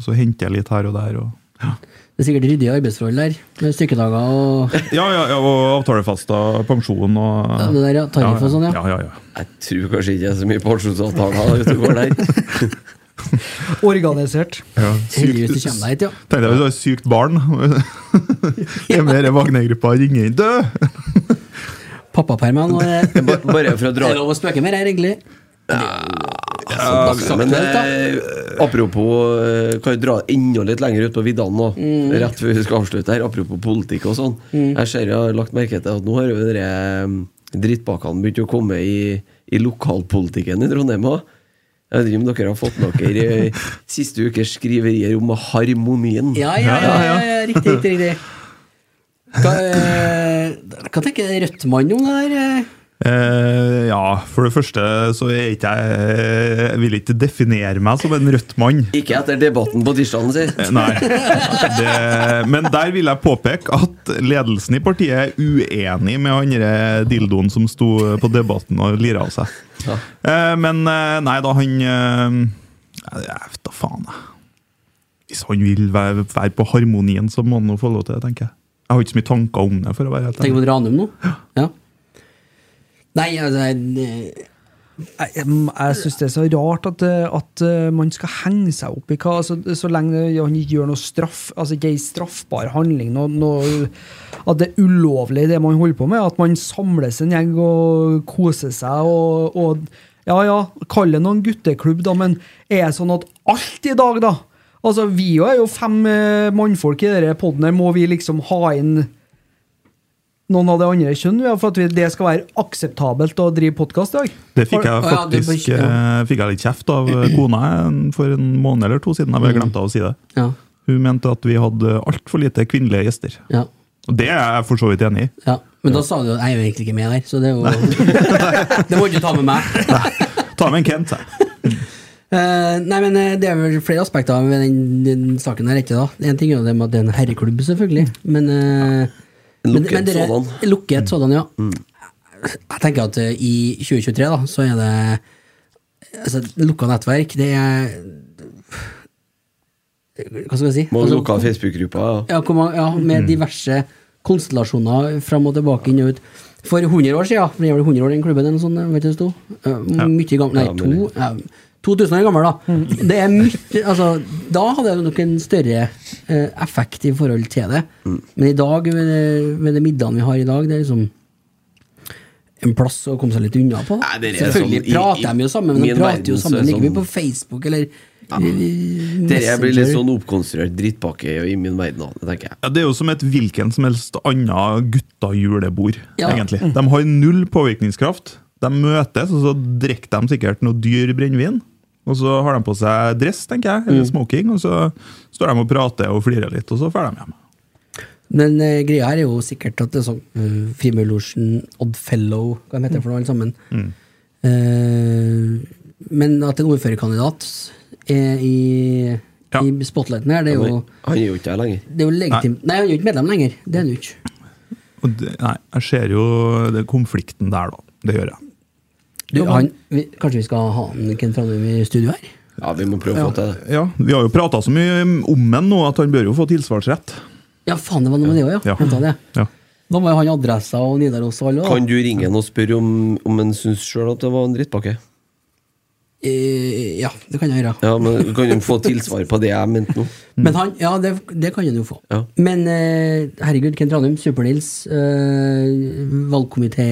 Så henter jeg litt her og der. Og Det er sikkert ryddige arbeidsforhold der, med stykkedager og ja, ja, ja, og avtalefesta pensjon og Ja, det der, ja, tariff og sånn, ja. ja. ja, ja, Jeg tror kanskje ikke det er så mye pensjonsavtaler ute og går der. Organisert. ja. Heldigvis du kommer deg hit, ja. Tenkte jeg hvis du har et sykt barn Er med i Wagner-gruppa og ringer inn død! Pappapermen og det. Ba- Bare for å Det dra er lov å spøke med det her, egentlig. Ja, men Aktuelt, da. eh, apropos eh, Kan jo dra enda litt lenger ut på viddene nå, rett før vi skal avslutte her. Apropos politikk og sånn. Jeg ser jeg har lagt merke til at nå har jo dere eh, drittbakkene begynt å komme i, i lokalpolitikken i Trondheim òg. Jeg vet ikke om dere har fått med dere eh, siste ukers skriverier om harmonien. Ja, ja, ja, ja, ja, riktig, riktig, riktig. Hva, eh, hva tenker Rødt-mannen om det der? eh? Eh, ja, for det første så er ikke jeg Jeg vil ikke definere meg som en rødt mann. Ikke etter debatten på tirsdagen, si. Nei. Det, men der vil jeg påpeke at ledelsen i partiet er uenig med andre dildoen som sto på debatten og lira av seg. Ja. Eh, Men eh, nei da, han eh, Jeg vet da faen, jeg. Hvis han vil være, være på harmonien, så må han nå få lov til det, tenker jeg. Jeg har ikke så mye tanker om det. for å være helt Tenker ærlig. på Ranum nå? Ja. Nei, altså eh, Jeg, jeg- jeg syns det er så rart at, eh, at eh, man skal henge seg opp i hva altså, Så lenge det- han ikke gjør noe straff, altså ikke ei straffbar handling, noe, noe, at det er ulovlig, det man holder på med. At man samles en gjeng og koser seg og, og Ja ja, kall det noen gutteklubb, da, men er det sånn at alt i dag, da Altså, vi jo er jo fem eh, mannfolk i denne poden her. Må vi liksom ha inn noen av det andre kjønn? ja, For at vi, det skal være akseptabelt å drive podkast i dag? Det fikk jeg Å, ja, det faktisk blir- ja. eh, fikk jeg litt kjeft av eh, kona en- for en måned eller to siden. Jeg bare glemte å si det. Mm. Ja. Hun mente at vi hadde altfor lite kvinnelige gjester. ja, Og det er jeg for så vidt enig i. ja. Men da sa du jo jeg er jo egentlig ikke med der, så det er jo Det må du ikke ta med meg. Ta med en Kent, jeg. Eh, nei, men eh, Det er vel flere aspekter ved den, den saken her. ikke da? En ting er jo det med at det er en herreklubb, selvfølgelig. Men, eh, En men- lukket men dere- sådan. Mm. Lukket sådan, ja. Jeg tenker at eh, i 2023 da, så er det altså, lukka nettverk. Det er Hva skal jeg si? Må Altså, lukke av Facebook-gruppa. ja. Mm. ja, hvor mange- ja, med diverse konstellasjoner fram og tilbake inn og ut. For 100 år siden, for det er vel 100 år den klubben eller noe sånt, vet du det sto? Eh, Mye gammel, nei, Ja, to, mulig. ja, 2000 år gammel da. Det er mye, altså, da hadde det nok en større eh, effekt i forhold til det. Mm. Men i dag, med det, med det middagen vi har i dag, det er liksom en plass å komme seg litt unna på. da. Nei, det er sånn Selvfølgelig i- prater i de jo sammen, men de min prater jo verden så sammen er like mye sånn- på Facebook eller ja. Dette blir litt sånn oppkonstruert drittpakke i min verden, da, tenker jeg. Ja, det er jo som et hvilken som helst annet gutta-julebord, Ja. Mm. egentlig. De har null påvirkningskraft. De møtes, og så drikker de sikkert noe dyr brennevin. Og så har de på seg dress, tenker jeg, Mm. eller smoking, og så står de og prater og flirer litt, og så drar de hjem. Men eh, greia her er jo sikkert at det er sånn uh, Frimurlosjen, Oddfellow, hva de heter for noe, alle sammen. Eh, men at en ordførerkandidat er i, Ja. i spotlighten her, det er jo, Men Han er jo ikke der lenger. det er jo legitimt. Nei. han er jo ikke medlem lenger. Det er han jo ikke. Og det, nei, jeg ser jo den konflikten der, da. Det gjør jeg. Du, han, vi, kanskje vi skal ha han Ken Tranum i studio her? Ja, vi må prøve å få til det. Ja, Vi har jo prata så mye om ham nå at han bør jo få tilsvarsrett. Ja, faen, det var noe med det òg, ja. Ja. Hentet det. Ja. Da var jo han i Adressa og Nidaros og alle. da. Kan du ringe han og spørre om, om han syns sjøl at det var en drittpakke? Eh, ja, det kan jeg gjøre. Ja, men Kan han få tilsvar på det jeg mente nå? Men han, ja, det, det kan han jo få. Ja. Men eh, herregud, Kent Ranum, Super-Nils, eh, valgkomité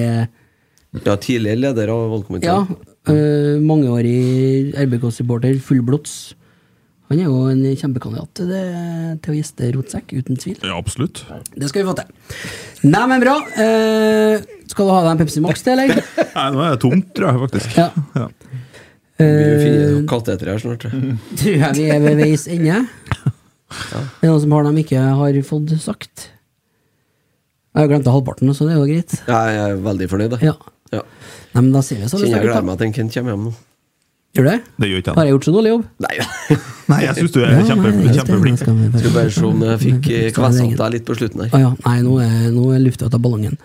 Ja, Tidligere leder av Ja, valgkomiteen. eh, mangeårig RBK-supporter, fullblods. Han er jo en kjempekandidat til, det, til å gjeste Rotsekk, uten tvil. ja, absolutt. Det skal vi få til. Nei, men bra. Eh, skal du ha deg en Pepsi Max til, eller? Nei, nå er det tomt, tror jeg faktisk. Ja. Ja. Vi finner Eh, noen kateter her snart. tror jeg. tror jeg vi er ved veis ende. Er det noen som har dem ikke har fått sagt? Jeg har jo glemt halvparten, så det er jo greit. Jeg er veldig fornøyd, jeg. Ja. Ja. Nei, men da sier vi så Kjenner jeg gutta. gleder meg til en Kent kommer hjem nå. Gjør du det? Det gjør ikke Har jeg. jeg gjort så dårlig jobb? Nei, Nei, jeg syns du er kjempe, nei, det er det. kjempeflink. Skal vi bare- Skal bare se om jeg fikk eh, Skal vi kvessa legge- opp deg litt på slutten Å her. ja, nei, nå er, nå er lufta ut av ballongen.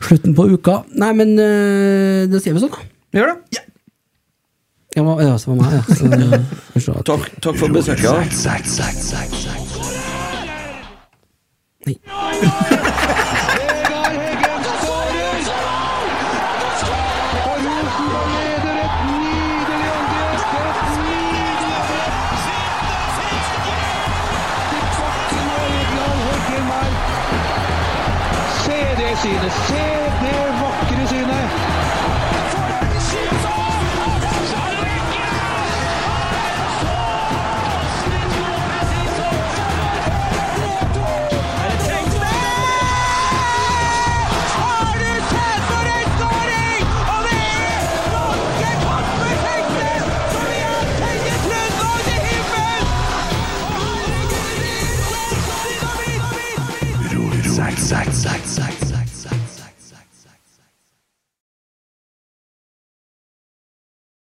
Slutten på uka. Nei, men øh, det sier vi sånn, da. Gjør det? Ja, hva- ja, så var meg, ja. Så, får se at- Takk, takk for besøket. nei. Vegard Heggen skårer! Og Rosenborg leder et nydelig angrep! Et nydelig angrep! Til kvartfinalen i Heggenberg. Se det synet! Se det vakre synet! Zack, zack, zack, zack,